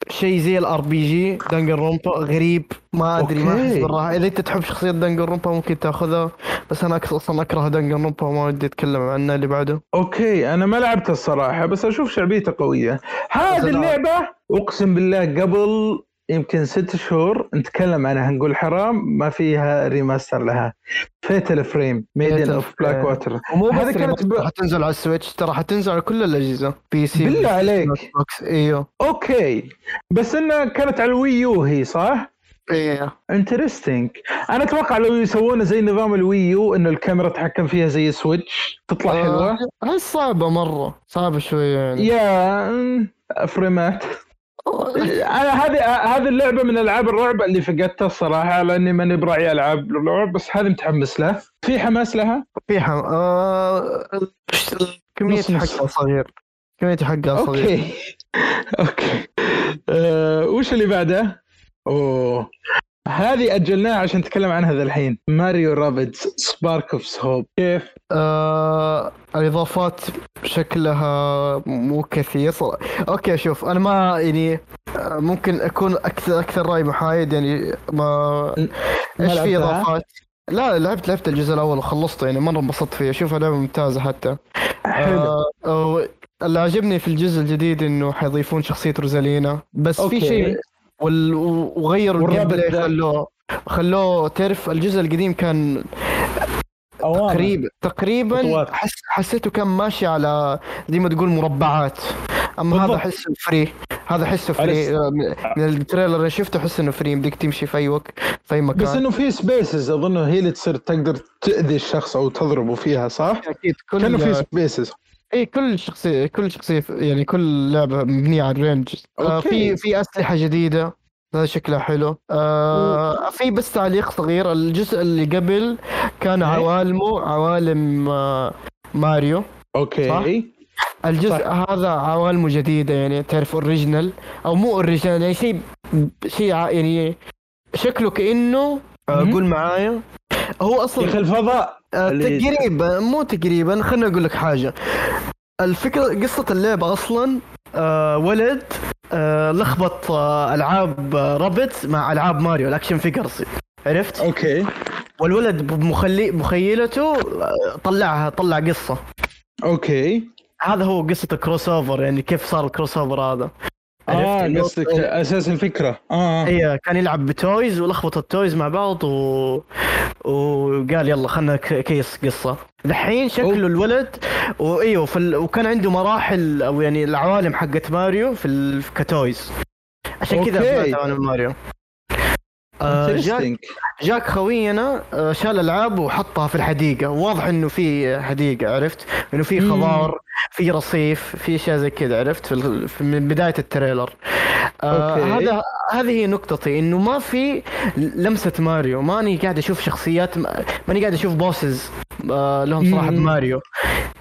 شيء زي الار بي جي دنجل رومبا غريب ما ادري ما احس أوكي. بالراحه اذا انت تحب شخصيه دنجل رومبا ممكن تاخذها بس انا أكس- اصلا اكره دنجل رومبا وما ودي اتكلم عنه اللي بعده اوكي انا ما لعبتها الصراحه بس اشوف شعبيتها قويه هذه أصلاً. اللعبه اقسم بالله قبل يمكن ست شهور نتكلم عنها نقول حرام ما فيها ريماستر لها فيتل فريم ميدن Fatal اوف بلاك Frame. ووتر ومو هذه بس كانت كانت ب- حتنزل على السويتش ترى حتنزل على كل الاجهزه بي سي بالله عليك. بوكس ايوه اوكي بس انها كانت على الويو هي صح؟ ايوه إيه. انترستنج انا اتوقع لو يسوونه زي نظام الويو انه الكاميرا تحكم فيها زي سويتش تطلع آه، حلوه هي صعبه مره صعبه شويه يعني يا مم، فريمات انا هذه هذه اللعبه من العاب الرعب اللي فقدتها الصراحه لاني ماني براعي العاب الرعب بس هذه متحمس لها في حماس لها في حم... آه... كمية نص نص. حقها صغير كمية حقها صغير اوكي اوكي أه وش اللي بعده اوه هذه اجلناها عشان نتكلم عنها ذا الحين ماريو رابيدز سبارك اوف هوب كيف آه... الإضافات شكلها مو كثير صراحة أوكي شوف أنا ما يعني آه، ممكن أكون أكثر أكثر رأي محايد يعني ما ما إيش في لعبتها؟ إضافات لا لعبت لعبت الجزء الأول وخلصته يعني مرة انبسطت فيه أشوفها لعبة ممتازة حتى حلو آه... أو- اللي عجبني في الجزء الجديد إنه حيضيفون شخصية روزالينا بس أوكي. في شيء وال... و- وغيروا والرابط الجيم بلاي ذا. خلوه خلوه تعرف الجزء القديم كان أوامر. قريب تقريبا خطوات. حس... حسيته كان ماشي على زي ما تقول مربعات اما بالضبط. هذا احسه فري هذا احسه أليس- فري آه، من- من التريلر اللي شفته احس انه فري يمديك تمشي في اي وقت في اي بس مكان انه في سبيسز اظن هي اللي تصير تقدر تاذي الشخص او تضربه فيها صح؟ اكيد كل كانوا في سبيسز اي كل شخصيه كل شخصيه يعني كل لعبه مبنيه على الرينج آه أوكي. في في اسلحه جديده هذا شكلها حلو آه في بس تعليق صغير الجزء اللي قبل كان إيه. عوالمه عوالم آه ماريو اوكي صح. الجزء صح. هذا عوالمه جديده يعني تعرف اوريجينال او مو اوريجينال يعني شيء شيء ع- يعني شكله كانه آه، مهم. قول معايا هو يا اصلا اخي الفضاء آه، اللي- تقريبا مو تقريبا خليني اقول لك حاجه الفكره قصه اللعبه اصلا آه، ولد آه، لخبط آه، العاب آه، رابط مع العاب ماريو الاكشن فيجرز عرفت اوكي والولد بمخلي مخيلته آه، طلعها طلع قصه اوكي هذا هو قصه الكروس اوفر يعني كيف صار الكروس اوفر هذا اه إنه- قصدك اساس الفكره اه ايوه كان يلعب بتويز ولخبط التويز مع بعض و... وقال يلا خلنا ك- كيس قصه دحين شكله الولد وايوه في ال... وكان عنده مراحل او يعني العوالم حقت ماريو في ال... كتويز عشان كذا أوكي. أبدأت عوالم ماريو آه، جاك Interesting. جاك خوينا آه، شال العاب وحطها في الحديقه واضح انه في حديقه عرفت انه في مم. خضار في رصيف في اشياء زي كذا عرفت في ال- في- من بدايه التريلر آه، أوكي. هذا هذه هي نقطتي انه ما في لمسه ماريو ماني قاعد اشوف شخصيات ماني قاعد اشوف بوسز آه، لهم صراحه مم. ماريو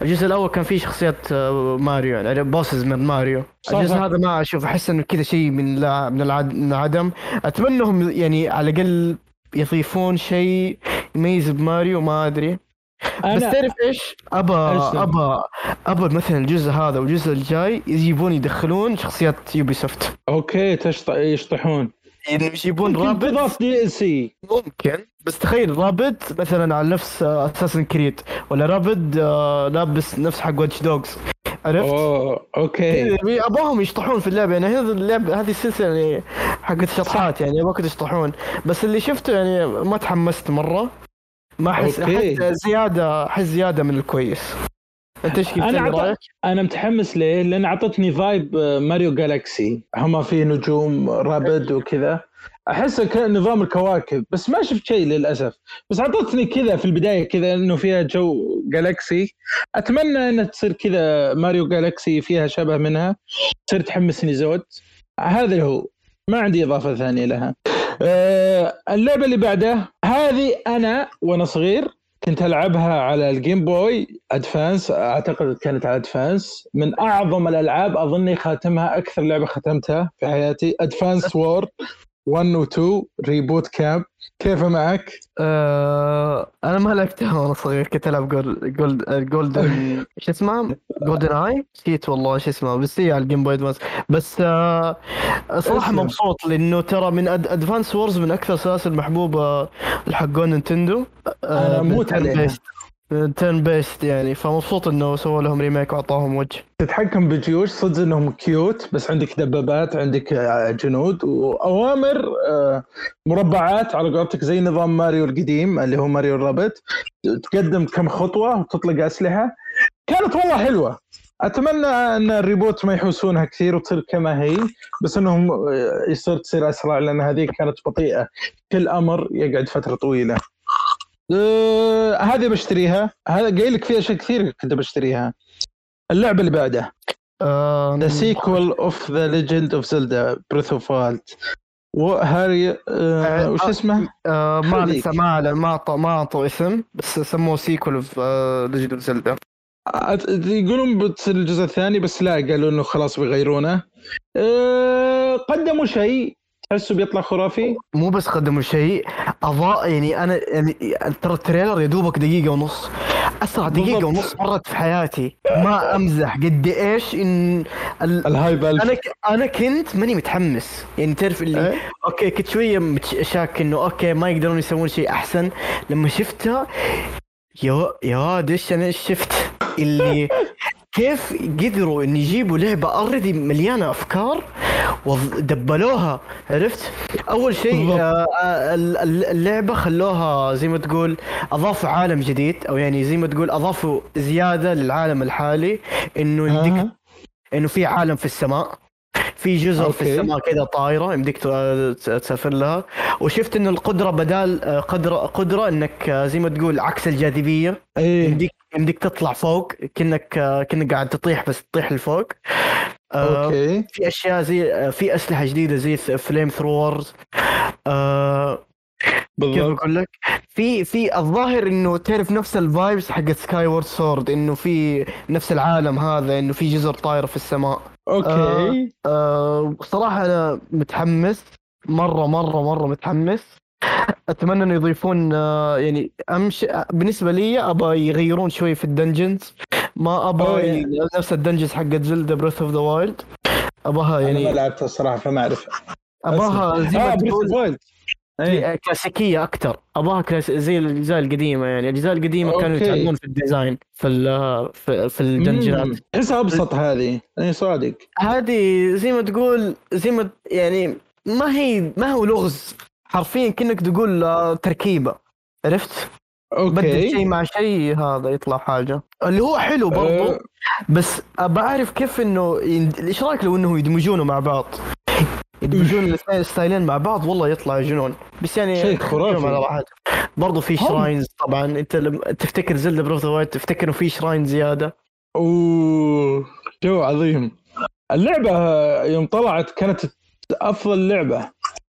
الجزء الاول كان فيه شخصيات آه، ماريو يعني بوسز من ماريو صح، الجزء صح. هذا ما اشوف احس انه كذا شيء من لا من العد- من العدم اتمنى هم يعني على الاقل يضيفون شيء يميز بماريو ما ادري بس انا تعرف ايش؟ ابا أرسل. ابا ابا مثلا الجزء هذا والجزء الجاي يجيبون يدخلون شخصيات يوبي سوفت اوكي تشط... يشطحون يعني يجيبون ممكن رابط تضاف دي سي ممكن بس تخيل رابد مثلا على نفس اساسن كريد ولا رابد آه، لابس نفس حق واتش دوجز عرفت؟ اوه اوكي يعني ابوهم يشطحون في اللعبه يعني هذا اللعب هذه السلسله يعني حقت الشطحات يعني ابوك يشطحون بس اللي شفته يعني ما تحمست مره ما احس أوكي. حتى زياده احس زياده من الكويس انت ايش كيف أنا عط- رايك؟ انا متحمس ليه؟ لان اعطتني فايب آه، ماريو جالاكسي هم فيه نجوم رابد وكذا احسه كنظام الكواكب بس ما شفت شيء للاسف بس اعطتني كذا في البدايه كذا انه فيها جو جالاكسي اتمنى انها تصير كذا ماريو جالاكسي فيها شبه منها تصير تحمسني زود هذا اللي هو ما عندي اضافه ثانيه لها أه اللعبه اللي بعدها هذه انا وانا صغير كنت العبها على الجيم بوي ادفانس اعتقد كانت على ادفانس من اعظم الالعاب اظني خاتمها اكثر لعبه ختمتها في حياتي ادفانس وور 1 و 2 ريبوت كامب كيف معك؟ آه، انا ما لعبتها وانا صغير كنت العب جولد جولد جولدن ايش اسمها؟ جولدن اي نسيت والله ايش اسمها بس هي على الجيم بوي ادفانس بس آه، صراحه اسلم. مبسوط لانه ترى من ادفانس وورز من اكثر السلاسل المحبوبه لحقون نينتندو آه، أنا أموت عليها. تيرن بيست يعني فمبسوط انه سووا لهم ريميك واعطاهم وجه تتحكم بجيوش صدق انهم كيوت بس عندك دبابات عندك آه، جنود واوامر آه، مربعات على قولتك زي نظام ماريو القديم اللي هو ماريو الرابط تقدم كم خطوه وتطلق اسلحه كانت والله حلوه اتمنى ان الريبوت ما يحوسونها كثير وتصير كما هي بس انهم آه، يصير تصير اسرع لان هذيك كانت بطيئه كل امر يقعد فتره طويله آه، هذه بشتريها هذا قايل لك فيها اشياء كثير كنت بشتريها اللعبه اللي بعدها آه، ذا سيكول اوف ذا ليجند اوف زلدا بريث اوف وايلد وهاري آه آه، وش آه. اسمه؟ آه، ما خليك. لسه ما أعلن- ما اعطوا ما اعطوا اسم بس سموه سيكول اوف ليجند اوف زلدا آه، يقولون بتصير الجزء الثاني بس لا قالوا انه خلاص بيغيرونه آه قدموا شيء تحسه بيطلع خرافي مو بس قدموا شيء اضاء يعني انا يعني ترى التريلر يا دوبك دقيقه ونص اسرع دقيقه بالضبط. ونص مرت في حياتي ما امزح قد ايش ان ال... الهايب ألف. انا ك... انا كنت ماني متحمس يعني تعرف اللي إيه. اوكي كنت شويه متش- شاك انه اوكي ما يقدرون يسوون شيء احسن لما شفتها يا و- يا واد ايش انا إيش شفت اللي كيف قدروا ان يجيبوا لعبه اوريدي مليانه افكار ودبلوها عرفت؟ اول شيء بالضبط. آه، آه، ال- ال- اللعبه خلوها زي ما تقول اضافوا عالم جديد او يعني زي ما تقول اضافوا زياده للعالم الحالي انه يمديك آه. انه في عالم في السماء في جزر في أوكي. السماء كذا طايره يمديك ت- تسافر لها وشفت انه القدره بدال آه، قدره قدره انك آه، زي ما تقول عكس الجاذبيه ايه يمديك يمديك تطلع فوق كانك آه، كانك قاعد تطيح بس تطيح لفوق آه، اوكي في اشياء زي آه، في اسلحه جديده زي فليم ثرورز آه، كيف بالضبط اقول لك في في الظاهر انه تعرف نفس الفايبس حقت سكاي وورد سورد انه في نفس العالم هذا انه في جزر طايره في السماء اوكي أه صراحة أنا متحمس مرة مرة مرة متحمس أتمنى إنه يضيفون أه يعني أمشي بالنسبة لي أبى يغيرون شوي في الدنجنز ما أوه، أبى يعني. ي- نفس الدنجنز حقت زلدا بريث أوف ذا وايلد أباها انا ما يعني لعبتها الصراحه فما اعرف أباها زي ما اه بريث تقول إيه. وايلد ايه كلاسيكية أكثر أباها كلاس زي الأجزاء القديمة يعني الأجزاء القديمة كانوا أوكي. يتعمون في الديزاين في ال- آه، في, في الدنجنات مم. تحسها ابسط هذه اي صادق هذه زي ما تقول زي ما يعني ما هي ما هو لغز حرفيا كأنك تقول آه، تركيبة عرفت؟ بدل اوكي شيء مع شيء هذا يطلع حاجة اللي هو حلو برضو آه، بس بعرف كيف انه يند- ايش رايك لو انه يدمجونه مع بعض؟ يدمجون الاثنين الستايلين مع بعض والله يطلع جنون بس يعني شيء خرافي. خليهم على راحتهم. برضو في هم. شراينز طبعا انت لما تفتكر زلدا بروث وايت تفتكر انه في شراين زياده اوه جو عظيم اللعبة يوم طلعت كانت أفضل لعبة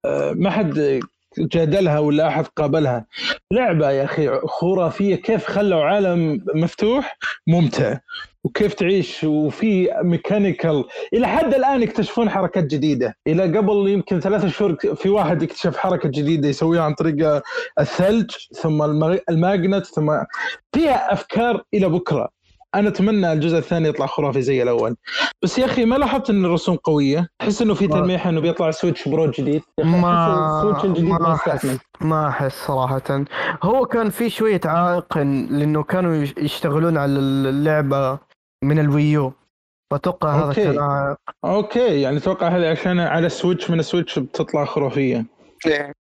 أه، ما حد جادلها ولا أحد قابلها لعبة يا أخي خرافية كيف خلوا عالم مفتوح ممتع وكيف تعيش وفي ميكانيكال إلى حد الآن يكتشفون حركات جديدة إلى قبل يمكن ثلاثة شهور في واحد اكتشف حركة جديدة يسويها عن طريق الثلج ثم المغ- الماجنت ثم فيها أفكار إلى بكرة انا اتمنى الجزء الثاني يطلع خرافي زي الاول بس يا اخي ما لاحظت ان الرسوم قويه احس انه في ما- تلميح انه بيطلع سويتش برو جديد يا أخي أحس ما السويتش الجديد ما ما يستحمل احس ما احس صراحة هو كان في شوية عائق إن- لانه كانوا يش- يشتغلون على اللعبة من الويو فاتوقع هذا أوكي. كان عائق اوكي يعني اتوقع هذا عشان على السويتش من السويتش بتطلع خرافيه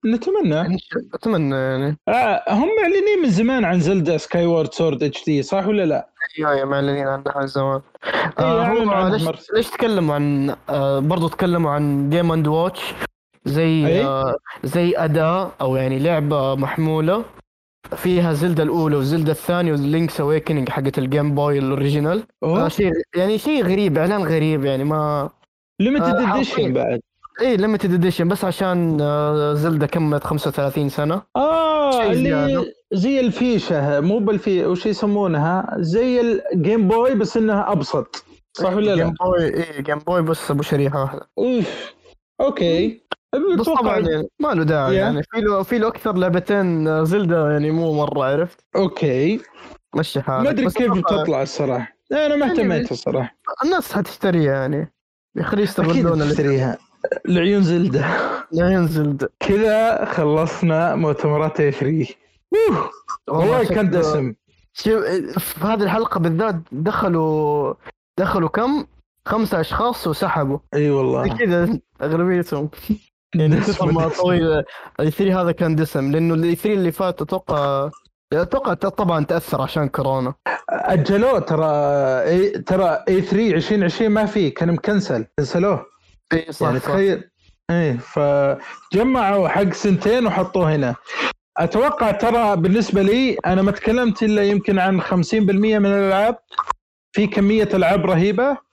نتمنى اتمنى يعني آه، هم معلنين من زمان عن زلدا سكاي وورد سورد اتش دي صح ولا لا؟ ايوه يا معلنين عنها من زمان إيه، آه أعلنوا هو عنها ليش مرة. ليش تكلموا عن آه برضو تكلموا عن جيم اند واتش زي أي؟ آه زي اداه او يعني لعبه محموله فيها زلدة الأولى والزلدة الثانية واللينكس أويكننج حقت الجيم بوي الأوريجينال آه اوه شيء يعني شيء غريب إعلان غريب يعني ما ليمتد آه، اديشن حاطين. بعد إيه ليمتد إديشن بس عشان آه زلدة كملت 35 سنة اه شيء اللي زيادة. زي الفيشه مو بالفي وش يسمونها زي الجيم بوي بس انها ابسط صح ولا جيم لا؟ بوي إيه جيم بوي بس أبو شريحة واحدة اوف اوكي بس طبعا اتوقع يعني ما له داعي إيه؟ يا. يعني في له في له اكثر لعبتين آه، زلدة يعني مو مره عرفت اوكي مشي حالك ما ادري آه، بس كيف طبعاً بتطلع الصراحه لا، انا ما يعني اهتميت الصراحه الناس حتشتريها يعني يخليه اكيد يستغلون اللي بتشتريها العيون زلده ينزل د- كذا خلصنا مؤتمرات تشري والله كان شكله- دسم شو- في هذه الحلقه بالذات دخلوا دخلوا كم؟ خمسة اشخاص وسحبوا اي والله كذا اغلبيتهم يعني تسمى طويل الاي 3 هذا كان دسم لانه الاي 3 اللي فات اتوقع اتوقع طبعا تاثر عشان كورونا اجلوه ترى إي ترى اي 3 2020 ما فيه كان مكنسل كنسلوه اي صح يعني تخيل ايه فجمعوا حق سنتين وحطوه هنا اتوقع ترى بالنسبه لي انا ما تكلمت الا يمكن عن 50% من الالعاب في كميه العاب رهيبه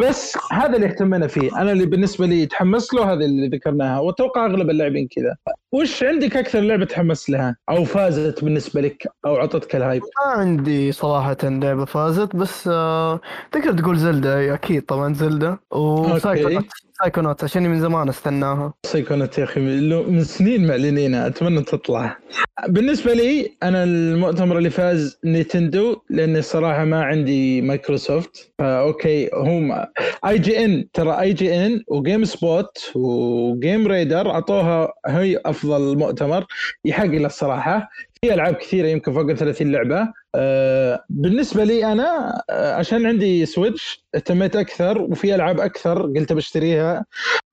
بس هذا اللي اهتمينا فيه انا اللي بالنسبه لي تحمست له هذا اللي ذكرناها واتوقع اغلب اللاعبين كذا وش عندك اكثر لعبه تحمست لها او فازت بالنسبه لك او عطتك الهايب ما عندي صراحة لعبة فازت بس آه، تقدر تقول زلدة أي أكيد طبعا زلدة وسايكونات سايكونات عشان من زمان استناها سيكونات يا اخي لو- من سنين معلنينها اتمنى تطلع بالنسبه لي انا المؤتمر اللي فاز نينتندو لاني الصراحه ما عندي مايكروسوفت فاوكي هم اي جي ان ترى اي جي ان وجيم سبوت وجيم ريدر اعطوها هي افضل مؤتمر يحق له الصراحه في العاب كثيره يمكن فوق ال 30 لعبه آه، بالنسبه لي انا آه، عشان عندي سويتش اهتميت اكثر وفي العاب اكثر قلت بشتريها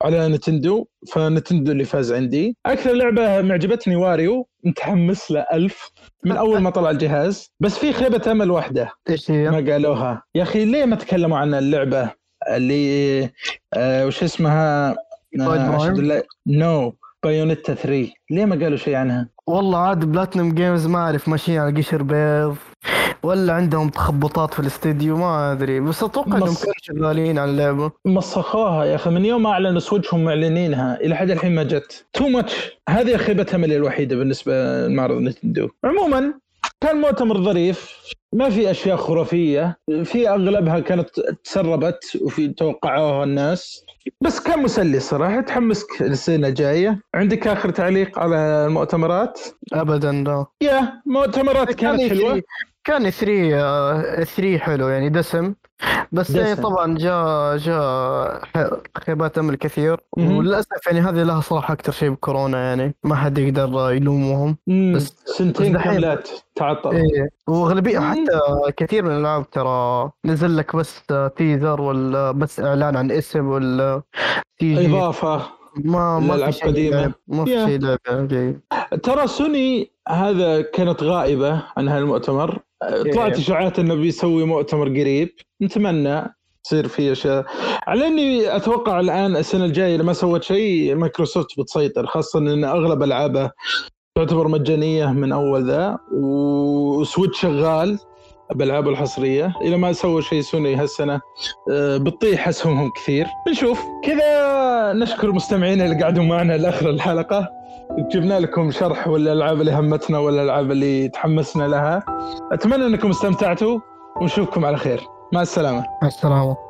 على نتندو فنتندو اللي فاز عندي اكثر لعبه معجبتني واريو متحمس له ألف من اول ما طلع الجهاز بس في خيبه امل واحده إيش هي؟ ما قالوها يا اخي ليه ما تكلموا عن اللعبه اللي آه وش اسمها آه، بايد برايم؟ نو بايونيتا 3 ليه ما قالوا شيء عنها والله عاد بلاتنم جيمز ما أعرف ماشيين على قشر بيض ولا عندهم تخبطات في الاستديو ما أدري بس أتوقع إنهم مص- كانوا شغالين على اللعبة مسخوها يا اخي من يوم ما اعلنوا سويتش هم معلنينها الى حد الحين ما جت تو ماتش هذه خيبه املي الوحيده بالنسبه لمعرض نتندو عموما كان مؤتمر ظريف ما في اشياء خرافيه في اغلبها كانت تسربت وفي توقعوها الناس بس كان مسلي صراحه تحمسك للسنه الجايه عندك اخر تعليق على المؤتمرات أبدا لا يا مؤتمرات كانت كان حلوه E3 يعني كان 3 3 حلو يعني دسم بس يعني دسم. طبعا جاء جاء ح- خيبات امل كثير مهم. وللاسف يعني هذه لها صراحه اكثر شيء بكورونا يعني ما حد يقدر يلومهم مم، بس- سنتين بس دحين- كاملات تعطل إيه. واغلبيه مم. حتى كثير من الالعاب ترى نزل لك بس تيزر ولا بس اعلان عن اسم أيوة. ولا سي جي اضافه ما ما الألعاب في شيء قديمة. لعب- ما في Yeah. شيء يعني. لعبه جيد ترى سوني هذا كانت غائبة عن هالمؤتمر طلعت إيه. اشاعات انه بيسوي مؤتمر قريب نتمنى تصير في اشياء على اني اتوقع الان السنه الجايه اذا ما سوت شيء مايكروسوفت بتسيطر خاصه ان اغلب العابه تعتبر مجانيه من اول ذا وسويتش شغال بالالعاب الحصريه اذا ما سووا شيء سوني هالسنه آه، بتطيح اسهمهم كثير بنشوف كذا نشكر مستمعينا اللي قعدوا معنا لاخر الحلقه جبنا لكم شرح والالعاب اللي همتنا والالعاب اللي تحمسنا لها اتمنى انكم استمتعتوا ونشوفكم على خير مع السلامه مع السلامه